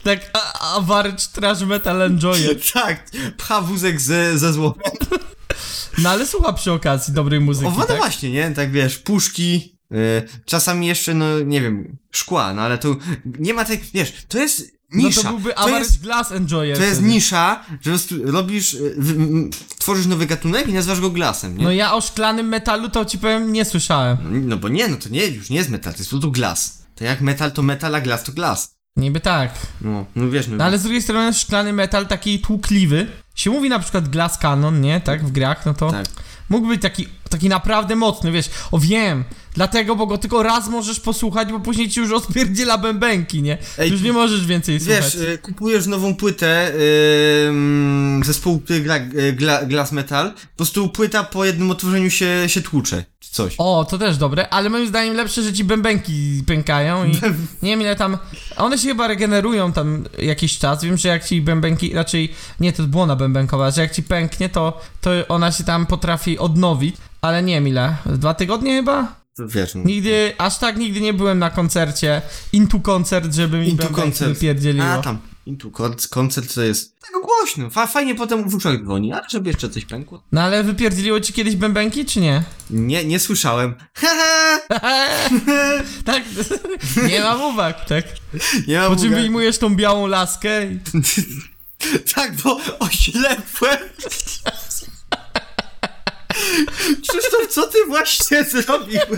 [SPEAKER 2] Tak, a, average trash metal enjoyer.
[SPEAKER 3] tak, pcha wózek ze, ze złotem.
[SPEAKER 2] No ale słucha przy okazji dobrej
[SPEAKER 3] O,
[SPEAKER 2] muzyki,
[SPEAKER 3] no
[SPEAKER 2] tak?
[SPEAKER 3] właśnie, nie? Tak wiesz, puszki, y, czasami jeszcze, no, nie wiem, szkła, no ale tu nie ma tak, wiesz, to jest
[SPEAKER 2] No
[SPEAKER 3] nisza.
[SPEAKER 2] to byłby average
[SPEAKER 3] jest,
[SPEAKER 2] glass enjoyer.
[SPEAKER 3] to jest
[SPEAKER 2] wtedy.
[SPEAKER 3] nisza, że po prostu robisz, y, w, m, tworzysz nowy gatunek i nazywasz go glasem, nie?
[SPEAKER 2] No ja o szklanym metalu to ci powiem, nie słyszałem.
[SPEAKER 3] No, no bo nie, no to nie, już nie jest metal, to jest po prostu glas. To jak metal to metal, a glas to glas.
[SPEAKER 2] Niby tak.
[SPEAKER 3] No, no wiesz, no,
[SPEAKER 2] No ale z drugiej strony szklany metal taki tłukliwy. Się mówi na przykład glass cannon, nie? Tak, w grach, no to
[SPEAKER 3] tak.
[SPEAKER 2] mógł być taki, taki naprawdę mocny, wiesz, o wiem, dlatego, bo go tylko raz możesz posłuchać, bo później ci już odpierdziela bębenki, nie?
[SPEAKER 3] Ej,
[SPEAKER 2] już nie możesz więcej
[SPEAKER 3] Wiesz,
[SPEAKER 2] słuchać.
[SPEAKER 3] y, kupujesz nową płytę yy, zespołu, który gra y, gla, glas metal, po prostu płyta po jednym otworzeniu się, się tłucze. coś.
[SPEAKER 2] O, to też dobre, ale moim zdaniem lepsze, że ci bębenki pękają i nie wiem ile tam... One się chyba regenerują tam jakiś czas, wiem, że jak ci bębenki, raczej nie, to błona bębenkowa, że jak ci pęknie, to, to ona się tam potrafi odnowić, ale nie wiem ile, dwa tygodnie chyba?
[SPEAKER 3] To wiesz, no.
[SPEAKER 2] Nigdy, aż tak nigdy nie byłem na koncercie, intu koncert, żeby mi
[SPEAKER 3] Intu
[SPEAKER 2] bębenki nie
[SPEAKER 3] koncert.
[SPEAKER 2] pierdzieliło.
[SPEAKER 3] A tam, Intu, kon- koncert to jest tego głośno. Fa- fajnie potem włóczek dzwoni, ale żeby jeszcze coś pękło.
[SPEAKER 2] No ale wypierdzieliło ci kiedyś bębenki, czy nie?
[SPEAKER 3] Nie, nie słyszałem. Haha!
[SPEAKER 2] tak, nie mam uwag, tak.
[SPEAKER 3] Nie
[SPEAKER 2] Po
[SPEAKER 3] mam
[SPEAKER 2] czym
[SPEAKER 3] uga-
[SPEAKER 2] wyjmujesz tą białą laskę i...
[SPEAKER 3] Tak, bo oślepłem. Krzysztof, co ty właśnie zrobiłeś?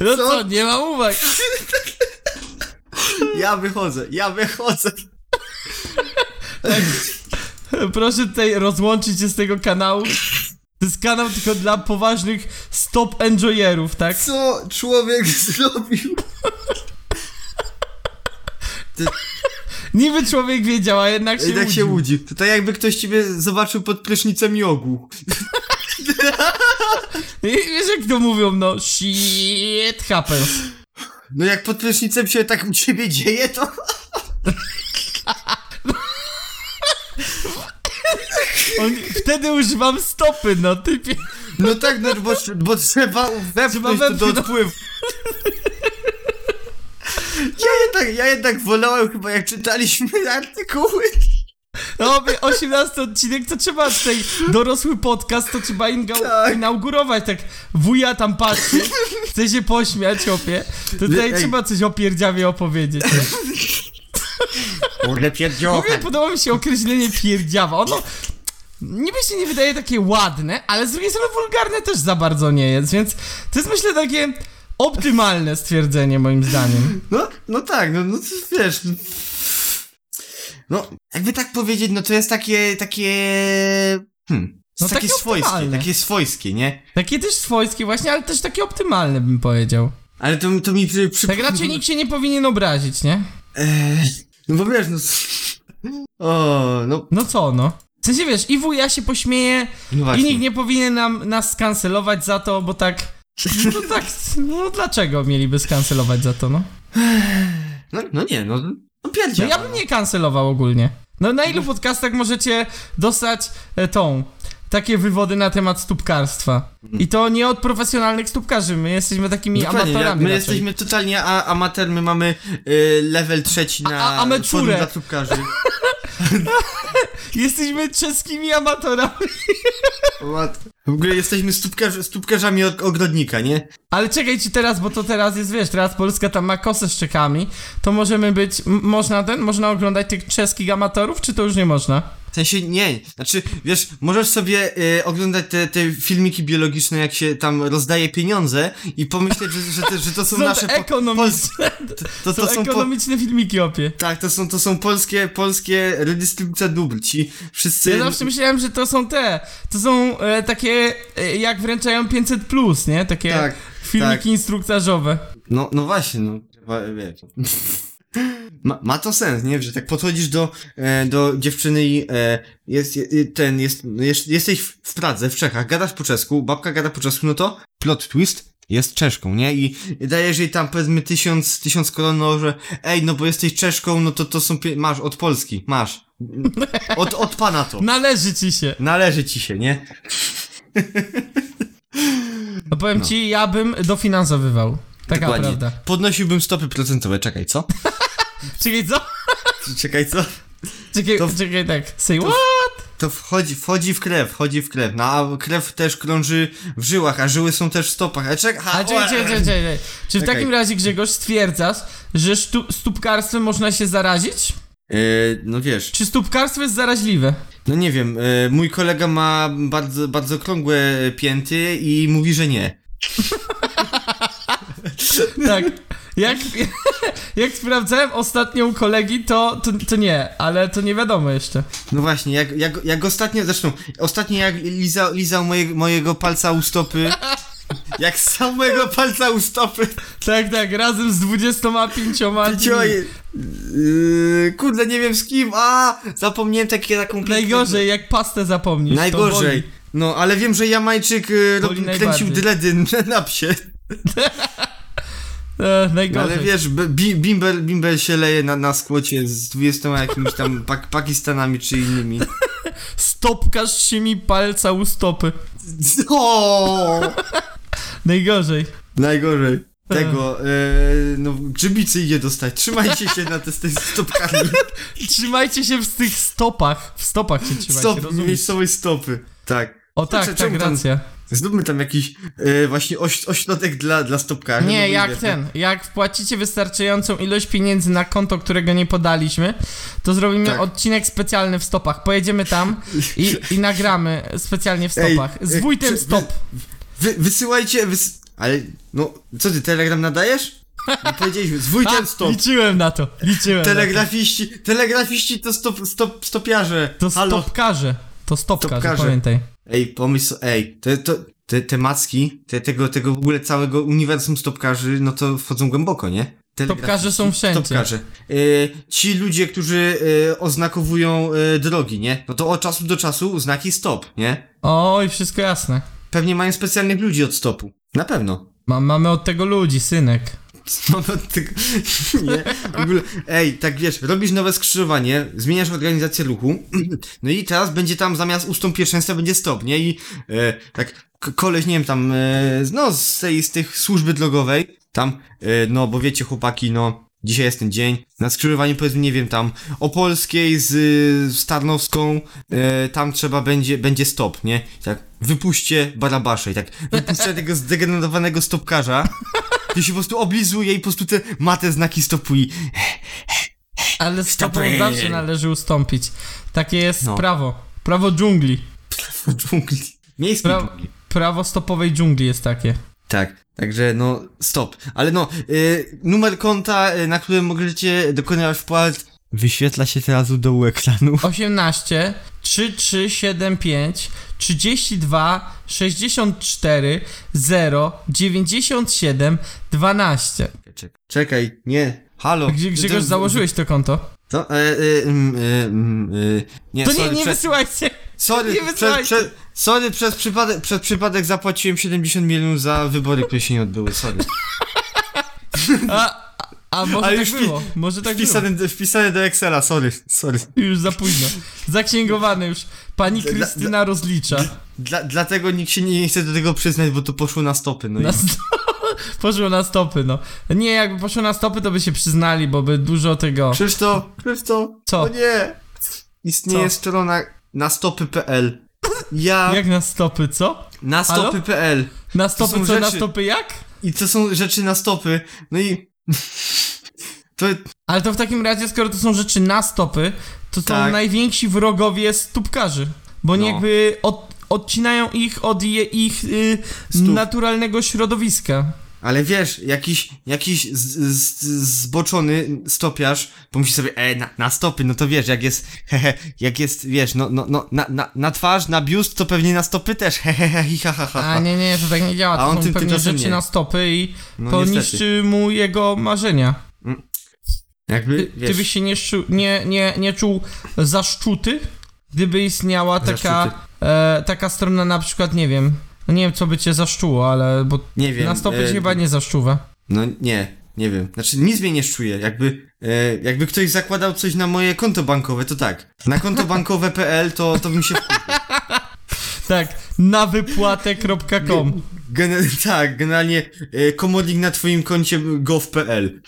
[SPEAKER 2] No
[SPEAKER 3] Co?
[SPEAKER 2] co, nie mam uwag.
[SPEAKER 3] Ja wychodzę, ja wychodzę.
[SPEAKER 2] Proszę tutaj rozłączyć się z tego kanału. To jest kanał tylko dla poważnych stop enjoyerów, tak?
[SPEAKER 3] Co człowiek zrobił?
[SPEAKER 2] Niby człowiek wiedział, a jednak się
[SPEAKER 3] I tak się
[SPEAKER 2] łudził.
[SPEAKER 3] łudzi. To tak jakby ktoś ciebie zobaczył pod prysznicem jogu.
[SPEAKER 2] I wiesz jak to mówią, no shit happens.
[SPEAKER 3] No jak pod prysznicem się tak u ciebie dzieje, to...
[SPEAKER 2] On, wtedy używam stopy, no typie.
[SPEAKER 3] No tak, no bo, bo trzeba wepchnąć to do
[SPEAKER 2] wepchnąć.
[SPEAKER 3] odpływu. Ja jednak, ja jednak wolałem chyba jak czytaliśmy artykuły.
[SPEAKER 2] No, mówię, 18 odcinek, to trzeba tutaj dorosły podcast, to trzeba inga-
[SPEAKER 3] Tak.
[SPEAKER 2] inaugurować, tak wuja tam patrzy, chce się pośmiać, opie. To tutaj
[SPEAKER 3] ej.
[SPEAKER 2] trzeba coś o pierdziawie opowiedzieć.
[SPEAKER 3] Kurde
[SPEAKER 2] W ogóle podoba mi się określenie pierdziawa. Ono niby się nie wydaje takie ładne, ale z drugiej strony wulgarne też za bardzo nie jest, więc to jest myślę takie optymalne stwierdzenie moim zdaniem.
[SPEAKER 3] No, no tak, no, no to wiesz. no. No, jakby tak powiedzieć, no to jest takie, takie... Hmm.
[SPEAKER 2] No
[SPEAKER 3] To jest takie
[SPEAKER 2] takie
[SPEAKER 3] swojskie,
[SPEAKER 2] optymalne.
[SPEAKER 3] takie swojskie, nie?
[SPEAKER 2] Takie też swojskie właśnie, ale też takie optymalne bym powiedział.
[SPEAKER 3] Ale to, to mi przy... przy-
[SPEAKER 2] Tak raczej nikt się nie powinien obrazić, nie?
[SPEAKER 3] Eee, no bo wiesz, no... O, no...
[SPEAKER 2] No co no? W sensie wiesz, i wuja się pośmieje
[SPEAKER 3] No właśnie.
[SPEAKER 2] i nikt nie powinien nam, nas skancelować za to, bo tak... No tak, no dlaczego mieliby skancelować za to, no?
[SPEAKER 3] No, no nie, no... No
[SPEAKER 2] No
[SPEAKER 3] pierdział.
[SPEAKER 2] ja bym nie kancelował ogólnie. No na ilu podcastach możecie dostać e, tą, takie wywody na temat stópkarstwa? I to nie od profesjonalnych stópkarzy, my jesteśmy takimi
[SPEAKER 3] Dokładnie, ja-
[SPEAKER 2] amatorami
[SPEAKER 3] My
[SPEAKER 2] raczej.
[SPEAKER 3] jesteśmy totalnie a, amator, my mamy y, level trzeci na
[SPEAKER 2] a- ameczurę.
[SPEAKER 3] forum dla słupkarzy.
[SPEAKER 2] jesteśmy czeskimi amatorami.
[SPEAKER 3] W ogóle jesteśmy stópkarz, stópkarzami og- ogrodnika, nie?
[SPEAKER 2] Ale czekaj ci teraz, bo to teraz jest, wiesz, teraz Polska tam ma kosę z czekami, to możemy być, m- można ten, można oglądać tych czeskich amatorów, czy to już nie można?
[SPEAKER 3] W sensie nie, znaczy wiesz, możesz sobie y, oglądać te, te filmiki biologiczne, jak się tam rozdaje pieniądze i pomyśleć, że, że, te, że to są
[SPEAKER 2] Są
[SPEAKER 3] nasze...
[SPEAKER 2] to
[SPEAKER 3] po- pols-
[SPEAKER 2] ekonomiczne,
[SPEAKER 3] to,
[SPEAKER 2] to
[SPEAKER 3] to są po-
[SPEAKER 2] ekonomiczne filmiki, opie.
[SPEAKER 3] tak, to są, to są polskie, polskie redystrybucja dóbr, ci wszyscy...
[SPEAKER 2] Ja zawsze myślałem, że to są te. To są e, takie, e, jak wręczają 500, plus, nie? Takie
[SPEAKER 3] Tak,
[SPEAKER 2] filmiki
[SPEAKER 3] tak.
[SPEAKER 2] instruktażowe.
[SPEAKER 3] No, no właśnie, no, chyba, wiesz. Ma, ma to sens, nie? Że tak podchodzisz do, e, do dziewczyny i e, jest, je, ten, jest, jest, jesteś w w Pradze, w Czechach, gadasz po czesku, babka gada po czesku, no to plot twist jest Czeszką, nie? I dajesz jej tam powiedzmy tysiąc, tysiąc koron, no, że ej, no bo jesteś Czeszką, no to to są, pie- masz, od Polski, masz. Od, od pana to.
[SPEAKER 2] Należy ci się.
[SPEAKER 3] Należy ci się, nie?
[SPEAKER 2] No powiem ci, ja bym dofinansowywał. Taka prawda.
[SPEAKER 3] Podnosiłbym stopy procentowe, czekaj, co?
[SPEAKER 2] Czekaj, co?
[SPEAKER 3] Czekaj, co?
[SPEAKER 2] Czekaj,
[SPEAKER 3] To w-
[SPEAKER 2] czekaj, tak. Say what?
[SPEAKER 3] To wchodzi, wchodzi w krew, wchodzi w krew. No a krew też krąży w żyłach, a żyły są też w stopach. A czek, ha,
[SPEAKER 2] A czekaj, czekaj, czekaj, czekaj. Czy w
[SPEAKER 3] Czekaj.
[SPEAKER 2] takim razie, Grzegorz, stwierdzasz, że sztu- stópkarstwem można się zarazić?
[SPEAKER 3] Yy, no wiesz,
[SPEAKER 2] Czy stópkarstwo jest zaraźliwe?
[SPEAKER 3] no nie wiem, yy, mój kolega ma bardzo, bardzo krągłe pięty i mówi, że nie.
[SPEAKER 2] Tak. Jak, jak sprawdzałem ostatnio u kolegi, to, to, to nie, ale to nie wiadomo jeszcze.
[SPEAKER 3] No właśnie, jak, jak, jak ostatnio, zresztą, ostatnio jak liza, lizał moje, mojego palca u stopy, jak samego palca u stopy,
[SPEAKER 2] Tak, tak, razem z 25. tymi.
[SPEAKER 3] cioj, yy, kurde, nie wiem z kim, a zapomniałem takie, taką piękną-
[SPEAKER 2] Najgorzej, jak pastę zapomnisz. to
[SPEAKER 3] Najgorzej.
[SPEAKER 2] boli.
[SPEAKER 3] No, ale wiem, że Jamajczyk y, rob,
[SPEAKER 2] Boli
[SPEAKER 3] kręcił
[SPEAKER 2] najbardziej.
[SPEAKER 3] dredy na psie.
[SPEAKER 2] E,
[SPEAKER 3] No, ale
[SPEAKER 2] najgorzej.
[SPEAKER 3] wiesz, b- bi, bimbel, bimbel się leje na, na skłocie z 20 jakimiś tam pak, Pakistanami czy innymi.
[SPEAKER 2] Stopkaż się mi palca u stopy.
[SPEAKER 3] O!
[SPEAKER 2] Najgorzej.
[SPEAKER 3] Najgorzej. Tego, y, no, grzybicy idzie dostać. Trzymajcie się na te z tej stopkami.
[SPEAKER 2] Trzymajcie się w tych stopach. W stopach się trzymajcie,
[SPEAKER 3] Stop,
[SPEAKER 2] rozumiesz?
[SPEAKER 3] miejscowej stopy. Tak.
[SPEAKER 2] O tak,
[SPEAKER 3] Kurczę,
[SPEAKER 2] tak,
[SPEAKER 3] czemu tam-
[SPEAKER 2] racja.
[SPEAKER 3] Zróbmy tam jakiś y, właśnie oś, ośrodek dla, dla stopkarzy. no
[SPEAKER 2] Nie,
[SPEAKER 3] bo
[SPEAKER 2] jak
[SPEAKER 3] wiesz,
[SPEAKER 2] ten, jak wpłacicie wystarczającą ilość pieniędzy na konto, którego nie podaliśmy, to zrobimy
[SPEAKER 3] Tak.
[SPEAKER 2] odcinek specjalny w stopach. Pojedziemy tam i, i nagramy specjalnie w
[SPEAKER 3] Ej,
[SPEAKER 2] stopach. Z
[SPEAKER 3] ej,
[SPEAKER 2] wójtem
[SPEAKER 3] czy-
[SPEAKER 2] stop.
[SPEAKER 3] Wy, wysyłajcie, wys... Ale, no, co ty, telegram nadajesz? No, powiedzieliśmy, z wójtem
[SPEAKER 2] A,
[SPEAKER 3] stop.
[SPEAKER 2] liczyłem na to, liczyłem na to.
[SPEAKER 3] Telegrafiści, telegrafiści to stop, stop, stopiarze.
[SPEAKER 2] To
[SPEAKER 3] Halo.
[SPEAKER 2] stopkarze, to stopkarze,
[SPEAKER 3] Stopkarze.
[SPEAKER 2] pamiętaj.
[SPEAKER 3] Ej, pomysł, ej, te, to, te, te macki, te, tego, tego w ogóle całego uniwersum stopkarzy, no to wchodzą głęboko, nie?
[SPEAKER 2] Stopkarze są wszędzie.
[SPEAKER 3] Stopkarze. Y, ci ludzie, którzy y, oznakowują y, drogi, nie? No to od czasu do czasu znaki stop, nie?
[SPEAKER 2] Oj, wszystko jasne.
[SPEAKER 3] Pewnie mają specjalnych ludzi od stopu. Na pewno.
[SPEAKER 2] Ma, mamy od tego ludzi, synek.
[SPEAKER 3] No, no ty... nie. W ogóle, ej, tak wiesz, robisz nowe skrzyżowanie, zmieniasz organizację ruchu, no i teraz będzie tam zamiast ustąp pierwszeństwa będzie stop, nie? I e, tak k- koleś, nie wiem, tam, e, z- no, z tej, z tych służby drogowej, tam, e, no, bo wiecie, chłopaki, no, dzisiaj jest ten dzień, na skrzyżowaniu powiedzmy, nie wiem, tam, Opolskiej z, y, z Tarnowską, e, tam trzeba będzie, będzie stop, nie? I Tak, wypuśćcie Barabasza i tak, wypuśćcie tego zdegenerowanego stopkarza, to się po prostu oblizuje i po prostu te mate znaki stopuje.
[SPEAKER 2] Ale stopą
[SPEAKER 3] Stopy.
[SPEAKER 2] zawsze należy ustąpić. Takie jest
[SPEAKER 3] No.
[SPEAKER 2] prawo. Prawo dżungli.
[SPEAKER 3] W dżungli. Miejskiej
[SPEAKER 2] Brawo.
[SPEAKER 3] dżungli.
[SPEAKER 2] Prawo stopowej dżungli jest takie.
[SPEAKER 3] Tak, także no stop. Ale no, y, numer konta, y, na którym możecie dokonywać wpłat, wyświetla się teraz u dołu ekranu.
[SPEAKER 2] 18 3375 32 64 0 97 12.
[SPEAKER 3] Czekaj, nie. Halo.
[SPEAKER 2] Gdzie, Grzegorz,
[SPEAKER 3] To-
[SPEAKER 2] założyłeś to konto?
[SPEAKER 3] To, e, e, mm, e, mm, e, nie,
[SPEAKER 2] To nie,
[SPEAKER 3] sorry,
[SPEAKER 2] nie
[SPEAKER 3] prze-
[SPEAKER 2] wysyłajcie!
[SPEAKER 3] sorry,
[SPEAKER 2] nie
[SPEAKER 3] prze-
[SPEAKER 2] wysyłajcie.
[SPEAKER 3] prze- sorry, przez przypadek, przez przypadek zapłaciłem 70 milionów za wybory, które się nie odbyły, sorry.
[SPEAKER 2] Tak A, a może
[SPEAKER 3] Ale
[SPEAKER 2] tak
[SPEAKER 3] już wpi-
[SPEAKER 2] było, może tak
[SPEAKER 3] Wpisane, wpisane do Excela, sorry, sorry.
[SPEAKER 2] było. Już za późno. Zaksięgowane już. Pani
[SPEAKER 3] Dla-
[SPEAKER 2] Krystyna rozlicza.
[SPEAKER 3] Dla, dlatego nikt się nie, nie chce do tego przyznać, bo to poszło na stopy, no i...
[SPEAKER 2] Na sto... Poszło na stopy, no. Nie, jakby poszło na stopy, to by się przyznali, bo by dużo tego...
[SPEAKER 3] Krzysztof, Krzysztof,
[SPEAKER 2] Co?
[SPEAKER 3] o nie! Istnieje
[SPEAKER 2] Co?
[SPEAKER 3] strona na stopy.pl. Ja
[SPEAKER 2] Jak na stopy, co?
[SPEAKER 3] na
[SPEAKER 2] Halo?
[SPEAKER 3] stopy.pl.
[SPEAKER 2] Na
[SPEAKER 3] są
[SPEAKER 2] stopy co, na
[SPEAKER 3] rzeczy-
[SPEAKER 2] stopy jak?
[SPEAKER 3] I to są rzeczy na stopy. No i to
[SPEAKER 2] Ale to w takim razie, skoro to są rzeczy na stopy, to są
[SPEAKER 3] Tak.
[SPEAKER 2] najwięksi wrogowie stópkarzy. Bo oni
[SPEAKER 3] No.
[SPEAKER 2] jakby od, odcinają ich od je, ich y,
[SPEAKER 3] Stóp.
[SPEAKER 2] naturalnego środowiska.
[SPEAKER 3] ale wiesz, jakiś, jakiś z, z, zboczony stopiarz pomyśli sobie, e, na, na stopy, no to wiesz, jak jest, hehe, jak jest, wiesz, no, no, no na, na, na twarz, na biust, to pewnie na stopy też, hehehe, hi, ha, ha, ha,
[SPEAKER 2] A
[SPEAKER 3] ha.
[SPEAKER 2] nie, nie, to tak nie działa.
[SPEAKER 3] A
[SPEAKER 2] To
[SPEAKER 3] on
[SPEAKER 2] są
[SPEAKER 3] tym
[SPEAKER 2] pewnie
[SPEAKER 3] tymczasem
[SPEAKER 2] rzeczy
[SPEAKER 3] nie.
[SPEAKER 2] na stopy i
[SPEAKER 3] No
[SPEAKER 2] to
[SPEAKER 3] niestety.
[SPEAKER 2] niszczy mu jego marzenia.
[SPEAKER 3] Jakby,
[SPEAKER 2] Ty, ty byś się nie, szczu, nie, nie, nie czuł zaszczuty, gdyby istniała taka,
[SPEAKER 3] Zaszczuty.
[SPEAKER 2] e, taka strona na przykład, nie wiem, no nie wiem co by cię zaszczuło, ale bo
[SPEAKER 3] nie wiem.
[SPEAKER 2] na stopy
[SPEAKER 3] e,
[SPEAKER 2] cię chyba nie zaszczuwa.
[SPEAKER 3] No nie, nie wiem. Znaczy nic mnie nie szczuje. Jakby, e, jakby ktoś zakładał coś na moje konto bankowe, to tak. Na konto bankowe.pl to, to bym się...
[SPEAKER 2] Tak, na wypłatę.com.
[SPEAKER 3] Gen- tak, generalnie e, komodnik na twoim koncie gov.pl.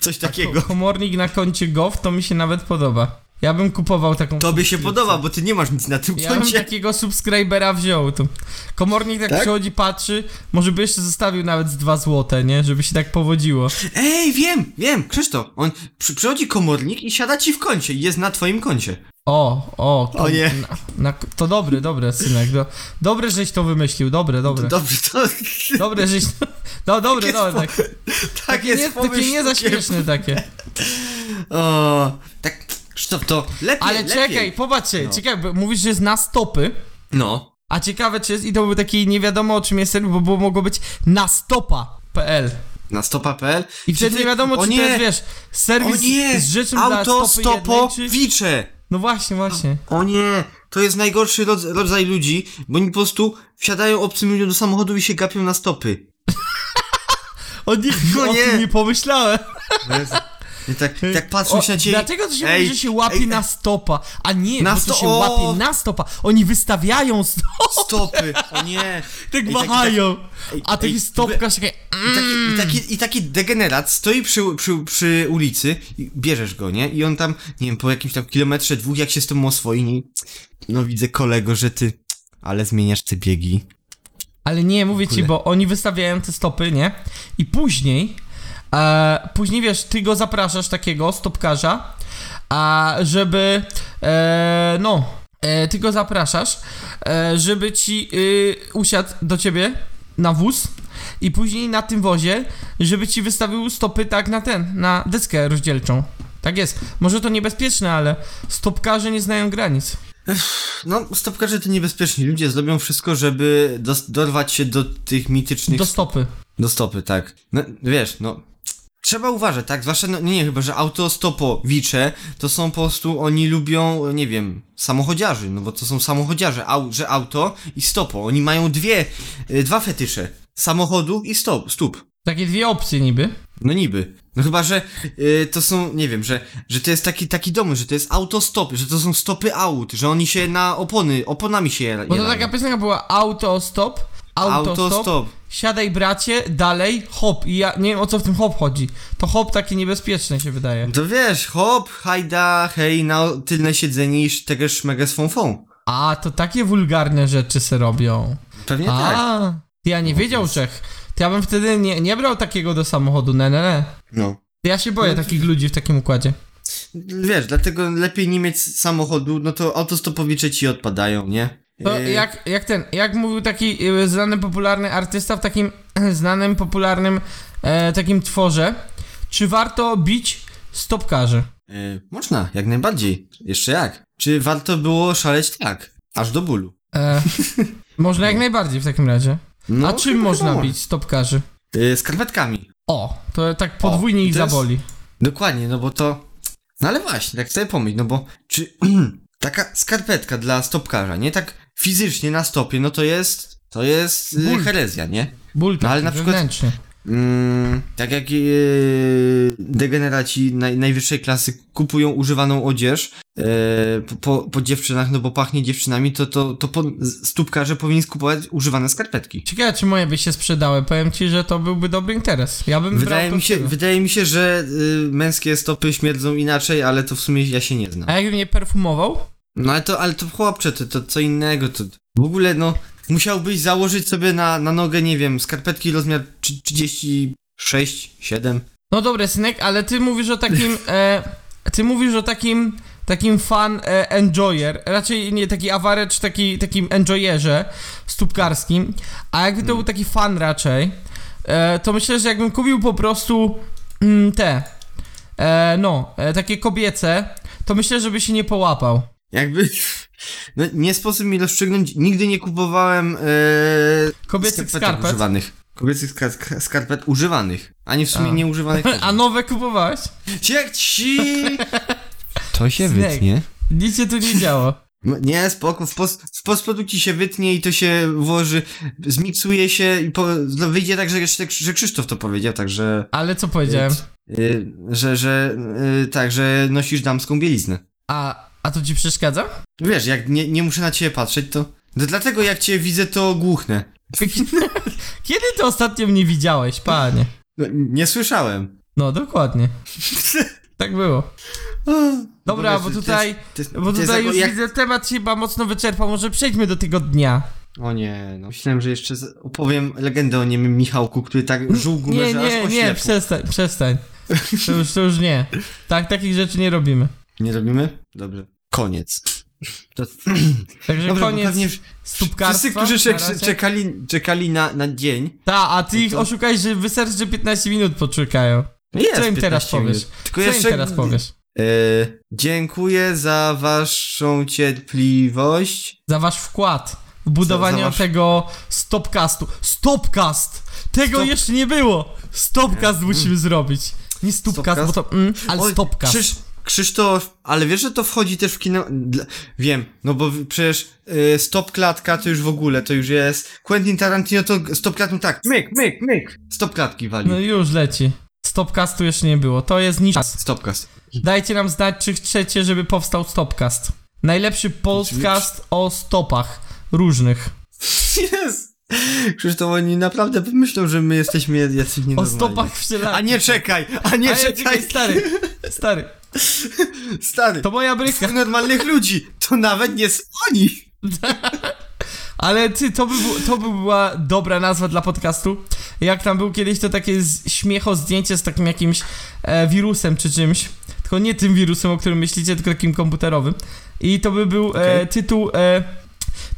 [SPEAKER 3] Coś
[SPEAKER 2] Tak,
[SPEAKER 3] takiego.
[SPEAKER 2] Komornik na koncie gov, to mi się nawet podoba. Ja bym kupował taką.
[SPEAKER 3] Tobie się
[SPEAKER 2] subskrypcję.
[SPEAKER 3] podoba, bo ty nie masz nic na tym
[SPEAKER 2] Ja bym
[SPEAKER 3] koncie.
[SPEAKER 2] takiego subskrybera wziął. To. Komornik tak,
[SPEAKER 3] Tak?
[SPEAKER 2] przychodzi, patrzy, może by jeszcze zostawił nawet z 2 złote, nie? Żeby się tak powodziło.
[SPEAKER 3] Ej, wiem, wiem, Krzysztof. On przy, przychodzi komornik i siada ci w koncie i jest na twoim koncie.
[SPEAKER 2] O, o,
[SPEAKER 3] O nie.
[SPEAKER 2] Na, na, to dobre, dobre, synek. Do, dobre, żeś to wymyślił, dobre, dobre.
[SPEAKER 3] Dobrze, to
[SPEAKER 2] Dobre, żeś. No, dobre,
[SPEAKER 3] Takie
[SPEAKER 2] dobre. Tak.
[SPEAKER 3] tak
[SPEAKER 2] Takie
[SPEAKER 3] jest
[SPEAKER 2] nie,
[SPEAKER 3] pomysł
[SPEAKER 2] takie nie za
[SPEAKER 3] sztukiem.
[SPEAKER 2] śmieszne takie.
[SPEAKER 3] O, tak, Krzysztof, to lepiej,
[SPEAKER 2] Ale
[SPEAKER 3] lepiej.
[SPEAKER 2] czekaj, popatrzcie,
[SPEAKER 3] No.
[SPEAKER 2] czekaj, bo mówisz, że jest na stopy.
[SPEAKER 3] No.
[SPEAKER 2] A ciekawe czy jest, i to był taki nie wiadomo o czym jest serial, bo było, mogło być na stopa.pl
[SPEAKER 3] Na stopa.pl
[SPEAKER 2] I wtedy
[SPEAKER 3] ty-
[SPEAKER 2] nie wiadomo
[SPEAKER 3] o
[SPEAKER 2] czy
[SPEAKER 3] nie,
[SPEAKER 2] to jest, wiesz,
[SPEAKER 3] O
[SPEAKER 2] serwis
[SPEAKER 3] nie!
[SPEAKER 2] z rzeczą dla stopy jednej, czy...
[SPEAKER 3] Autostopowicze!
[SPEAKER 2] No właśnie, właśnie.
[SPEAKER 3] O nie! To to jest najgorszy rodz- rodzaj ludzi, bo oni po prostu wsiadają obcym ludziom do samochodu i się gapią na stopy.
[SPEAKER 2] O, nie,
[SPEAKER 3] No
[SPEAKER 2] o
[SPEAKER 3] nie.
[SPEAKER 2] tym nie pomyślałem.
[SPEAKER 3] I tak, tak patrzą się na ciebie.
[SPEAKER 2] Dlatego to się
[SPEAKER 3] Ej,
[SPEAKER 2] mówi, że się łapie
[SPEAKER 3] ej,
[SPEAKER 2] na stopa, a nie,
[SPEAKER 3] Na
[SPEAKER 2] bo to
[SPEAKER 3] sto-
[SPEAKER 2] się
[SPEAKER 3] o!
[SPEAKER 2] łapie na stopa. Oni wystawiają stop,
[SPEAKER 3] Stopy, o nie.
[SPEAKER 2] tak
[SPEAKER 3] i
[SPEAKER 2] wahają.
[SPEAKER 3] ej,
[SPEAKER 2] A taki
[SPEAKER 3] ej,
[SPEAKER 2] stopka się takie...
[SPEAKER 3] I taki, i, taki, I taki degenerat stoi przy, przy, przy ulicy, i bierzesz go, nie? I on tam, nie wiem, po jakimś tam kilometrze dwóch, jak się z tym oswoi, nie? no widzę kolego, że ty, ale zmieniasz te biegi.
[SPEAKER 2] Ale nie, mówię ci,
[SPEAKER 3] ogóle.
[SPEAKER 2] bo oni wystawiają te stopy, nie? I później, e, później wiesz, ty go zapraszasz takiego stopkarza, a żeby, e, no, e, ty go zapraszasz, e, żeby ci y, usiadł do ciebie na wóz i później na tym wozie, żeby ci wystawił stopy tak na ten, na deskę rozdzielczą. Tak jest. Może to niebezpieczne, ale stopkarze nie znają granic.
[SPEAKER 3] No, stopkarze to niebezpieczni ludzie, zrobią wszystko, żeby dos- dorwać się do tych mitycznych...
[SPEAKER 2] Do stopy.
[SPEAKER 3] do stopy, tak. No, wiesz, no... Trzeba uważać, tak? Zwłaszcza, no, nie, nie, chyba, że autostopowicze to są po prostu, oni lubią, nie wiem, samochodziarzy, no bo to są samochodziarze, au, że auto i stopo. Oni mają dwie, y, dwa fetysze. Samochodu i stop, stóp.
[SPEAKER 2] Takie dwie opcje niby.
[SPEAKER 3] No niby. No chyba, że y, to są, nie wiem, że, że to jest taki, taki dom, że to jest autostop, że to są stopy aut, że oni się na opony, oponami się je-
[SPEAKER 2] Bo No to
[SPEAKER 3] jelają.
[SPEAKER 2] taka piosenka była autostop, autostop,
[SPEAKER 3] Autostop.
[SPEAKER 2] siadaj bracie, dalej, hop. I ja nie wiem o co w tym hop chodzi. To hop takie niebezpieczne się wydaje.
[SPEAKER 3] To wiesz, hop, hajda, hej, na tylne siedzenie i tego szmegę z fą fą.
[SPEAKER 2] A, to takie wulgarne rzeczy se robią.
[SPEAKER 3] Pewnie tak.
[SPEAKER 2] A, ty ja nie wiedział Czech. To ja bym wtedy nie, nie brał takiego do samochodu, ne, ne, ne.
[SPEAKER 3] No.
[SPEAKER 2] Ja się boję
[SPEAKER 3] No,
[SPEAKER 2] takich ludzi w takim układzie.
[SPEAKER 3] Wiesz, dlatego lepiej nie mieć samochodu, no to autostopowicze ci odpadają, nie?
[SPEAKER 2] To
[SPEAKER 3] Y,
[SPEAKER 2] jak, jak ten, jak mówił taki y, znany, popularny artysta w takim znanym, popularnym e, takim tworze, czy warto bić stopkarzy?
[SPEAKER 3] y, można, jak najbardziej. Jeszcze jak. Czy warto było szaleć tak? Aż do bólu.
[SPEAKER 2] E, można jak najbardziej w takim razie.
[SPEAKER 3] No,
[SPEAKER 2] A czym
[SPEAKER 3] chyba
[SPEAKER 2] można
[SPEAKER 3] wiadomo.
[SPEAKER 2] bić stopkarzy?
[SPEAKER 3] Y, skarpetkami.
[SPEAKER 2] O, to tak podwójnie
[SPEAKER 3] O,
[SPEAKER 2] ich
[SPEAKER 3] to jest-
[SPEAKER 2] zaboli.
[SPEAKER 3] Dokładnie, no bo to. No ale właśnie, tak sobie pomyśl, no bo czy taka skarpetka dla stopkarza, nie tak fizycznie na stopie, no to jest. To jest y,
[SPEAKER 2] Ból.
[SPEAKER 3] herezja, nie?
[SPEAKER 2] Ból
[SPEAKER 3] No,
[SPEAKER 2] ale
[SPEAKER 3] ale
[SPEAKER 2] na
[SPEAKER 3] na przykład-
[SPEAKER 2] wewnętrzny.
[SPEAKER 3] Mm, tak jak yy, degeneraci naj, najwyższej klasy kupują używaną odzież yy, po, po, po dziewczynach, no bo pachnie dziewczynami, to, to, to po, stópkarze powinni kupować używane skarpetki.
[SPEAKER 2] Ciekawe, czy moje by się sprzedały. Powiem ci, że to byłby dobry interes. Ja bym
[SPEAKER 3] Wydaje
[SPEAKER 2] brał
[SPEAKER 3] mi, się,
[SPEAKER 2] to w tył.
[SPEAKER 3] wydaje mi się, że y, męskie stopy śmierdzą inaczej, ale to w sumie ja się nie znam.
[SPEAKER 2] A jakbym nie perfumował?
[SPEAKER 3] No ale to, ale to chłopcze, to, to co innego, to w ogóle no, musiałbyś założyć sobie na, na nogę, nie wiem, skarpetki rozmiar trzy- 36, 7.
[SPEAKER 2] No dobra, synek, ale ty mówisz o takim... E, ty mówisz o takim... Takim fan e, enjoyer, raczej nie taki awarecz, taki, takim enjoyerze stópkarskim, a jakby to był taki fan raczej, e, to myślę, że jakbym kupił po prostu mm, te, e, no, e, takie kobiece, to myślę, żeby się nie połapał.
[SPEAKER 3] Jakby, no nie sposób mi rozstrzygnąć, nigdy nie kupowałem e,
[SPEAKER 2] Kobiecych
[SPEAKER 3] skarpetek
[SPEAKER 2] skarpet.
[SPEAKER 3] używanych. Kobiecych skar- skar- skarpet używanych, ani w sumie
[SPEAKER 2] A.
[SPEAKER 3] nieużywanych.
[SPEAKER 2] A nowe kupowałeś?
[SPEAKER 3] Jak ci! To się
[SPEAKER 2] Snake.
[SPEAKER 3] wytnie.
[SPEAKER 2] Nic się tu nie działo.
[SPEAKER 3] M- No, Nie, spoko, w, post, w postprodukcji się wytnie i to się włoży, zmiksuje się i po, no, wyjdzie tak, że, jeszcze- że Krzysztof to powiedział, także,
[SPEAKER 2] Ale co powiedziałem?
[SPEAKER 3] y, że, że, y, tak, że nosisz damską bieliznę.
[SPEAKER 2] A, a to ci przeszkadza?
[SPEAKER 3] Wiesz, jak nie, nie muszę na ciebie patrzeć, to, no, dlatego jak cię widzę, to głuchnę.
[SPEAKER 2] Kiedy ty ostatnio mnie widziałeś, panie?
[SPEAKER 3] No, nie słyszałem.
[SPEAKER 2] No, dokładnie. Tak było. Dobra, bo
[SPEAKER 3] No, to- to
[SPEAKER 2] tutaj,
[SPEAKER 3] jest- to jest- to
[SPEAKER 2] bo
[SPEAKER 3] jest
[SPEAKER 2] tutaj
[SPEAKER 3] jako-
[SPEAKER 2] już widzę, temat się chyba mocno wyczerpał, może przejdźmy do tego dnia.
[SPEAKER 3] O nie, no myślałem, że jeszcze z- opowiem legendę o niemym Michałku, który tak żółł
[SPEAKER 2] Nie,
[SPEAKER 3] że aż
[SPEAKER 2] nie, nie,
[SPEAKER 3] oślepł.
[SPEAKER 2] przestań, przestań. To już, to już nie. Tak, takich rzeczy nie robimy.
[SPEAKER 3] Nie robimy? Dobrze. Koniec. To,
[SPEAKER 2] Także
[SPEAKER 3] dobrze, bo
[SPEAKER 2] koniec
[SPEAKER 3] pewnie wszyscy,
[SPEAKER 2] stópkarstwa.
[SPEAKER 3] którzy
[SPEAKER 2] na razie.
[SPEAKER 3] czek- czekali, czekali na, na dzień.
[SPEAKER 2] Ta, a ty
[SPEAKER 3] No
[SPEAKER 2] ich
[SPEAKER 3] to-
[SPEAKER 2] oszukaj, że wystarczy, że 15 minut poczekają.
[SPEAKER 3] no Jest
[SPEAKER 2] Co im
[SPEAKER 3] 15
[SPEAKER 2] teraz
[SPEAKER 3] minut.
[SPEAKER 2] powiesz?
[SPEAKER 3] Tylko
[SPEAKER 2] Co
[SPEAKER 3] jeszcze,
[SPEAKER 2] im teraz powiesz?
[SPEAKER 3] E, dziękuję za waszą cierpliwość.
[SPEAKER 2] Za wasz wkład w budowanie
[SPEAKER 3] Za- za wasz-
[SPEAKER 2] tego stopcastu. Stopcast! Tego
[SPEAKER 3] Stop-
[SPEAKER 2] jeszcze nie było! Stopcast musimy zrobić. Nie stupcast, bo
[SPEAKER 3] Stopcast?
[SPEAKER 2] to... Mm, ale
[SPEAKER 3] Oj,
[SPEAKER 2] stopcast.
[SPEAKER 3] Krzyż, Krzysztof, ale wiesz, że to wchodzi też w kino... Dla... Wiem, no bo w- przecież y, Stop Klatka to już w ogóle, to już jest... Quentin Tarantino to g- Stop Klatką tak, myk, myk, myk, Stop Klatki wali.
[SPEAKER 2] No już leci. Stopcastu jeszcze nie było. To jest niż.
[SPEAKER 3] Stopcast.
[SPEAKER 2] Dajcie nam znać, czy chcecie, żeby powstał Stopcast. Najlepszy podcast o stopach różnych.
[SPEAKER 3] Jest! Krzysztof, oni naprawdę myślą, że my jesteśmy jacyś
[SPEAKER 2] O
[SPEAKER 3] nienormalni.
[SPEAKER 2] stopach wsielanych.
[SPEAKER 3] A nie czekaj, a nie
[SPEAKER 2] A ja,
[SPEAKER 3] czekaj,
[SPEAKER 2] czekaj, stary. Stary,
[SPEAKER 3] stary.
[SPEAKER 2] to moja bryka.
[SPEAKER 3] To normalnych ludzi, to nawet nie są oni.
[SPEAKER 2] Ale ty, to by, bu- to by była dobra nazwa dla podcastu. Jak tam był kiedyś, to takie z- śmiecho zdjęcie z takim jakimś e, wirusem czy czymś. Tylko nie tym wirusem, o którym myślicie, tylko takim komputerowym. I to by był e,
[SPEAKER 3] Okej.
[SPEAKER 2] tytuł e,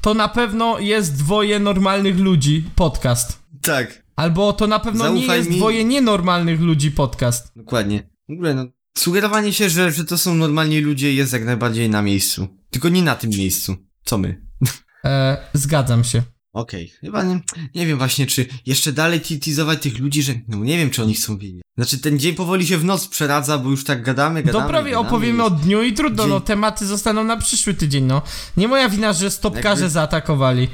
[SPEAKER 2] To na pewno jest dwoje normalnych ludzi podcast.
[SPEAKER 3] Tak,
[SPEAKER 2] Albo to na pewno nie
[SPEAKER 3] Zaufaj
[SPEAKER 2] jest
[SPEAKER 3] mi.
[SPEAKER 2] dwoje nienormalnych ludzi podcast.
[SPEAKER 3] dokładnie. W ogóle, no, sugerowanie się, że, że to są normalni ludzie jest jak najbardziej na miejscu. Tylko nie na tym miejscu, co my.
[SPEAKER 2] E, zgadzam się.
[SPEAKER 3] Okej, chyba nie, nie wiem właśnie, czy jeszcze dalej titizować tych ludzi, że no nie wiem, czy oni chcą wiedzieć. Znaczy, ten dzień powoli się w noc przeradza, bo już tak gadamy, gadamy,
[SPEAKER 2] To prawie
[SPEAKER 3] gadamy,
[SPEAKER 2] opowiemy o dniu i trudno,
[SPEAKER 3] Dzień-
[SPEAKER 2] no tematy zostaną na przyszły tydzień, no. Nie moja wina, że stopkarze
[SPEAKER 3] Jakby-
[SPEAKER 2] zaatakowali.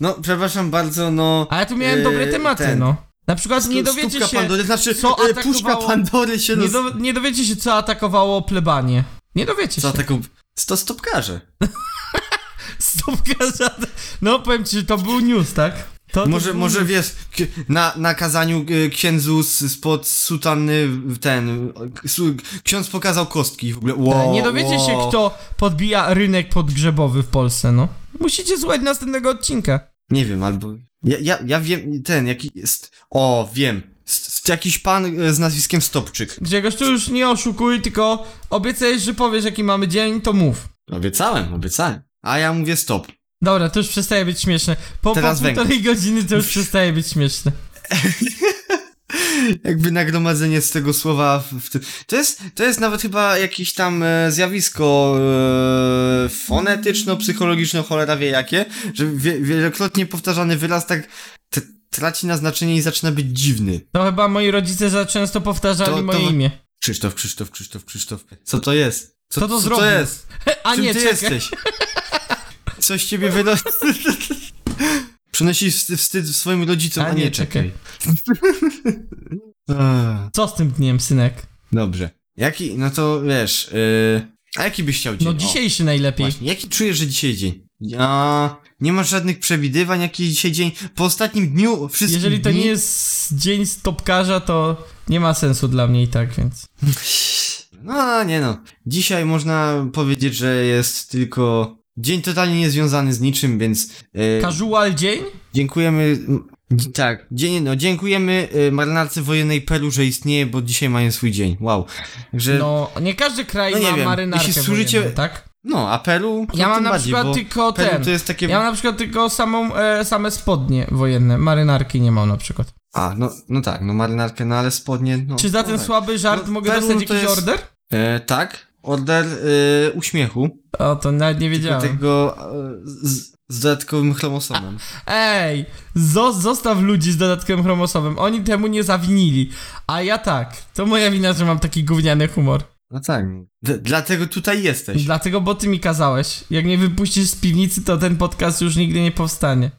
[SPEAKER 3] No, przepraszam bardzo, no...
[SPEAKER 2] Ale tu miałem dobre
[SPEAKER 3] Yy,
[SPEAKER 2] tematy,
[SPEAKER 3] ten.
[SPEAKER 2] no. Na przykład nie dowiecie
[SPEAKER 3] Stópka
[SPEAKER 2] się,
[SPEAKER 3] Pandory, znaczy,
[SPEAKER 2] co
[SPEAKER 3] e, puszka
[SPEAKER 2] atakowało-
[SPEAKER 3] Pandory się...
[SPEAKER 2] nie,
[SPEAKER 3] roz-
[SPEAKER 2] do, nie dowiecie się, co atakowało plebanie. Nie dowiecie
[SPEAKER 3] Co tak-
[SPEAKER 2] się.
[SPEAKER 3] taką... To stopkarze.
[SPEAKER 2] Stopka żadna. No powiem ci, że to był news, tak? To, to
[SPEAKER 3] Może,
[SPEAKER 2] był
[SPEAKER 3] może
[SPEAKER 2] news.
[SPEAKER 3] wiesz, k- na, na kazaniu e, księdzu s- spod sutanny w- ten, e, su- ksiądz pokazał kostki w ogóle, wow,
[SPEAKER 2] Tak, Nie dowiecie
[SPEAKER 3] wow.
[SPEAKER 2] się, kto podbija rynek podgrzebowy w Polsce, no. Musicie słuchać następnego odcinka.
[SPEAKER 3] Nie wiem, albo, ja, ja, ja wiem, ten, jaki jest, o, wiem, s- s- jakiś pan e, z nazwiskiem Stopczyk.
[SPEAKER 2] Grzegorz, tu już nie oszukuj, tylko obiecajesz, że powiesz, jaki mamy dzień, to mów.
[SPEAKER 3] Obiecałem, obiecałem. A ja mówię stop.
[SPEAKER 2] Dobra, to już przestaje być śmieszne. Po, po
[SPEAKER 3] Teraz Węgry.
[SPEAKER 2] półtorej godziny to już przestaje być śmieszne.
[SPEAKER 3] Jakby nagromadzenie z tego słowa w, w tym. To jest, to jest nawet chyba jakieś tam e, zjawisko e, fonetyczno-psychologiczne, cholera wie jakie, że wie, wielokrotnie powtarzany wyraz tak t- traci na znaczenie i zaczyna być dziwny.
[SPEAKER 2] To chyba moi rodzice za często powtarzali
[SPEAKER 3] To-
[SPEAKER 2] moje
[SPEAKER 3] to-
[SPEAKER 2] imię.
[SPEAKER 3] Krzysztof, Krzysztof, Krzysztof, Krzysztof. Co to jest? Co,
[SPEAKER 2] Kto to
[SPEAKER 3] co
[SPEAKER 2] zrobił?
[SPEAKER 3] to jest?
[SPEAKER 2] A
[SPEAKER 3] Czym
[SPEAKER 2] nie,
[SPEAKER 3] ty
[SPEAKER 2] czekaj.
[SPEAKER 3] jesteś? Coś ciebie wynosi. Przynosi wstyd, wstyd swoim rodzicom, a, nie, czekaj. Ech.
[SPEAKER 2] Co z tym dniem, synek? No
[SPEAKER 3] Dobrze. Jaki, no to wiesz, yy, a jaki byś chciał dzień?
[SPEAKER 2] No
[SPEAKER 3] O,
[SPEAKER 2] dzisiejszy najlepiej.
[SPEAKER 3] właśnie, jaki czujesz, że dzisiaj dzień? Ja nie masz żadnych przewidywań, jaki dzisiaj dzień. Po ostatnim dniu wszystkich
[SPEAKER 2] Jeżeli to
[SPEAKER 3] dni...
[SPEAKER 2] nie jest dzień stopkarza, to nie ma sensu dla mnie i tak, więc...
[SPEAKER 3] No, nie no. Dzisiaj można powiedzieć, że jest tylko dzień totalnie niezwiązany z niczym, więc yy,
[SPEAKER 2] Casual dzień?
[SPEAKER 3] dziękujemy... m, Tak, dzień, no, dziękujemy yy, marynarce wojennej Peru, że istnieje, bo dzisiaj mają swój dzień. Wow. Także, no,
[SPEAKER 2] No, nie każdy kraj
[SPEAKER 3] No nie
[SPEAKER 2] ma
[SPEAKER 3] wiem,
[SPEAKER 2] marynarkę
[SPEAKER 3] jeśli służycie-
[SPEAKER 2] wojenną, tak?
[SPEAKER 3] a Peru...
[SPEAKER 2] Ja
[SPEAKER 3] no,
[SPEAKER 2] mam
[SPEAKER 3] tym
[SPEAKER 2] na
[SPEAKER 3] bardziej,
[SPEAKER 2] przykład
[SPEAKER 3] bo
[SPEAKER 2] tylko
[SPEAKER 3] Peru
[SPEAKER 2] ten.
[SPEAKER 3] to jest takie...
[SPEAKER 2] Ja mam na przykład tylko samą, e, same spodnie wojenne, marynarki nie mam na przykład.
[SPEAKER 3] A, no, no tak, no marynarkę, no ale spodnie, no.
[SPEAKER 2] Czy za ten
[SPEAKER 3] dobra.
[SPEAKER 2] słaby żart
[SPEAKER 3] No,
[SPEAKER 2] mogę
[SPEAKER 3] Perun
[SPEAKER 2] dostać
[SPEAKER 3] to
[SPEAKER 2] jakiś
[SPEAKER 3] jest-
[SPEAKER 2] order?
[SPEAKER 3] E, tak, order e, uśmiechu,
[SPEAKER 2] O, to nawet nie
[SPEAKER 3] tylko
[SPEAKER 2] wiedziałem.
[SPEAKER 3] tego e, z, z dodatkowym chromosomem.
[SPEAKER 2] Ej, zo- zostaw ludzi z dodatkiem chromosowym. Oni temu nie zawinili. A ja tak. To moja wina, że mam taki gówniany humor.
[SPEAKER 3] No tak, D- dlatego tutaj jesteś.
[SPEAKER 2] Dlatego, bo ty mi kazałeś. Jak mnie wypuścisz z piwnicy, to ten podcast już nigdy nie powstanie.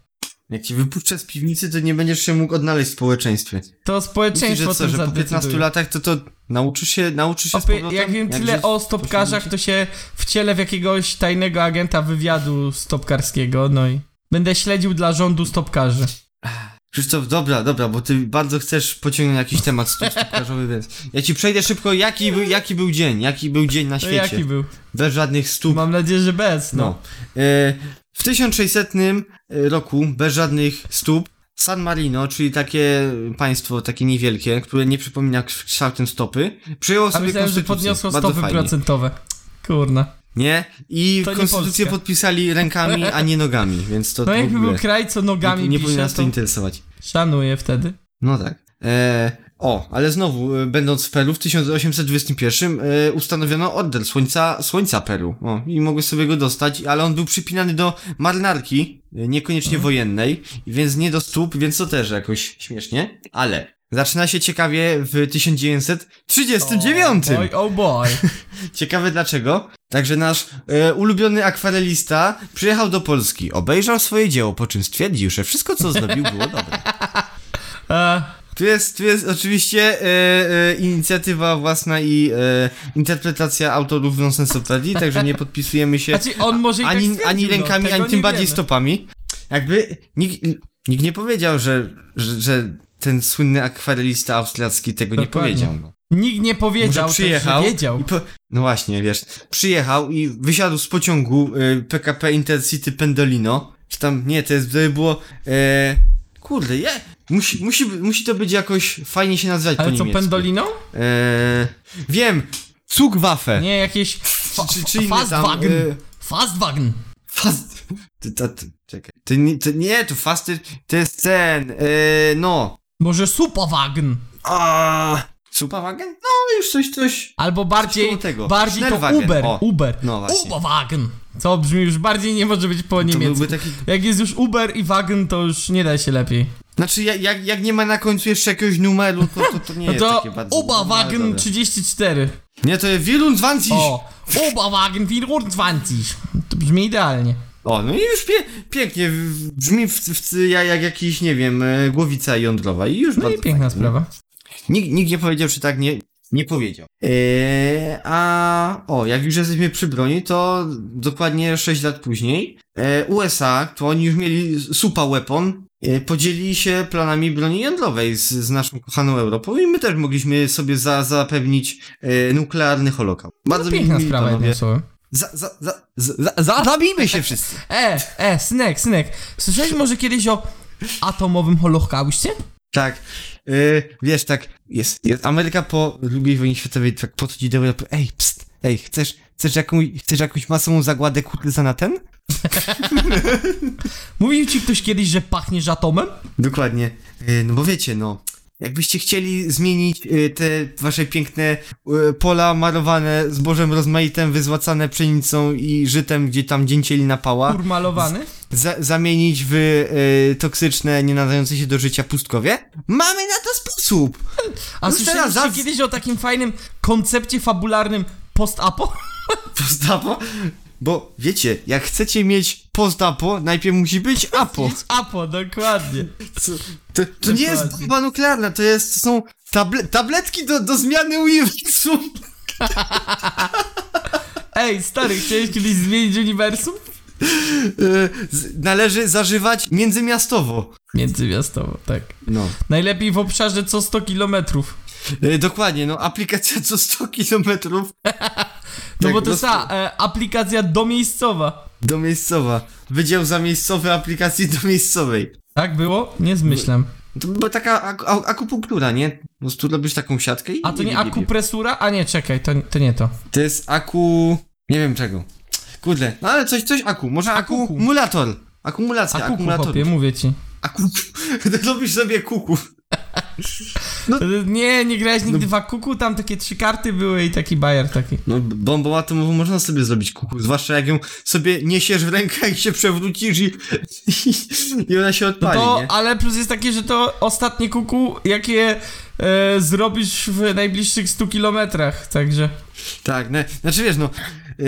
[SPEAKER 3] Jak cię wypuszczę z piwnicy, to nie będziesz się mógł odnaleźć w społeczeństwie.
[SPEAKER 2] To
[SPEAKER 3] Myślisz,
[SPEAKER 2] społeczeństwo
[SPEAKER 3] że co,
[SPEAKER 2] tym
[SPEAKER 3] że po 15
[SPEAKER 2] zadecyduje.
[SPEAKER 3] latach to to nauczysz się, nauczysz się z
[SPEAKER 2] Opie-
[SPEAKER 3] powrotem?
[SPEAKER 2] jak wiem
[SPEAKER 3] Jak
[SPEAKER 2] tyle
[SPEAKER 3] żyć-
[SPEAKER 2] o stopkarzach, to się wcielę w jakiegoś tajnego agenta wywiadu stopkarskiego, no i będę śledził dla rządu stopkarzy. No
[SPEAKER 3] Krzysztof, dobra, dobra, bo ty bardzo chcesz pociągnąć jakiś temat stu- stopkarzowy, więc ja ci przejdę szybko, jaki, był- jaki był dzień, jaki był dzień na
[SPEAKER 2] To
[SPEAKER 3] świecie.
[SPEAKER 2] jaki był?
[SPEAKER 3] Bez żadnych stóp,
[SPEAKER 2] Mam nadzieję, że bez, no.
[SPEAKER 3] No. E, w 1600 roku, bez żadnych stóp, San Marino, czyli takie państwo, takie niewielkie, które nie przypomina ks- kształtem stopy, przyjęło
[SPEAKER 2] A
[SPEAKER 3] sobie
[SPEAKER 2] myślałem, że
[SPEAKER 3] konstytucję.
[SPEAKER 2] podniosło
[SPEAKER 3] Bardzo
[SPEAKER 2] stopy
[SPEAKER 3] fajnie.
[SPEAKER 2] procentowe. Kurna.
[SPEAKER 3] Nie? I
[SPEAKER 2] To nie
[SPEAKER 3] konstytucję
[SPEAKER 2] Polska.
[SPEAKER 3] podpisali rękami, a nie nogami, więc to
[SPEAKER 2] No
[SPEAKER 3] w
[SPEAKER 2] jakby
[SPEAKER 3] ogóle
[SPEAKER 2] był kraj, co
[SPEAKER 3] nie,
[SPEAKER 2] nogami
[SPEAKER 3] nie powinno
[SPEAKER 2] pisze,
[SPEAKER 3] nas to
[SPEAKER 2] to
[SPEAKER 3] interesować.
[SPEAKER 2] szanuję wtedy.
[SPEAKER 3] No tak. E, o, ale znowu, e, będąc w Peru w 1821 e, ustanowiono oddel Słońca, Słońca Peru. O, I mogłeś sobie go dostać, ale on był przypinany do marynarki, e, niekoniecznie wojennej, więc nie do stóp, więc to też jakoś śmiesznie, ale Zaczyna się ciekawie w 1939.
[SPEAKER 2] Oj, oh boy.
[SPEAKER 3] Ciekawe dlaczego. Także nasz e, ulubiony akwarelista przyjechał do Polski, obejrzał swoje dzieło, po czym stwierdził, że wszystko co zrobił było dobre.
[SPEAKER 2] E,
[SPEAKER 3] Tu jest, tu jest oczywiście e, e, inicjatywa własna i e, interpretacja autorów nonsensopedii, także nie podpisujemy się
[SPEAKER 2] znaczy on może i tak
[SPEAKER 3] ani,
[SPEAKER 2] stwierdził,
[SPEAKER 3] ani
[SPEAKER 2] no,
[SPEAKER 3] rękami,
[SPEAKER 2] tego
[SPEAKER 3] ani
[SPEAKER 2] nie
[SPEAKER 3] tym bardziej
[SPEAKER 2] wiemy.
[SPEAKER 3] stopami. Jakby nikt, nikt nie powiedział, że, że, że ten słynny akwarelista austriacki tego
[SPEAKER 2] Dokładnie.
[SPEAKER 3] nie powiedział. No.
[SPEAKER 2] Nikt nie powiedział,
[SPEAKER 3] Może
[SPEAKER 2] też
[SPEAKER 3] przyjechał
[SPEAKER 2] nie wiedział.
[SPEAKER 3] I po... No właśnie, wiesz, przyjechał i wysiadł z pociągu y, PKP Intercity Pendolino, czy tam, nie, to jest, to było, e, kurde, je, musi, musi, musi to być jakoś fajnie się nazwać po
[SPEAKER 2] Ale co,
[SPEAKER 3] niemiecku.
[SPEAKER 2] pendolino?
[SPEAKER 3] E, wiem, Zugwaffe.
[SPEAKER 2] Nie, jakieś... Fa-
[SPEAKER 3] E. czy, czy inne tam,
[SPEAKER 2] Fastwagen.
[SPEAKER 3] e,
[SPEAKER 2] Fastwagen.
[SPEAKER 3] fast, to, to, to, czekaj, to, nie- to nie, to fasty, to jest ten, e, no,
[SPEAKER 2] Może superwagen.
[SPEAKER 3] a, Superwagen? No, już coś, coś,
[SPEAKER 2] Albo bardziej,
[SPEAKER 3] Coś koło tego.
[SPEAKER 2] bardziej to
[SPEAKER 3] Schnellwagen,
[SPEAKER 2] Uber,
[SPEAKER 3] o.
[SPEAKER 2] Uber,
[SPEAKER 3] No właśnie.
[SPEAKER 2] Uberwagen, co brzmi już bardziej nie może być po
[SPEAKER 3] to
[SPEAKER 2] niemiecku.
[SPEAKER 3] byłby taki
[SPEAKER 2] Jak jest już Uber i wagen, to już nie da się lepiej.
[SPEAKER 3] Znaczy, jak, jak, jak nie ma na końcu jeszcze jakiegoś numeru, to, to, to nie
[SPEAKER 2] No
[SPEAKER 3] jest
[SPEAKER 2] to
[SPEAKER 3] takie bardzo... no,
[SPEAKER 2] Uberwagen
[SPEAKER 3] dobra.
[SPEAKER 2] 34.
[SPEAKER 3] Nie, to jest Wirun 20! O.
[SPEAKER 2] O, Uberwagen 24. To brzmi idealnie.
[SPEAKER 3] no i już pie, pięknie, w- brzmi w, w, ja- jak jakiś, nie wiem, e, głowica jądrowa i już
[SPEAKER 2] No i
[SPEAKER 3] bardzo
[SPEAKER 2] piękna
[SPEAKER 3] fajnie.
[SPEAKER 2] sprawa.
[SPEAKER 3] Nikt, nikt nie powiedział, czy tak nie... Nie powiedział. Eee, a o, jak już jesteśmy przy broni, to dokładnie 6 lat później e, USA, to oni już mieli super weapon, e, podzielili się planami broni jądrowej z, z naszą kochaną Europą i my też mogliśmy sobie za, zapewnić e, nuklearny holokaust. Bardzo mi
[SPEAKER 2] No Piękna
[SPEAKER 3] miło,
[SPEAKER 2] sprawa
[SPEAKER 3] panowie.
[SPEAKER 2] jednym słowem.
[SPEAKER 3] Za, za, za, za, za, zabijmy się wszyscy.
[SPEAKER 2] E, e, synek, synek, słyszałeś może kiedyś o atomowym holokauście?
[SPEAKER 3] Tak, e, wiesz, tak, jest, jest Ameryka po II wojnie światowej tak podchodzi do Europy, ej, pst, ej, chcesz, chcesz, jakąś, chcesz jakąś masową zagładę kurtyza na ten?
[SPEAKER 2] Mówił ci ktoś kiedyś, że pachniesz atomem?
[SPEAKER 3] Dokładnie. E, No bo wiecie, no. Jakbyście chcieli zmienić e, te wasze piękne e, pola marowane zbożem rozmaitym, wyzłacane pszenicą i żytem, gdzie tam dzięcielina pała,
[SPEAKER 2] Urmalowany?
[SPEAKER 3] za zamienić w e, toksyczne, nie nadające się do życia pustkowie? Mamy na to sposób!
[SPEAKER 2] A
[SPEAKER 3] Już
[SPEAKER 2] słyszeliście
[SPEAKER 3] teraz zas-
[SPEAKER 2] kiedyś o takim fajnym koncepcie fabularnym post-apo?
[SPEAKER 3] Postapo? Bo wiecie, jak chcecie mieć postapo, najpierw musi być apo.
[SPEAKER 2] Jest apo, dokładnie.
[SPEAKER 3] To, to nie jest
[SPEAKER 2] Dokładnie.
[SPEAKER 3] bomba nuklearna, to jest, to są table tabletki do, do zmiany uniwersum.
[SPEAKER 2] Ej, stary, chciałeś kiedyś zmienić uniwersum?
[SPEAKER 3] Y, z- należy zażywać międzymiastowo.
[SPEAKER 2] Międzymiastowo, tak.
[SPEAKER 3] No.
[SPEAKER 2] Najlepiej w obszarze co 100 kilometrów.
[SPEAKER 3] Dokładnie, no aplikacja co 100 kilometrów
[SPEAKER 2] No
[SPEAKER 3] Tak,
[SPEAKER 2] bo to
[SPEAKER 3] no
[SPEAKER 2] jest ta e, aplikacja domiejscowa.
[SPEAKER 3] do miejscowa. Wydział zamiejscowy aplikacji do miejscowej.
[SPEAKER 2] Tak było? Nie zmyślam.
[SPEAKER 3] To była taka ak a- akupunktura, nie? Po prostu robisz taką siatkę i...
[SPEAKER 2] A to
[SPEAKER 3] i- i-
[SPEAKER 2] nie akupresura? A nie, czekaj, to, to nie to.
[SPEAKER 3] To jest aku... nie wiem czego. Kurde, no ale coś, coś aku, może
[SPEAKER 2] Akuku.
[SPEAKER 3] akumulator. Akumulacja,
[SPEAKER 2] A kuku,
[SPEAKER 3] akumulator.
[SPEAKER 2] chłopie, mówię ci.
[SPEAKER 3] Aku... Robisz sobie kuku.
[SPEAKER 2] Nie, nie grałeś nigdy w akuku, tam takie trzy karty były i taki bajer taki.
[SPEAKER 3] No, b- bombą atomową można sobie zrobić kuku, zwłaszcza jak ją sobie niesiesz w rękach i się przewrócisz i, i, i ona się
[SPEAKER 2] No
[SPEAKER 3] odpali,
[SPEAKER 2] to,
[SPEAKER 3] nie?
[SPEAKER 2] ale plus jest takie, że to ostatnie kuku, jakie e, zrobisz w najbliższych 100 kilometrach, także...
[SPEAKER 3] Tak, ne, znaczy wiesz, no, yy,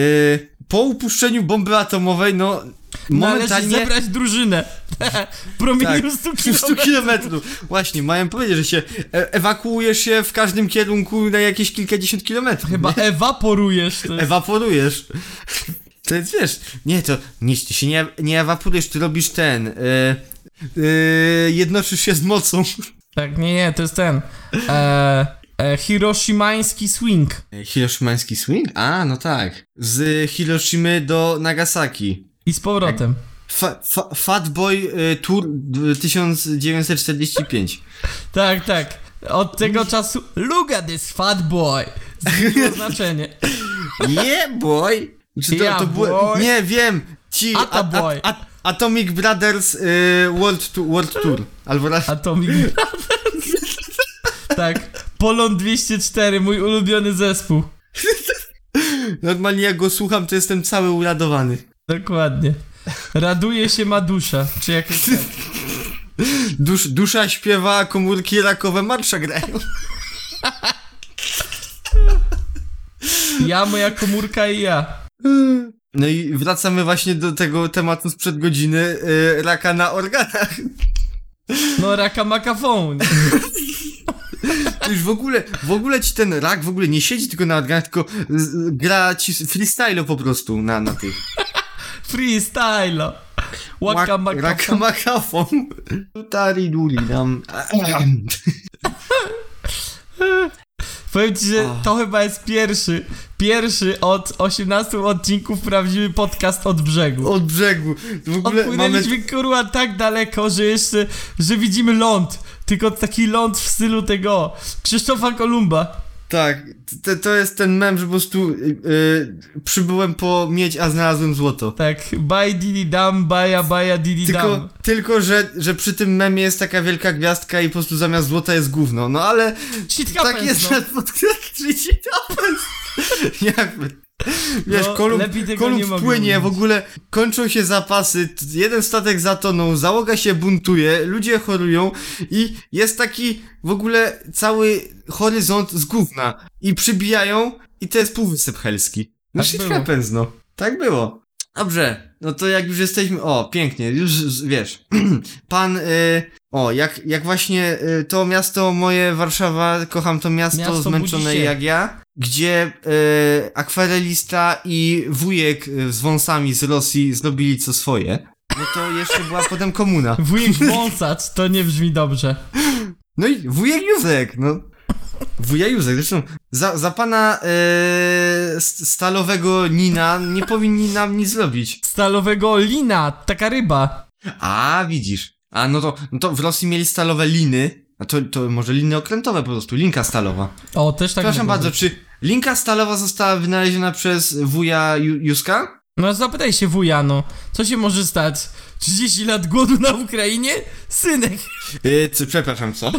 [SPEAKER 3] po upuszczeniu bomby atomowej, no,
[SPEAKER 2] Należy
[SPEAKER 3] momentalnie...
[SPEAKER 2] zebrać drużynę. Promieniu
[SPEAKER 3] Tak,
[SPEAKER 2] 100
[SPEAKER 3] przy 100
[SPEAKER 2] kilometrów.
[SPEAKER 3] kilometrów. Właśnie, miałem powiedzieć, że się e ewakuujesz się w każdym kierunku na jakieś kilkadziesiąt kilometrów.
[SPEAKER 2] Chyba ewaporujesz. To jest.
[SPEAKER 3] Ewaporujesz. To jest, wiesz, nie, to nie, ty się nie, nie ewaporujesz, ty robisz ten, e, e, jednoczysz się z mocą.
[SPEAKER 2] Tak, nie, nie, to jest ten. E, e, Hiroshimański swing.
[SPEAKER 3] Hiroshimański swing? A, no tak. Z Hiroshimy do Nagasaki.
[SPEAKER 2] I z powrotem.
[SPEAKER 3] Fa, fa, Fatboy y, Tour d- 1945.
[SPEAKER 2] Tak, tak. Od tego czasu. Look at this fat boy. Zmieniło znaczenie.
[SPEAKER 3] Yeah, boy! Czy to,
[SPEAKER 2] Yeah,
[SPEAKER 3] to było...
[SPEAKER 2] boy.
[SPEAKER 3] Nie, wiem! Ci...
[SPEAKER 2] Ata boy.
[SPEAKER 3] a, Atomic Brothers y, World, tu, World Tour. Albo raz...
[SPEAKER 2] Atomic Brothers. Tak. Polon 204, mój ulubiony zespół.
[SPEAKER 3] Normalnie jak go słucham, to jestem cały uradowany.
[SPEAKER 2] Dokładnie. Raduje się ma dusza. Czy jakoś tak.
[SPEAKER 3] Dusz, dusza śpiewa, a komórki rakowe marsza grają.
[SPEAKER 2] Ja, moja komórka i ja.
[SPEAKER 3] No i wracamy właśnie do tego tematu sprzed godziny y, raka na organach.
[SPEAKER 2] No, raka makafon.
[SPEAKER 3] To już w ogóle, w ogóle ci ten rak w ogóle nie siedzi tylko na organach, tylko z- gra ci freestyle po prostu na, na tych.
[SPEAKER 2] Freestyle. Łaka
[SPEAKER 3] Raka
[SPEAKER 2] makafon.
[SPEAKER 3] makafon. Tari duli nam.
[SPEAKER 2] Powiem ci, że
[SPEAKER 3] Och.
[SPEAKER 2] to chyba jest pierwszy, pierwszy od 18 odcinków prawdziwy podcast od brzegu.
[SPEAKER 3] Od brzegu. W ogóle mamy...
[SPEAKER 2] Odpłynęliśmy kurwa tak daleko, że jeszcze, że widzimy ląd. Tylko taki ląd w stylu tego Krzysztofa Kolumba.
[SPEAKER 3] Tak, to, to jest ten mem, że po prostu y, y, przybyłem po miedź, a znalazłem złoto.
[SPEAKER 2] Tak, baj didi dam, baja baja didi
[SPEAKER 3] Tylko,
[SPEAKER 2] dam.
[SPEAKER 3] tylko że, że przy tym memie jest taka wielka gwiazdka i po prostu zamiast złota jest gówno. No ale
[SPEAKER 2] Shit
[SPEAKER 3] tak jest
[SPEAKER 2] no.
[SPEAKER 3] na podkreślić Jakby. Wiesz,
[SPEAKER 2] No,
[SPEAKER 3] kolumn,
[SPEAKER 2] lepiej tego nie
[SPEAKER 3] kolumn
[SPEAKER 2] mogę
[SPEAKER 3] płynie, w
[SPEAKER 2] mówić.
[SPEAKER 3] ogóle kończą się zapasy, t- jeden statek zatonął, załoga się buntuje, ludzie chorują i jest taki w ogóle cały horyzont z gówna i przybijają i to jest półwysep helski. No
[SPEAKER 2] Tak
[SPEAKER 3] shit
[SPEAKER 2] było.
[SPEAKER 3] happens, no. Tak było. Dobrze, no to jak już jesteśmy, o, pięknie, już z- wiesz, pan, y, o, jak, jak właśnie y, to miasto moje, Warszawa, kocham to miasto,
[SPEAKER 2] Miasto
[SPEAKER 3] zmęczone
[SPEAKER 2] budzi się.
[SPEAKER 3] jak ja, gdzie y, akwarelista i wujek y, z wąsami z Rosji zrobili co swoje, no to jeszcze była potem komuna.
[SPEAKER 2] Wujek wąsacz, to nie brzmi dobrze.
[SPEAKER 3] No i wujek Józek, no. Wuja Józek, zresztą za, za pana y, s- stalowego Nina nie powinni nam nic zrobić.
[SPEAKER 2] Stalowego lina, taka ryba.
[SPEAKER 3] A, widzisz. A, no to, no to w Rosji mieli stalowe liny. A to, to może liny okrętowe po prostu, linka stalowa.
[SPEAKER 2] O, też tak
[SPEAKER 3] Przepraszam
[SPEAKER 2] mogło
[SPEAKER 3] bardzo,
[SPEAKER 2] być.
[SPEAKER 3] czy linka stalowa została wynaleziona przez wuja Ju- Józka?
[SPEAKER 2] No zapytaj się wuja, no. Co się może stać? 30 lat głodu na Ukrainie? Synek,
[SPEAKER 3] Yy, co, przepraszam, co?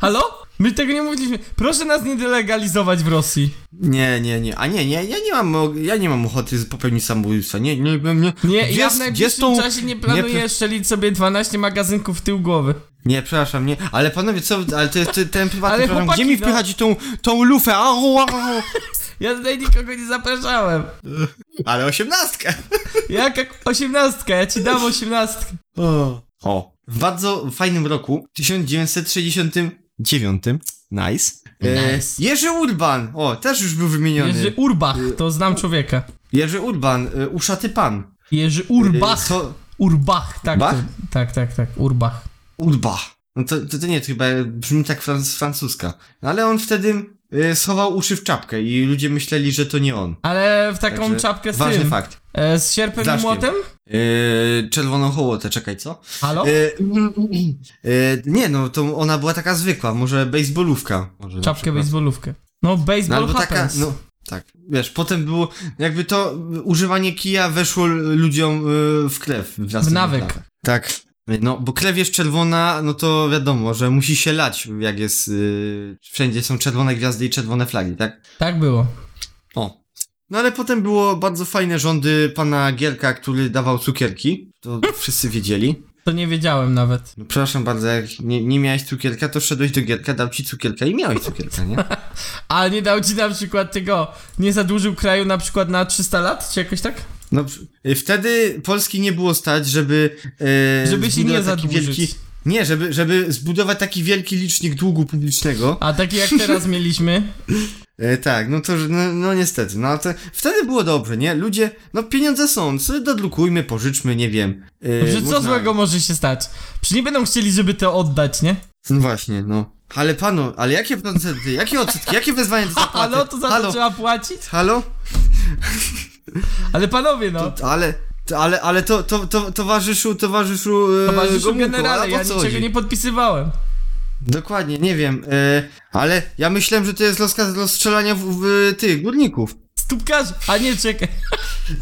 [SPEAKER 2] halo? My tego nie mówiliśmy. Proszę nas nie delegalizować w Rosji.
[SPEAKER 3] Nie, nie, nie. A nie, nie, ja nie mam, o- ja nie mam ochoty popełnić samobójstwa. Nie, nie, nie. nie.
[SPEAKER 2] Nie,
[SPEAKER 3] Gdzie
[SPEAKER 2] ja
[SPEAKER 3] z-
[SPEAKER 2] w
[SPEAKER 3] gdzie
[SPEAKER 2] najbliższym
[SPEAKER 3] z tą-
[SPEAKER 2] czasie nie planuję
[SPEAKER 3] nie-
[SPEAKER 2] szczelić sobie 12 magazynków w tył głowy.
[SPEAKER 3] Nie, przepraszam, nie. Ale panowie, co, ale to jest ten- ten prywatny
[SPEAKER 2] Ale
[SPEAKER 3] program. Gdzie
[SPEAKER 2] chłopaki,
[SPEAKER 3] mi
[SPEAKER 2] no.
[SPEAKER 3] wpychać tą, tą lufę? Au, au.
[SPEAKER 2] Ja tutaj nikogo nie zapraszałem.
[SPEAKER 3] Ale osiemnastkę.
[SPEAKER 2] Jaka osiemnastka? Ja ci dam osiemnastkę.
[SPEAKER 3] O. o. W bardzo fajnym roku, 1969, nice, e,
[SPEAKER 2] Nice.
[SPEAKER 3] Jerzy Urban, o, też już był wymieniony.
[SPEAKER 2] Jerzy
[SPEAKER 3] Jerzy,
[SPEAKER 2] Urbach, to znam człowieka.
[SPEAKER 3] Urban, e, uszaty pan.
[SPEAKER 2] Jerzy
[SPEAKER 3] E,
[SPEAKER 2] Urbach.
[SPEAKER 3] co-
[SPEAKER 2] Urbach, tak.
[SPEAKER 3] Bach?
[SPEAKER 2] To, tak, tak, tak. Urbach.
[SPEAKER 3] Urba. No to, to, to nie, to chyba brzmi tak franc, francuska. No ale on wtedy e, schował uszy w czapkę i ludzie myśleli, że to nie on.
[SPEAKER 2] Ale w taką
[SPEAKER 3] Także
[SPEAKER 2] czapkę z
[SPEAKER 3] Ważny
[SPEAKER 2] tym.
[SPEAKER 3] fakt.
[SPEAKER 2] E, z sierpem i
[SPEAKER 3] Daszkiem.
[SPEAKER 2] młotem?
[SPEAKER 3] E, czerwoną hołotę, czekaj, co?
[SPEAKER 2] Halo?
[SPEAKER 3] E, e, nie, no to ona była taka zwykła, może baseballówka. Może na
[SPEAKER 2] Czapkę
[SPEAKER 3] przykład.
[SPEAKER 2] baseballówkę. No,
[SPEAKER 3] No
[SPEAKER 2] baseball
[SPEAKER 3] albo taka,
[SPEAKER 2] happens.
[SPEAKER 3] no tak. Wiesz, potem było, jakby to y, używanie kija weszło l- ludziom y, w krew. W, następnych
[SPEAKER 2] nawyk.
[SPEAKER 3] latach. Tak. No, bo krew jest czerwona, no to wiadomo, że musi się lać, jak jest, y, wszędzie są czerwone gwiazdy i czerwone flagi, tak?
[SPEAKER 2] Tak było.
[SPEAKER 3] O. No ale potem było bardzo fajne rządy pana Gierka, który dawał cukierki, to wszyscy wiedzieli.
[SPEAKER 2] To nie wiedziałem nawet.
[SPEAKER 3] No, przepraszam bardzo, jak nie, nie miałeś cukierka, to wszedłeś do Gierka, dał ci cukierka i miałeś cukierka, nie?
[SPEAKER 2] Ale nie dał ci na przykład tego, nie zadłużył kraju na przykład na 300 lat, czy jakoś tak?
[SPEAKER 3] No, przy- y, wtedy Polski nie było stać, żeby. e,
[SPEAKER 2] Żeby się
[SPEAKER 3] zbudować
[SPEAKER 2] nie
[SPEAKER 3] taki
[SPEAKER 2] zadłużyć.
[SPEAKER 3] wielki, Nie, żeby, żeby zbudować taki wielki licznik długu publicznego.
[SPEAKER 2] A taki jak teraz mieliśmy.
[SPEAKER 3] E, tak, no to, że- no, no niestety. No, ale to, wtedy było dobrze, nie? Ludzie, no pieniądze są, sobie dodrukujmy, pożyczmy, nie wiem. E,
[SPEAKER 2] Że No co
[SPEAKER 3] można-
[SPEAKER 2] złego może się stać? Przecież nie będą chcieli, żeby to oddać, nie?
[SPEAKER 3] No właśnie, no. Ale panu, ale jakie procenty, jakie odsetki, jakie wezwania do zapłaty?
[SPEAKER 2] Halo, to za to
[SPEAKER 3] Halo?
[SPEAKER 2] trzeba płacić?
[SPEAKER 3] Halo?
[SPEAKER 2] Ale panowie, no.
[SPEAKER 3] Ale, to, ale, ale to, to, to, towarzyszu, towarzyszu, e,
[SPEAKER 2] Towarzyszu
[SPEAKER 3] Gomułko, ale o
[SPEAKER 2] generale, ja
[SPEAKER 3] co
[SPEAKER 2] niczego
[SPEAKER 3] chodzi?
[SPEAKER 2] nie podpisywałem.
[SPEAKER 3] Dokładnie, nie wiem, e, ale ja myślałem, że to jest loska do strzelania w, w tych górników.
[SPEAKER 2] Stópkarz, a nie, czekaj.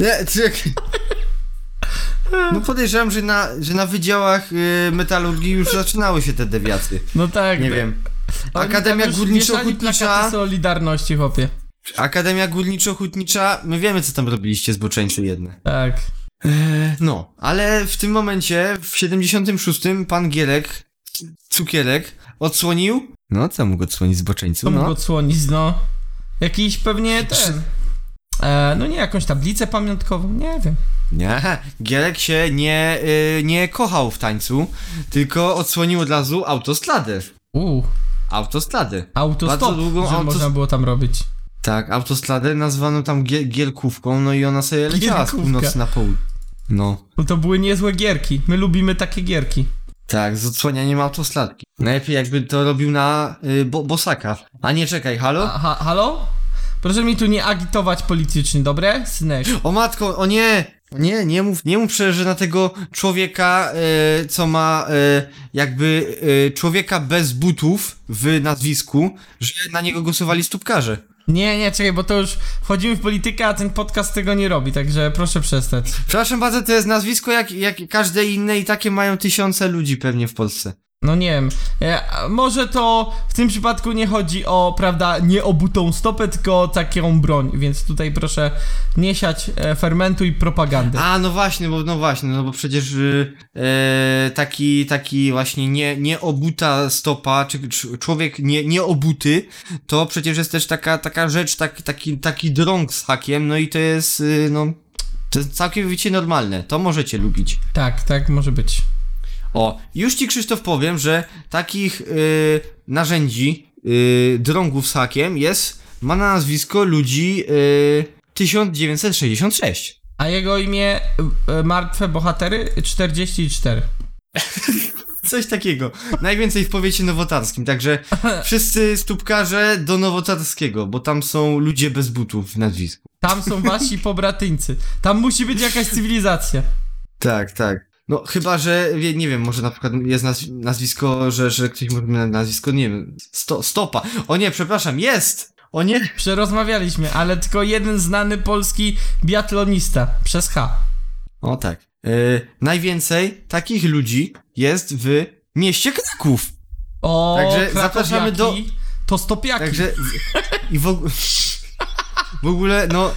[SPEAKER 3] Nie, czekaj. No podejrzewam, że na, że na wydziałach e, metalurgii już zaczynały się te dewiacje.
[SPEAKER 2] No tak.
[SPEAKER 3] Nie
[SPEAKER 2] no.
[SPEAKER 3] wiem.
[SPEAKER 2] Oni
[SPEAKER 3] Akademia
[SPEAKER 2] tam już wieszali plakaty
[SPEAKER 3] Górniczo-Hutnicza.
[SPEAKER 2] Solidarności, chłopie.
[SPEAKER 3] Akademia Górniczo-Hutnicza, my wiemy co tam robiliście zboczeńcy jedne.
[SPEAKER 2] Tak.
[SPEAKER 3] Eee, no, ale w tym momencie, w 76, pan Gielek, cukierek, odsłonił. No, co mógł odsłonić
[SPEAKER 2] Co
[SPEAKER 3] zboczeńcu?
[SPEAKER 2] mógł
[SPEAKER 3] No.
[SPEAKER 2] odsłonić, no? Jakiś pewnie ten... E, no nie, jakąś tablicę pamiątkową, nie wiem.
[SPEAKER 3] Nie, Gielek się nie, y, nie kochał w tańcu, tylko odsłonił od razu autostradę.
[SPEAKER 2] Uuu,
[SPEAKER 3] Autostrady.
[SPEAKER 2] autostop,
[SPEAKER 3] Bardzo długą
[SPEAKER 2] że
[SPEAKER 3] autos-
[SPEAKER 2] można było tam robić.
[SPEAKER 3] Tak, autostradę nazwano tam gie- Gielkówką, no i ona sobie leciała z
[SPEAKER 2] Gielkówka.
[SPEAKER 3] północy na południe. No.
[SPEAKER 2] Bo to były niezłe gierki, my lubimy takie gierki.
[SPEAKER 3] Tak, z odsłanianiem autosladki. Najlepiej jakby to robił na y, bo, Bosaka. A nie czekaj, halo?
[SPEAKER 2] Aha, halo? Proszę mi tu nie agitować politycznie, dobre? Synek.
[SPEAKER 3] O matko, o nie! O nie, nie mów, nie mów przecież że na tego człowieka, y, co ma y, jakby y, człowieka bez butów w nazwisku, że na niego głosowali stópkarze.
[SPEAKER 2] Nie, nie, czekaj, bo to już wchodzimy w politykę, a ten podcast tego nie robi, także proszę przestać.
[SPEAKER 3] Przepraszam bardzo, to jest nazwisko jak, jak każde inne i takie mają tysiące ludzi pewnie w Polsce.
[SPEAKER 2] No nie wiem. E, a może to w tym przypadku nie chodzi o, prawda, nie obutą stopę, tylko o taką broń, więc tutaj proszę nie siać e, fermentu i propagandy.
[SPEAKER 3] A, no właśnie, bo, no właśnie, no bo przecież y, e, taki, taki właśnie nie, nieobuta stopa, czy, czy człowiek nie, nieobuty, to przecież jest też taka, taka rzecz, tak, taki, taki drąg z hakiem, no i to jest, y, no, to jest całkowicie normalne, to możecie lubić.
[SPEAKER 2] Tak, tak może być.
[SPEAKER 3] O, już ci Krzysztof powiem, że takich y, narzędzi, y, drągów z hakiem jest, ma na nazwisko ludzi y, 1966.
[SPEAKER 2] A jego imię e, Martwe Bohatery 44.
[SPEAKER 3] Coś takiego. Najwięcej w powiecie nowotarskim, także wszyscy stópkarze do nowotarskiego, bo tam są ludzie bez butów w nazwisku.
[SPEAKER 2] Tam są wasi pobratyńcy. Tam musi być jakaś cywilizacja.
[SPEAKER 3] Tak, tak. No chyba, że wie- nie wiem, może na przykład jest naz- nazwisko, że, że ktoś może mieć nazwisko, nie wiem, sto- stopa. O nie, przepraszam, jest! O nie!
[SPEAKER 2] Przerozmawialiśmy, ale tylko jeden znany polski biatlonista przez H.
[SPEAKER 3] O tak. E, najwięcej takich ludzi jest w mieście Kraków.
[SPEAKER 2] O,
[SPEAKER 3] Także
[SPEAKER 2] krakowiaki,
[SPEAKER 3] zapraszamy do-
[SPEAKER 2] To stopiaki.
[SPEAKER 3] Także i w, og- w ogóle, no,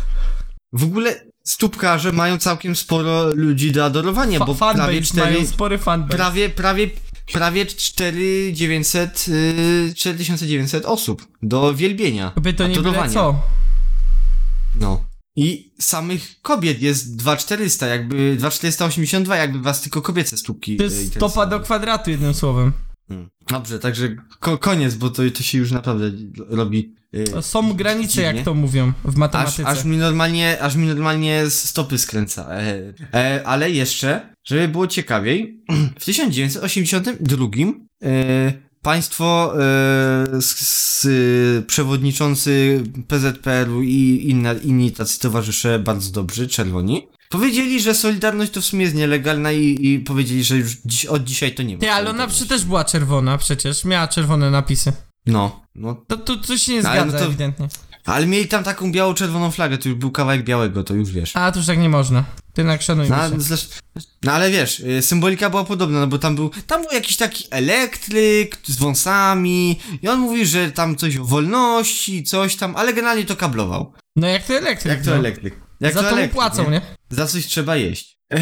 [SPEAKER 3] w ogóle stópkarze mają całkiem sporo ludzi do adorowania,
[SPEAKER 2] Fa-
[SPEAKER 3] bo prawie
[SPEAKER 2] fanbase mają
[SPEAKER 3] 4,
[SPEAKER 2] spory fanbase.
[SPEAKER 3] prawie, prawie, prawie 4900, y, 4900 osób do wielbienia,
[SPEAKER 2] By to nie byle
[SPEAKER 3] adorowania.
[SPEAKER 2] co.
[SPEAKER 3] No. I samych kobiet jest 2400, jakby 2482, jakby was tylko kobiece stópki.
[SPEAKER 2] To
[SPEAKER 3] y,
[SPEAKER 2] jest
[SPEAKER 3] interesują.
[SPEAKER 2] stopa do kwadratu, jednym słowem.
[SPEAKER 3] Mm. Dobrze, także ko- koniec, bo to, to się już naprawdę robi. y,
[SPEAKER 2] Są granice, jak
[SPEAKER 3] dziwnie.
[SPEAKER 2] to mówią w
[SPEAKER 3] Aż,
[SPEAKER 2] matematyce.
[SPEAKER 3] aż mi normalnie, aż mi normalnie z stopy skręca. E, e, ale jeszcze, żeby było ciekawiej, w 1982 e, państwo e, s- s- przewodniczący PZPR-u i inna, inni tacy towarzysze bardzo dobrzy, czerwoni, powiedzieli, że Solidarność to w sumie jest nielegalna i, i powiedzieli, że już dziś, od dzisiaj to nie ma.
[SPEAKER 2] Ty, ale ona przy też była czerwona przecież, miała czerwone napisy.
[SPEAKER 3] No, no.
[SPEAKER 2] To, to, to się nie
[SPEAKER 3] No, ale
[SPEAKER 2] zgadza
[SPEAKER 3] no to-
[SPEAKER 2] ewidentnie.
[SPEAKER 3] Ale mieli tam taką biało-czerwoną flagę, to już był kawałek białego, to już wiesz.
[SPEAKER 2] A, to już tak nie można. Ty jednak szanujmy
[SPEAKER 3] No,
[SPEAKER 2] się.
[SPEAKER 3] zresz- no ale wiesz, y, symbolika była podobna, no bo tam był, tam był jakiś taki elektryk z wąsami i on mówi, że tam coś o wolności, coś tam, ale generalnie to kablował.
[SPEAKER 2] No jak to elektryk.
[SPEAKER 3] Jak to
[SPEAKER 2] no.
[SPEAKER 3] elektryk. Jak
[SPEAKER 2] Za to mu
[SPEAKER 3] elektryk,
[SPEAKER 2] płacą, nie?
[SPEAKER 3] Za coś trzeba jeść. Eee,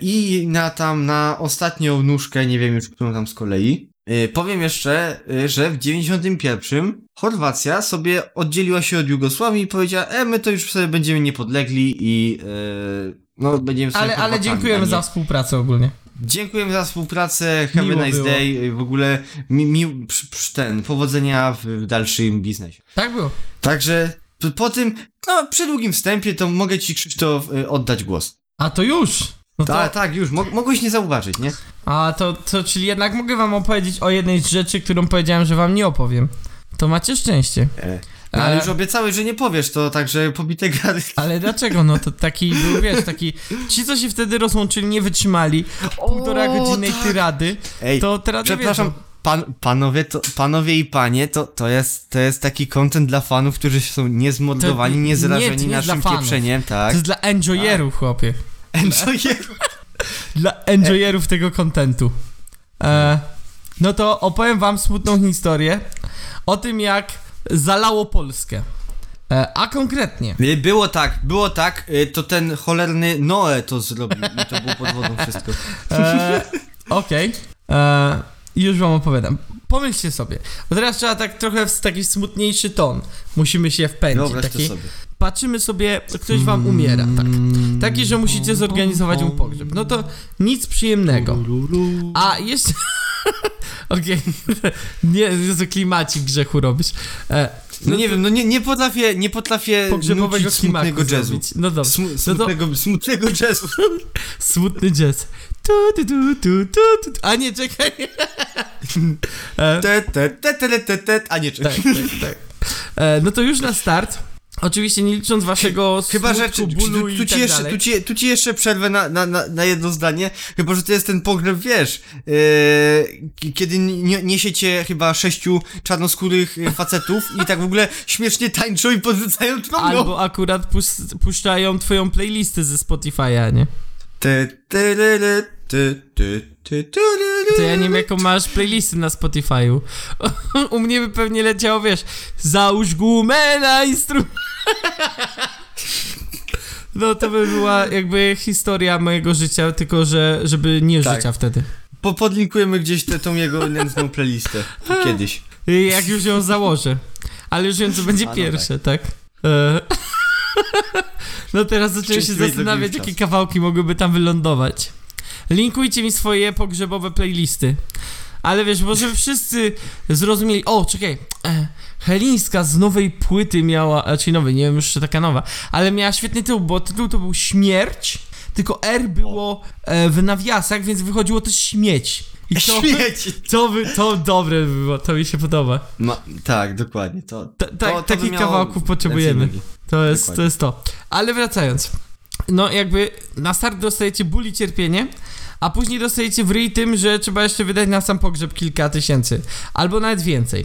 [SPEAKER 3] I na tam, na ostatnią nóżkę, nie wiem już którą tam z kolei, y, powiem jeszcze, y, że w 91 Chorwacja sobie oddzieliła się od Jugosławii i powiedziała, e, my to już sobie będziemy niepodlegli i... y, no, będziemy sobie
[SPEAKER 2] Ale, ale
[SPEAKER 3] Chorwatami, a
[SPEAKER 2] dziękujemy
[SPEAKER 3] nie-
[SPEAKER 2] za współpracę ogólnie.
[SPEAKER 3] Dziękujemy za współpracę, have
[SPEAKER 2] Miło
[SPEAKER 3] a nice
[SPEAKER 2] było.
[SPEAKER 3] day, w ogóle mi, mi, przy, przy ten, powodzenia w, w dalszym biznesie.
[SPEAKER 2] Tak było.
[SPEAKER 3] Także p- po tym, no przy długim wstępie to mogę ci Krzysztof y, oddać głos.
[SPEAKER 2] A to już! No to,
[SPEAKER 3] Tak, tak, już, mo- mogłeś nie zauważyć, nie?
[SPEAKER 2] a to, to, czyli jednak mogę wam opowiedzieć o jednej z rzeczy, którą powiedziałem, że wam nie opowiem. To macie szczęście.
[SPEAKER 3] No, ale
[SPEAKER 2] E.
[SPEAKER 3] już obiecałeś, że nie powiesz to, także pobite gady.
[SPEAKER 2] Ale dlaczego? No to taki był, wiesz, taki... Ci, co się wtedy rozłączyli, nie wytrzymali półtora godzinnej
[SPEAKER 3] tak.
[SPEAKER 2] tyrady,
[SPEAKER 3] Ej,
[SPEAKER 2] to teraz
[SPEAKER 3] przepraszam,
[SPEAKER 2] nie wiedzą.
[SPEAKER 3] pan, panowie, to, panowie i panie, to, to, jest, to jest taki content dla fanów, którzy są niezmordowani,
[SPEAKER 2] To- nie,
[SPEAKER 3] niezrażeni
[SPEAKER 2] to nie dla
[SPEAKER 3] naszym
[SPEAKER 2] fanów.
[SPEAKER 3] pieprzeniem,
[SPEAKER 2] To
[SPEAKER 3] tak? No
[SPEAKER 2] jest dla enjoyerów, chłopie.
[SPEAKER 3] Enjoy-
[SPEAKER 2] Dla enjoyerów tego kontentu. E, no to opowiem wam smutną historię o tym, jak zalało Polskę. E, a konkretnie.
[SPEAKER 3] Y, Było tak, było tak, y, to ten cholerny Noe to zrobił i to było pod wodą wszystko.
[SPEAKER 2] E, Okej. E, Już wam opowiadam. Pomyślcie sobie, bo teraz trzeba tak trochę w taki smutniejszy ton. Musimy się wpędzić.
[SPEAKER 3] Wyobraź to
[SPEAKER 2] Taki,
[SPEAKER 3] sobie.
[SPEAKER 2] patrzymy sobie, ktoś wam umiera, tak. Taki, że musicie zorganizować mu pogrzeb. No to nic przyjemnego. A jeszcze. Okej. Nie, Jezu, klimacik grzechu robisz. E,
[SPEAKER 3] No nie wiem, no nie, nie potrafię, nie potrafię
[SPEAKER 2] pogrzebowego
[SPEAKER 3] nucić smutnego
[SPEAKER 2] klimaku
[SPEAKER 3] jazzu.
[SPEAKER 2] zrobić. No dobrze.
[SPEAKER 3] Smu, smutnego, smutnego jazzu.
[SPEAKER 2] Smutny jazz. Tu, tu, tu, tu, tu, tu. A nie, czekaj. E,
[SPEAKER 3] Te, te, te, te, te, te, a nie
[SPEAKER 2] tak,
[SPEAKER 3] czekaj.
[SPEAKER 2] tak, tak. E, no to już na start. Oczywiście nie licząc waszego
[SPEAKER 3] Chyba, że
[SPEAKER 2] smutku,
[SPEAKER 3] czy, czy,
[SPEAKER 2] bólu
[SPEAKER 3] tu, tu,
[SPEAKER 2] i
[SPEAKER 3] ci
[SPEAKER 2] tak
[SPEAKER 3] jeszcze,
[SPEAKER 2] dalej.
[SPEAKER 3] tu, ci, tu ci jeszcze przerwę na, na, na, na jedno zdanie, chyba, że to jest ten pogrzeb, wiesz, yy, k- kiedy nie, niesiecie chyba sześciu czarnoskórych yy, facetów i tak w ogóle śmiesznie tańczą i podrzucają trąbą.
[SPEAKER 2] Albo akurat pus- puszczają twoją playlistę ze Spotify'a, nie?
[SPEAKER 3] Te, te, le, le, te, te, te, te, le, le.
[SPEAKER 2] To ja nie wiem, jaką masz playlistę na Spotify'u. U mnie by pewnie leciało, wiesz, załóż gumę na instrument. No to by była jakby historia mojego życia, tylko że, żeby nie
[SPEAKER 3] Tak.
[SPEAKER 2] życia wtedy.
[SPEAKER 3] Po, podlinkujemy gdzieś tę tą jego nędzną playlistę kiedyś.
[SPEAKER 2] I Y, Jak już ją założę. Ale już wiem, co będzie
[SPEAKER 3] A, no
[SPEAKER 2] pierwsze, tak? E. No teraz zacząłem się
[SPEAKER 3] Szczęśliwie zrobił
[SPEAKER 2] zastanawiać,
[SPEAKER 3] czas.
[SPEAKER 2] jakie kawałki mogłyby tam wylądować. Linkujcie mi swoje pogrzebowe playlisty. Ale wiesz, może wszyscy zrozumieli. O, czekaj. E, Helińska z nowej płyty miała, znaczy nowej, nie wiem już czy taka nowa, ale miała świetny tytuł, bo tytuł to był Śmierć, tylko R było e, w nawiasach, więc wychodziło też śmieć. I to,
[SPEAKER 3] Śmieci!
[SPEAKER 2] to, by, to dobre by było, to mi się podoba.
[SPEAKER 3] Ma, tak, dokładnie, to...
[SPEAKER 2] Ta, ta,
[SPEAKER 3] to, to by
[SPEAKER 2] takich
[SPEAKER 3] miało
[SPEAKER 2] kawałków
[SPEAKER 3] ręce i
[SPEAKER 2] potrzebujemy.
[SPEAKER 3] nogi.
[SPEAKER 2] To jest, to
[SPEAKER 3] Dokładnie.
[SPEAKER 2] jest to. Ale wracając. No jakby na start dostajecie ból i cierpienie, a później dostajecie w ryj tym, że trzeba jeszcze wydać na sam pogrzeb kilka tysięcy. Albo nawet więcej.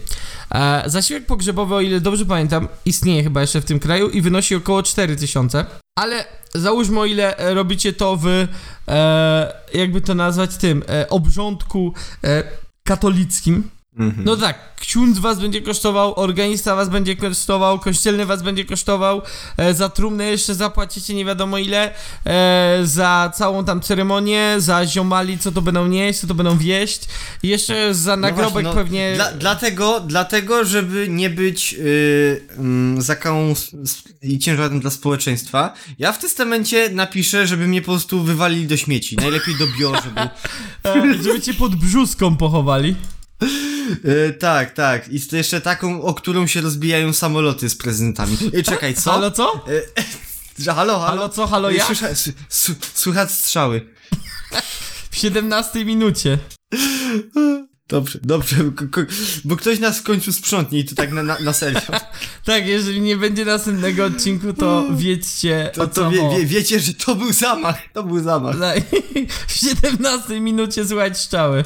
[SPEAKER 2] E, zasiłek pogrzebowy, o ile dobrze pamiętam, istnieje chyba jeszcze w tym kraju i wynosi około 4000. Ale załóżmy, o ile e, robicie to w, e, jakby to nazwać tym, e, obrządku e, katolickim,
[SPEAKER 3] Mhm.
[SPEAKER 2] no tak, ksiądz was będzie kosztował, organista was będzie kosztował, kościelny was będzie kosztował, e, za trumnę jeszcze zapłacicie nie wiadomo ile, e, za całą tam ceremonię, za ziomali, co to będą nieść, co to będą wieść, i jeszcze za nagrobek
[SPEAKER 3] właśnie, no,
[SPEAKER 2] Tak, pewnie...
[SPEAKER 3] Dla, dlatego, dlatego, żeby nie być yy, mm, zakałą s- s- i ciężarem dla społeczeństwa, ja w testamencie napiszę, żeby mnie po prostu wywalili do śmieci. Najlepiej do bio, żeby...
[SPEAKER 2] E, żeby cię pod brzuską pochowali.
[SPEAKER 3] Yy, tak, tak. I to jeszcze taką, o którą się rozbijają samoloty z prezentami. Yy, czekaj, co? Y,
[SPEAKER 2] Halo co?
[SPEAKER 3] Że halo, halo.
[SPEAKER 2] Halo co, halo
[SPEAKER 3] Yy,
[SPEAKER 2] ja?
[SPEAKER 3] słysza, s- s- słychać strzały.
[SPEAKER 2] W 17 minucie.
[SPEAKER 3] Dobrze, dobrze, ko- ko- bo ktoś nas w końcu sprzątnie i to tak na, na, na serio.
[SPEAKER 2] Tak, jeżeli nie będzie następnego odcinku, to wiedzcie
[SPEAKER 3] Mm. To,
[SPEAKER 2] o co
[SPEAKER 3] to wie,
[SPEAKER 2] mowa.
[SPEAKER 3] wie, wiecie, że to był zamach, to był zamach.
[SPEAKER 2] Za- W 17 minucie słychać strzały.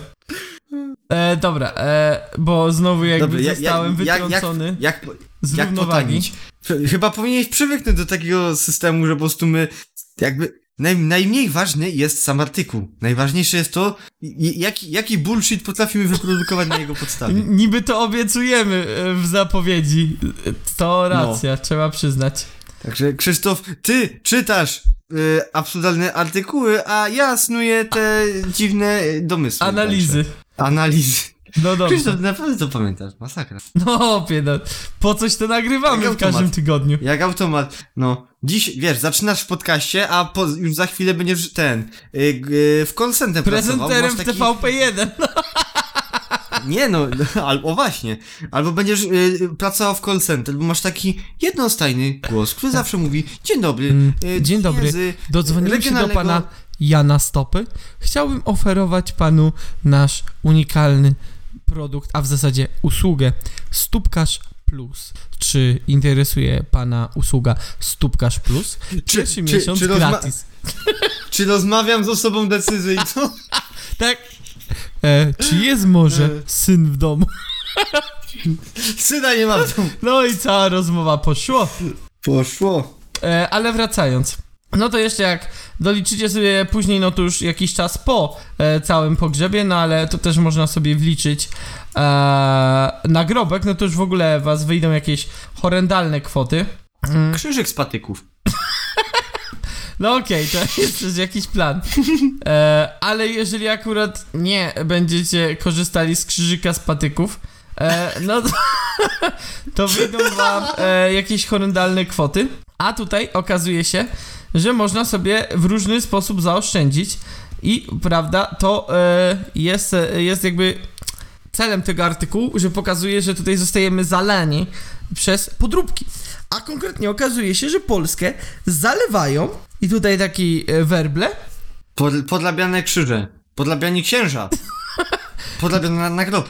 [SPEAKER 2] E, dobra, e, bo znowu jakby
[SPEAKER 3] Dobra, ja- ja-
[SPEAKER 2] zostałem
[SPEAKER 3] jak-
[SPEAKER 2] wytrącony
[SPEAKER 3] Jak, jak,
[SPEAKER 2] z
[SPEAKER 3] jak
[SPEAKER 2] równowagi.
[SPEAKER 3] potanić? Ch- Chyba powinieneś przywyknąć do takiego systemu, że po prostu my jakby naj, najmniej ważny jest sam artykuł. Najważniejsze jest to, i- i- jaki, jaki bullshit potrafimy wyprodukować na jego podstawie.
[SPEAKER 2] N- Niby to obiecujemy e, w zapowiedzi. E, To racja,
[SPEAKER 3] No.
[SPEAKER 2] trzeba przyznać.
[SPEAKER 3] Także Krzysztof, ty czytasz y, absurdalne artykuły, a ja snuję te dziwne y, domysły.
[SPEAKER 2] Analizy.
[SPEAKER 3] Także. Analizy.
[SPEAKER 2] No dobrze.
[SPEAKER 3] Krzysztof, naprawdę to pamiętasz, masakra.
[SPEAKER 2] No, opie, no. Po coś to nagrywamy
[SPEAKER 3] Jak
[SPEAKER 2] w każdym
[SPEAKER 3] automat.
[SPEAKER 2] tygodniu.
[SPEAKER 3] Jak automat. No, dziś, wiesz, zaczynasz w podcaście, a po, już za chwilę będziesz ten, y, g- w call center pracował.
[SPEAKER 2] Prezenterem
[SPEAKER 3] masz
[SPEAKER 2] w
[SPEAKER 3] taki-
[SPEAKER 2] TVP1.
[SPEAKER 3] Nie no, albo właśnie. Albo będziesz y, pracował w call center, bo masz taki jednostajny głos, który zawsze mówi, dzień dobry.
[SPEAKER 2] Mm,
[SPEAKER 3] y,
[SPEAKER 2] dzień dobry.
[SPEAKER 3] Z,
[SPEAKER 2] Dodzwoniłem się do
[SPEAKER 3] regionalnego-
[SPEAKER 2] pana Jana Stopy. Chciałbym oferować panu nasz unikalny produkt, a w zasadzie usługę Stópkarz Plus. Czy interesuje pana usługa Stópkarz Plus? Pierwszy miesiąc
[SPEAKER 3] czy, rozma-
[SPEAKER 2] gratis.
[SPEAKER 3] czy rozmawiam z osobą decyzyjną?
[SPEAKER 2] Tak. E, czy jest może
[SPEAKER 3] E.
[SPEAKER 2] syn w domu?
[SPEAKER 3] Syna nie ma w domu.
[SPEAKER 2] No i cała rozmowa poszła.
[SPEAKER 3] Poszło.
[SPEAKER 2] E, ale wracając. No to jeszcze jak doliczycie sobie później, no to już jakiś czas po e, całym pogrzebie, no ale to też można sobie wliczyć e, nagrobek, no to już w ogóle was wyjdą jakieś horrendalne kwoty.
[SPEAKER 3] Krzyżyk z patyków.
[SPEAKER 2] No okej, to jest też jakiś plan. E, ale jeżeli akurat nie będziecie korzystali z krzyżyka z patyków, e, no to, to wyjdą wam e, jakieś horrendalne kwoty. A tutaj okazuje się, że można sobie w różny sposób zaoszczędzić i prawda, to e, jest, e, jest jakby celem tego artykułu, że pokazuje, że tutaj zostajemy zalani przez podróbki. A konkretnie okazuje się, że Polskę zalewają, i tutaj taki e, werble,
[SPEAKER 3] Pod, podlabiane krzyże. Podlabiani księża. Podlabiane na, na grob.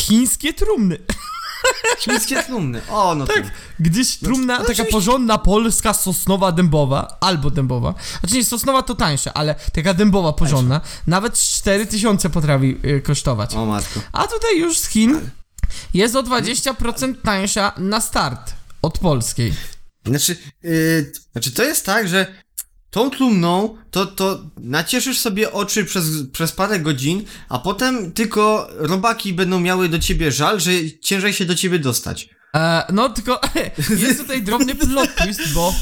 [SPEAKER 2] chińskie trumny.
[SPEAKER 3] Chińskie trumny. O, no tak.
[SPEAKER 2] Gdyż trumna,
[SPEAKER 3] no
[SPEAKER 2] Znaczy, taka
[SPEAKER 3] oczywiście.
[SPEAKER 2] porządna polska sosnowa dębowa, albo dębowa, znaczy nie, sosnowa to tańsze, ale taka dębowa porządna, nawet 4000 potrafi e, kosztować.
[SPEAKER 3] O matko.
[SPEAKER 2] A tutaj już z Chin jest o 20% tańsza na start od polskiej.
[SPEAKER 3] Znaczy, yy, znaczy to jest tak, że tą trumną to, to nacieszysz sobie oczy przez, przez parę godzin, a potem tylko robaki będą miały do ciebie żal, że ciężej się do ciebie dostać.
[SPEAKER 2] E, no tylko jest tutaj drobny plot twist, bo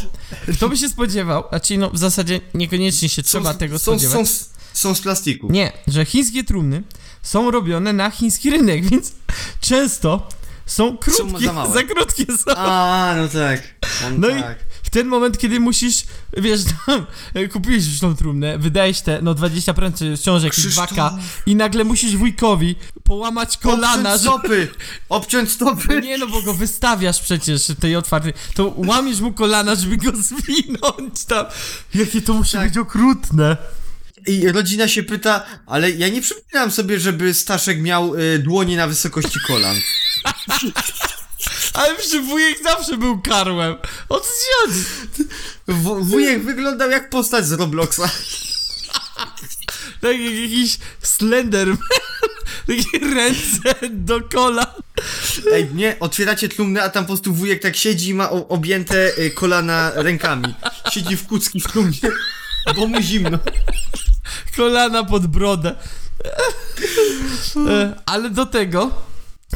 [SPEAKER 2] kto by się spodziewał, znaczy no w zasadzie niekoniecznie się trzeba
[SPEAKER 3] z-
[SPEAKER 2] tego
[SPEAKER 3] są,
[SPEAKER 2] spodziewać.
[SPEAKER 3] są, z- są z plastiku.
[SPEAKER 2] Nie, że chińskie trumny są robione na chiński rynek, więc często są krótkie,
[SPEAKER 3] za
[SPEAKER 2] za,
[SPEAKER 3] małe.
[SPEAKER 2] krótkie są.
[SPEAKER 3] A, no tak.
[SPEAKER 2] No
[SPEAKER 3] No
[SPEAKER 2] i-
[SPEAKER 3] tak.
[SPEAKER 2] W ten moment, kiedy musisz, wiesz, tam, e, kupiłeś już tą trumnę, wydajesz te, no 20% wciąż jakiś
[SPEAKER 3] Krzysztof.
[SPEAKER 2] waka i nagle musisz wujkowi połamać kolana,
[SPEAKER 3] Obciąć
[SPEAKER 2] że...
[SPEAKER 3] stopy! Obciąć stopy!
[SPEAKER 2] Nie no, bo go wystawiasz przecież w tej otwartej, to łamiesz mu kolana, żeby go zwinąć tam. Jakie to musi
[SPEAKER 3] Tak.
[SPEAKER 2] być okrutne.
[SPEAKER 3] I rodzina się pyta, ale ja nie przypominam sobie, żeby Staszek miał y, dłonie na wysokości kolan.
[SPEAKER 2] Ale przy wujek zawsze był karłem. O co ci chodzi?
[SPEAKER 3] W, wujek wyglądał jak postać z Robloxa.
[SPEAKER 2] Tak jak jakiś Slenderman. Takie ręce do kola.
[SPEAKER 3] Ej, nie, otwieracie trumnę, a tam po prostu wujek tak siedzi i ma o, objęte y, kolana rękami. Siedzi w kucki w trumnie, bo mu zimno.
[SPEAKER 2] Kolana pod brodę. E, Ale do tego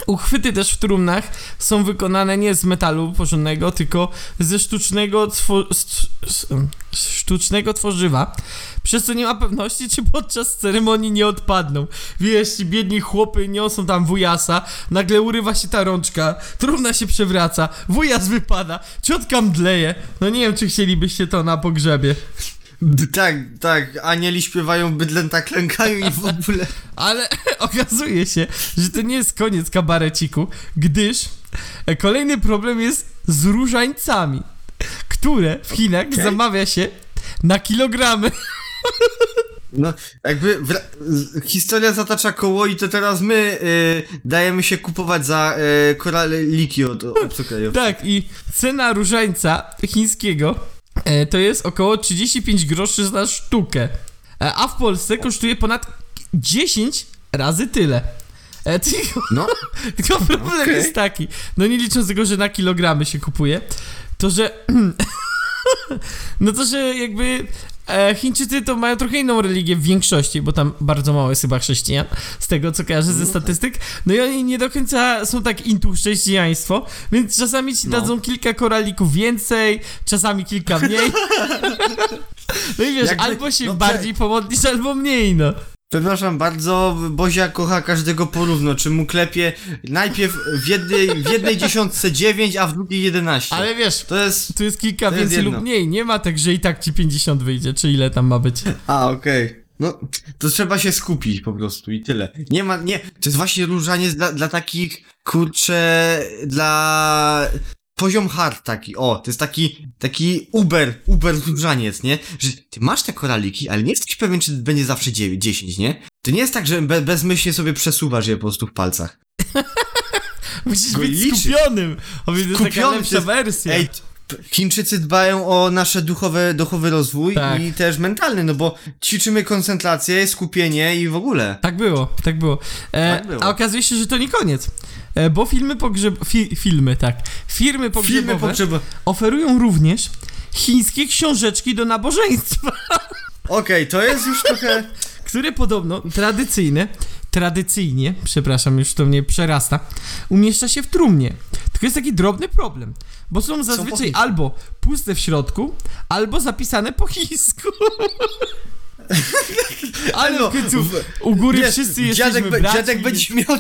[SPEAKER 2] uchwyty też w trumnach są wykonane nie z metalu porządnego, tylko ze sztucznego, two- st- s- sztucznego tworzywa. Przez co nie ma pewności, czy podczas ceremonii nie odpadną. Wiesz, ci biedni chłopy niosą tam wujasa, nagle urywa się ta rączka, trumna się przewraca, wujas wypada, ciotka mdleje. No nie wiem, czy chcielibyście to na pogrzebie.
[SPEAKER 3] D- tak, tak, anieli śpiewają, bydlęta klękają i w ogóle...
[SPEAKER 2] Ale okazuje się, że to nie jest koniec kabareciku, gdyż kolejny problem jest z różańcami, które w Chinach zamawia się na kilogramy.
[SPEAKER 3] No, jakby wra- z- historia zatacza koło i to teraz my y, dajemy się kupować za y, koraliki od od obcokrajowców.
[SPEAKER 2] Tak, i cena różańca chińskiego e, to jest około 35 groszy za sztukę, E, a w Polsce kosztuje ponad 10 razy tyle. E, Tylko
[SPEAKER 3] No,
[SPEAKER 2] Tylko problem
[SPEAKER 3] Okej.
[SPEAKER 2] jest taki, no nie licząc tego, że na kilogramy się kupuje, to że... no to, że jakby e, Chińczycy to mają trochę inną religię w większości, bo tam bardzo mało jest chyba chrześcijan, z tego co kojarzę
[SPEAKER 3] tak.
[SPEAKER 2] ze statystyk. No i oni nie do końca są tak intu chrześcijaństwo, więc czasami ci
[SPEAKER 3] No.
[SPEAKER 2] dadzą kilka koralików więcej, czasami kilka mniej. No i wiesz,
[SPEAKER 3] Jakby-
[SPEAKER 2] albo się
[SPEAKER 3] no tak.
[SPEAKER 2] bardziej pomodlisz, albo mniej, no.
[SPEAKER 3] przepraszam bardzo, Bozia kocha każdego porówno, czy mu klepie najpierw w jednej, w jednej dziesiątce dziewięć, a w drugiej 11.
[SPEAKER 2] Ale wiesz,
[SPEAKER 3] To jest...
[SPEAKER 2] Tu jest kilka
[SPEAKER 3] To jest
[SPEAKER 2] więcej
[SPEAKER 3] jedno.
[SPEAKER 2] lub mniej, nie ma tak, że i tak ci 50 wyjdzie, czy ile tam ma być.
[SPEAKER 3] A, okej. No, to trzeba się skupić po prostu i tyle. Nie ma, nie, to jest właśnie różaniec dla, dla takich, kurczę, dla... Poziom hard taki, o, to jest taki, taki uber, uber różaniec, nie? Że ty masz te koraliki, ale nie jesteś pewien, czy będzie zawsze 9, 10, nie? To nie jest tak, że be, bezmyślnie sobie przesuwasz je po prostu w palcach.
[SPEAKER 2] Musisz
[SPEAKER 3] Go
[SPEAKER 2] być
[SPEAKER 3] liczy.
[SPEAKER 2] skupionym. O, więc to jest taka
[SPEAKER 3] Skupiony to
[SPEAKER 2] lepsza
[SPEAKER 3] jest-
[SPEAKER 2] wersja.
[SPEAKER 3] Ej, p- Chińczycy dbają o nasze duchowe, duchowy rozwój
[SPEAKER 2] Tak.
[SPEAKER 3] i też mentalny, no bo ćwiczymy koncentrację, skupienie i w ogóle.
[SPEAKER 2] Tak było, tak było. E,
[SPEAKER 3] Tak było.
[SPEAKER 2] A okazuje się, że to nie koniec. E, bo filmy pogrzeb... Fi, filmy, tak. Firmy pogrzebowe
[SPEAKER 3] Filmy potrzeba.
[SPEAKER 2] oferują również chińskie książeczki do nabożeństwa,
[SPEAKER 3] Okej, to jest już trochę.
[SPEAKER 2] które podobno tradycyjne, tradycyjnie, przepraszam, już to mnie przerasta, umieszcza się w trumnie. Tylko jest taki drobny problem, bo są zazwyczaj
[SPEAKER 3] chińsku.
[SPEAKER 2] albo puste w środku, albo zapisane po chińsku. Ale
[SPEAKER 3] Albo
[SPEAKER 2] w końcu
[SPEAKER 3] No, w-
[SPEAKER 2] u góry
[SPEAKER 3] Wiesz,
[SPEAKER 2] wszyscy jesteśmy
[SPEAKER 3] dziadek, be-
[SPEAKER 2] braci,
[SPEAKER 3] dziadek będzie miał...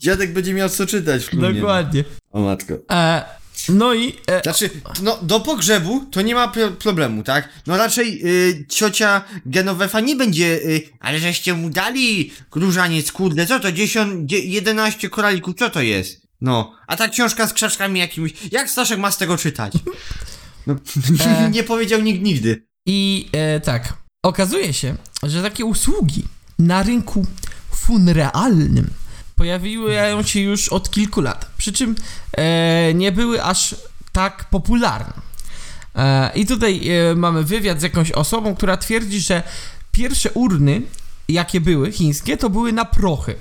[SPEAKER 3] Dziadek będzie miał co czytać w klubie.
[SPEAKER 2] Dokładnie.
[SPEAKER 3] O matko.
[SPEAKER 2] E, no i... E,
[SPEAKER 3] Znaczy, no, do pogrzebu to nie ma pro- problemu, tak? No raczej y, ciocia Genovefa nie będzie, y, ale żeście mu dali różaniec, kurde, co to, 10, dzie- 11 koralików, co to jest? No, a ta książka z krzaczkami jakimiś, jak Staszek ma z tego czytać? No,
[SPEAKER 2] E.
[SPEAKER 3] nie powiedział nikt nigdy.
[SPEAKER 2] I e, tak, okazuje się, że takie usługi na rynku funrealnym pojawiły się już od kilku lat, przy czym e, nie były aż tak popularne. E, I tutaj e, mamy wywiad z jakąś osobą, która twierdzi, że pierwsze urny, jakie były chińskie, to były na prochy.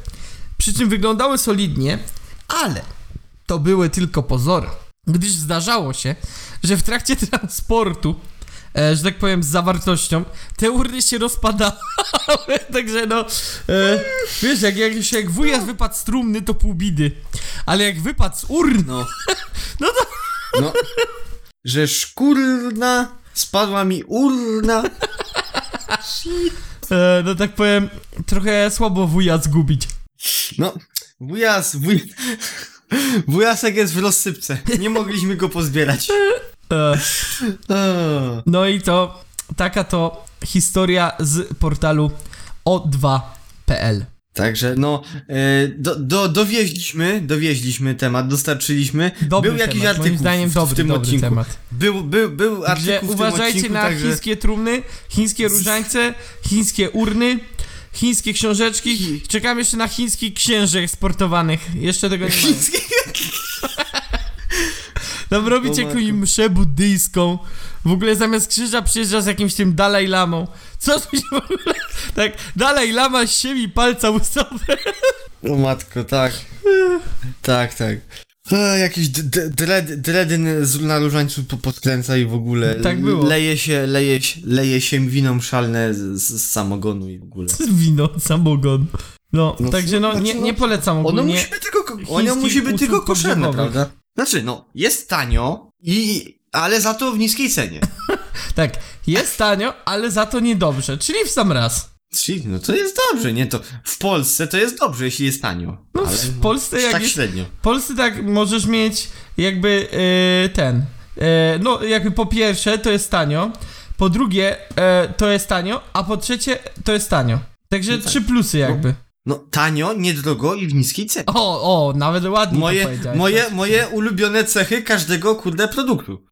[SPEAKER 2] Przy czym wyglądały solidnie, ale to były tylko pozory, gdyż zdarzało się, że w trakcie transportu e, że tak powiem, z zawartością, te urny się rozpadały, także no, e, wiesz, jak, jak, się- jak wujas wypadł z trumny, to pół bidy, ale jak wypadł z urn,
[SPEAKER 3] No.
[SPEAKER 2] No
[SPEAKER 3] No. Że szkurna spadła mi urna.
[SPEAKER 2] e, no tak powiem, trochę słabo wuja zgubić.
[SPEAKER 3] No, wujas, wuj... wujasek jest w rozsypce. Nie mogliśmy go pozbierać.
[SPEAKER 2] E,
[SPEAKER 3] Eee.
[SPEAKER 2] no i to, taka to historia z portalu o2.pl.
[SPEAKER 3] Także no, e, do, do, dowieźliśmy, dowieźliśmy temat, dostarczyliśmy.
[SPEAKER 2] Dobry
[SPEAKER 3] był
[SPEAKER 2] temat,
[SPEAKER 3] jakiś artykuł
[SPEAKER 2] moim zdaniem
[SPEAKER 3] w,
[SPEAKER 2] dobry,
[SPEAKER 3] w tym
[SPEAKER 2] dobry
[SPEAKER 3] odcinku.
[SPEAKER 2] temat.
[SPEAKER 3] Był, był, był
[SPEAKER 2] Także
[SPEAKER 3] artykuł w tym
[SPEAKER 2] uważajcie
[SPEAKER 3] odcinku,
[SPEAKER 2] na
[SPEAKER 3] także...
[SPEAKER 2] chińskie trumny, chińskie różańce, chińskie urny, chińskie książeczki. Czekam jeszcze na chińskich księżek sportowanych. Jeszcze tego nie mamy.
[SPEAKER 3] Chińskie-
[SPEAKER 2] Tam robicie
[SPEAKER 3] O matko.
[SPEAKER 2] jakąś mszę buddyjską. W ogóle zamiast krzyża przyjeżdża z jakimś tym Dalaj Lamą. Co tu się w ogóle... Tak, Dalaj Lama siemi palca ustawę.
[SPEAKER 3] O matko, tak. tak, tak. E, jakieś d- d- dredy, dredy z- na różańcu po- podkręca i w ogóle.
[SPEAKER 2] Tak było.
[SPEAKER 3] Leje się, leje się, leje się winą szalne z, z samogonu i w ogóle.
[SPEAKER 2] Wino, samogon. No,
[SPEAKER 3] No,
[SPEAKER 2] także no,
[SPEAKER 3] znaczy,
[SPEAKER 2] nie,
[SPEAKER 3] no,
[SPEAKER 2] nie polecam
[SPEAKER 3] Ono
[SPEAKER 2] ogólnie.
[SPEAKER 3] musi być tylko, ko- ono
[SPEAKER 2] chińskich
[SPEAKER 3] musi być tylko
[SPEAKER 2] usług
[SPEAKER 3] koszerne,
[SPEAKER 2] pogrzebowych.
[SPEAKER 3] prawda? Znaczy, no, jest tanio, i, ale za to w niskiej cenie.
[SPEAKER 2] Tak, jest tanio, ale za to niedobrze, czyli w sam raz.
[SPEAKER 3] Czyli, no to jest dobrze, nie? To w Polsce to jest dobrze, jeśli jest tanio.
[SPEAKER 2] No,
[SPEAKER 3] ale,
[SPEAKER 2] w Polsce jak
[SPEAKER 3] Tak
[SPEAKER 2] jest-
[SPEAKER 3] średnio.
[SPEAKER 2] Polscy tak możesz mieć jakby e, ten. e, no, jakby po pierwsze to jest tanio, po drugie e, to jest tanio, a po trzecie to jest tanio. Także
[SPEAKER 3] No tak.
[SPEAKER 2] trzy plusy jakby.
[SPEAKER 3] No, tanio, niedrogo i w niskiej cenie.
[SPEAKER 2] O, o, nawet ładnie No to
[SPEAKER 3] Moje,
[SPEAKER 2] powiedziałeś. tak.
[SPEAKER 3] moje, moje ulubione cechy każdego, kurde, produktu.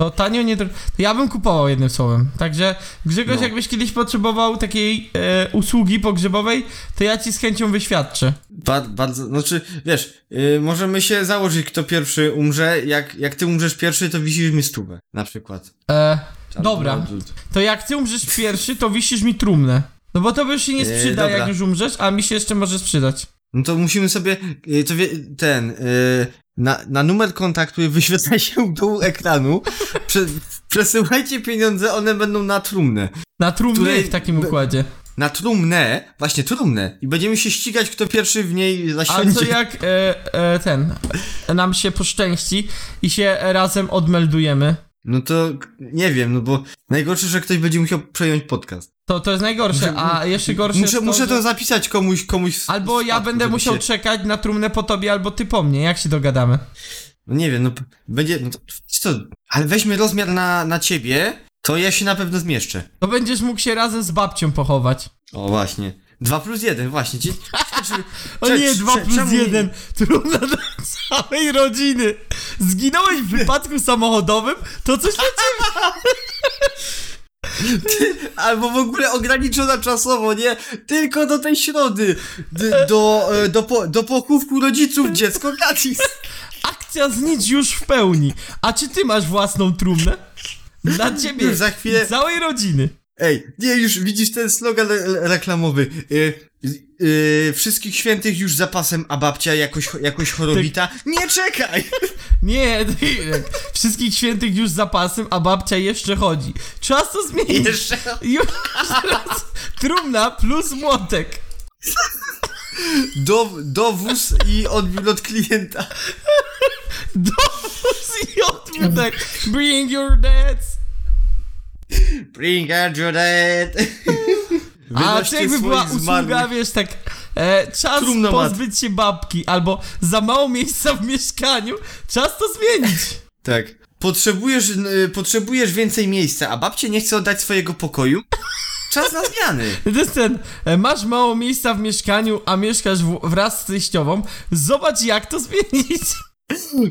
[SPEAKER 2] No tanio nie... dro- To ja bym kupował jednym słowem. Także Grzegorz,
[SPEAKER 3] No.
[SPEAKER 2] jakbyś kiedyś potrzebował takiej e, usługi pogrzebowej, to ja ci z chęcią wyświadczę.
[SPEAKER 3] Ba bardzo, znaczy, wiesz, yy, możemy się założyć, kto pierwszy umrze. Jak, jak ty umrzesz pierwszy, to wisisz mi stówę, na przykład. no,
[SPEAKER 2] E,
[SPEAKER 3] Albo-
[SPEAKER 2] Dobra. to jak ty umrzesz pierwszy, to wisisz mi trumnę. No bo to by już się nie
[SPEAKER 3] E,
[SPEAKER 2] sprzyda,
[SPEAKER 3] dobra.
[SPEAKER 2] jak już umrzesz, a mi się jeszcze może sprzydać.
[SPEAKER 3] No to musimy sobie, y, to wie, ten, y, na, na numer kontaktu wyświetla się u dołu ekranu, Prze, przesyłajcie pieniądze, one będą na trumnę.
[SPEAKER 2] Na trumny
[SPEAKER 3] Której-
[SPEAKER 2] w takim układzie.
[SPEAKER 3] Na trumnę, właśnie trumnę i będziemy się ścigać, kto pierwszy w niej
[SPEAKER 2] A
[SPEAKER 3] zasiądzie.
[SPEAKER 2] co jak e, e, ten nam się poszczęści i się razem odmeldujemy?
[SPEAKER 3] No to, k- nie wiem, no bo najgorsze, że ktoś będzie musiał przejąć podcast.
[SPEAKER 2] To, to jest najgorsze, a jeszcze gorsze
[SPEAKER 3] Muszę,
[SPEAKER 2] jest
[SPEAKER 3] muszę
[SPEAKER 2] to,
[SPEAKER 3] to
[SPEAKER 2] że...
[SPEAKER 3] zapisać komuś, komuś w-
[SPEAKER 2] Albo
[SPEAKER 3] w
[SPEAKER 2] ja
[SPEAKER 3] spadku,
[SPEAKER 2] będę
[SPEAKER 3] żeby
[SPEAKER 2] musiał
[SPEAKER 3] się-
[SPEAKER 2] czekać na trumnę po tobie albo ty po mnie, jak się dogadamy?
[SPEAKER 3] No nie wiem, no p- będzie, no to, co, ale weźmy rozmiar na, na ciebie, to ja się na pewno zmieszczę.
[SPEAKER 2] To będziesz mógł się razem z babcią pochować.
[SPEAKER 3] O właśnie. 2 plus 1, właśnie. Dzie- Czy-
[SPEAKER 2] O
[SPEAKER 3] czy-
[SPEAKER 2] nie,
[SPEAKER 3] czy-
[SPEAKER 2] 2 plus
[SPEAKER 3] czemu nie-
[SPEAKER 2] 1, trumna dla całej rodziny. Zginąłeś w wypadku samochodowym, to coś na ciebie.
[SPEAKER 3] Albo w ogóle ograniczona czasowo, nie? Tylko do tej środy. D- do, e, do, po, do pochówku rodziców dziecko gratis.
[SPEAKER 2] Akcja znicz już w pełni. A czy ty masz własną trumnę? Dla ciebie,
[SPEAKER 3] Już za chwilę-
[SPEAKER 2] i całej rodziny.
[SPEAKER 3] Ej, nie, już widzisz ten slogan re- re- reklamowy. E, e, wszystkich świętych już zapasem, a babcia jakoś, jakoś chorobita.
[SPEAKER 2] Tak.
[SPEAKER 3] Nie czekaj!
[SPEAKER 2] Nie, tak, wszystkich świętych już zapasem, a babcia jeszcze chodzi. Czas to zmienić.
[SPEAKER 3] Jeszcze.
[SPEAKER 2] Już raz. Trumna plus młotek.
[SPEAKER 3] Do, dowóz i odbiór od klienta.
[SPEAKER 2] do i odbił tak Bring your dead!
[SPEAKER 3] Bring out your dead!
[SPEAKER 2] A
[SPEAKER 3] Wynoście
[SPEAKER 2] czy jakby była
[SPEAKER 3] swoich
[SPEAKER 2] usługa,
[SPEAKER 3] zmarłych.
[SPEAKER 2] wiesz, tak e, czas
[SPEAKER 3] Trumnomat.
[SPEAKER 2] pozbyć się babki albo za mało miejsca w mieszkaniu, czas to zmienić.
[SPEAKER 3] Tak. Potrzebujesz, y, potrzebujesz więcej miejsca, a babcie nie chce oddać swojego pokoju? Czas na zmiany!
[SPEAKER 2] To jest ten, e, masz mało miejsca w mieszkaniu, a mieszkasz w, wraz z teściową, zobacz jak to zmienić.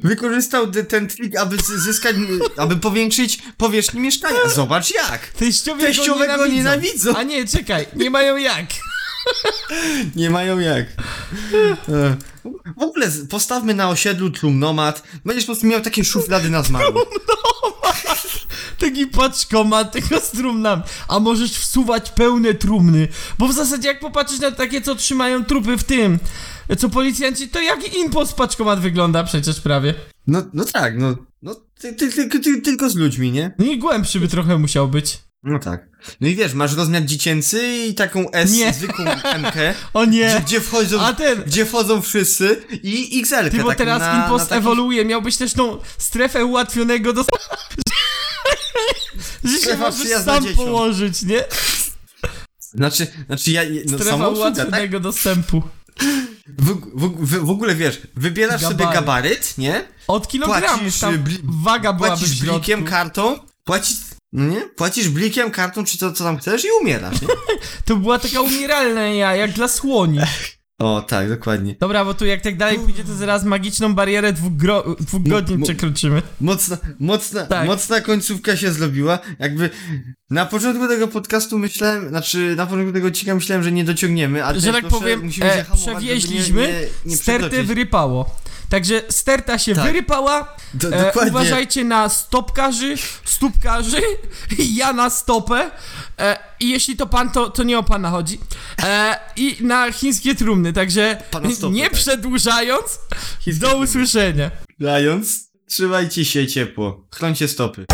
[SPEAKER 3] Wykorzystał de- ten trik, aby z- zyskać, y, aby powiększyć powierzchnię mieszkania. Zobacz jak!
[SPEAKER 2] Teściowie
[SPEAKER 3] Teściowe
[SPEAKER 2] go
[SPEAKER 3] go nienawidzą.
[SPEAKER 2] A nie, czekaj, nie mają jak.
[SPEAKER 3] Nie mają jak. E, W ogóle z- postawmy na osiedlu trumnomat. Będziesz po prostu miał takie szuflady na zmarłych.
[SPEAKER 2] Taki paczkomat, tylko z trumnami. A możesz wsuwać pełne trumny, bo w zasadzie jak popatrzysz na takie, co trzymają trupy w tym, co policjanci, to jak impost paczkomat wygląda przecież prawie.
[SPEAKER 3] No, no tak, no. no ty, ty, ty, ty, tylko z ludźmi, nie?
[SPEAKER 2] No i głębszy by trochę musiał być.
[SPEAKER 3] No tak. No i wiesz, masz rozmiar dziecięcy i taką S,
[SPEAKER 2] Nie.
[SPEAKER 3] zwykłą MK,
[SPEAKER 2] O
[SPEAKER 3] gdzie,
[SPEAKER 2] nie!
[SPEAKER 3] gdzie, wchodzą,
[SPEAKER 2] A ten-
[SPEAKER 3] gdzie wchodzą wszyscy i XL.
[SPEAKER 2] Ty, bo
[SPEAKER 3] tak,
[SPEAKER 2] teraz
[SPEAKER 3] na,
[SPEAKER 2] impost
[SPEAKER 3] na taki...
[SPEAKER 2] ewoluuje, miałbyś też tą strefę ułatwionego do... że się
[SPEAKER 3] Strefa
[SPEAKER 2] możesz
[SPEAKER 3] przyjazna
[SPEAKER 2] sam
[SPEAKER 3] dzieciom.
[SPEAKER 2] położyć, nie?
[SPEAKER 3] Znaczy, znaczy ja, no
[SPEAKER 2] Strefa
[SPEAKER 3] sama usługa, tak?
[SPEAKER 2] ułatwionego dostępu.
[SPEAKER 3] W, w, w, w ogóle wiesz, wybierasz sobie
[SPEAKER 2] Gabaryt.
[SPEAKER 3] gabaryt, nie?
[SPEAKER 2] Od kilogramów
[SPEAKER 3] Płacisz, y,
[SPEAKER 2] tam
[SPEAKER 3] bli-
[SPEAKER 2] waga byłaby w
[SPEAKER 3] Płacisz
[SPEAKER 2] środku.
[SPEAKER 3] blikiem, kartą, płacisz, no nie? Płacisz blikiem, kartą, czy to, co tam chcesz i umierasz, nie?
[SPEAKER 2] To była taka umieralna ja, jak dla słoni.
[SPEAKER 3] O, tak, dokładnie.
[SPEAKER 2] Dobra, bo tu jak tak dalej pójdzie, to zaraz magiczną barierę dwóch, gro... dwóch godzin
[SPEAKER 3] mo-
[SPEAKER 2] przekroczymy.
[SPEAKER 3] Mocna, mocna,
[SPEAKER 2] Tak.
[SPEAKER 3] mocna końcówka się zrobiła. Jakby na początku tego podcastu myślałem, znaczy na początku tego odcinka myślałem, że nie dociągniemy, ale
[SPEAKER 2] Że
[SPEAKER 3] teraz
[SPEAKER 2] tak
[SPEAKER 3] muszę-
[SPEAKER 2] powiem,
[SPEAKER 3] musimy się
[SPEAKER 2] e,
[SPEAKER 3] hamować,
[SPEAKER 2] przewieźliśmy,
[SPEAKER 3] żeby nie, nie, nie
[SPEAKER 2] stertę
[SPEAKER 3] przekroczyć.
[SPEAKER 2] wyrypało. Także sterta się
[SPEAKER 3] Tak.
[SPEAKER 2] wyrypała,
[SPEAKER 3] Do,
[SPEAKER 2] E,
[SPEAKER 3] dokładnie.
[SPEAKER 2] uważajcie na stopkarzy, stópkarzy, ja na stopę. E, I jeśli to pan, to, to nie o pana chodzi. E, I na chińskie trumny, także
[SPEAKER 3] Pana stopy,
[SPEAKER 2] nie
[SPEAKER 3] tak.
[SPEAKER 2] przedłużając,
[SPEAKER 3] Chińskie
[SPEAKER 2] do usłyszenia.
[SPEAKER 3] Dając, trzymajcie się ciepło, chroncie stopy.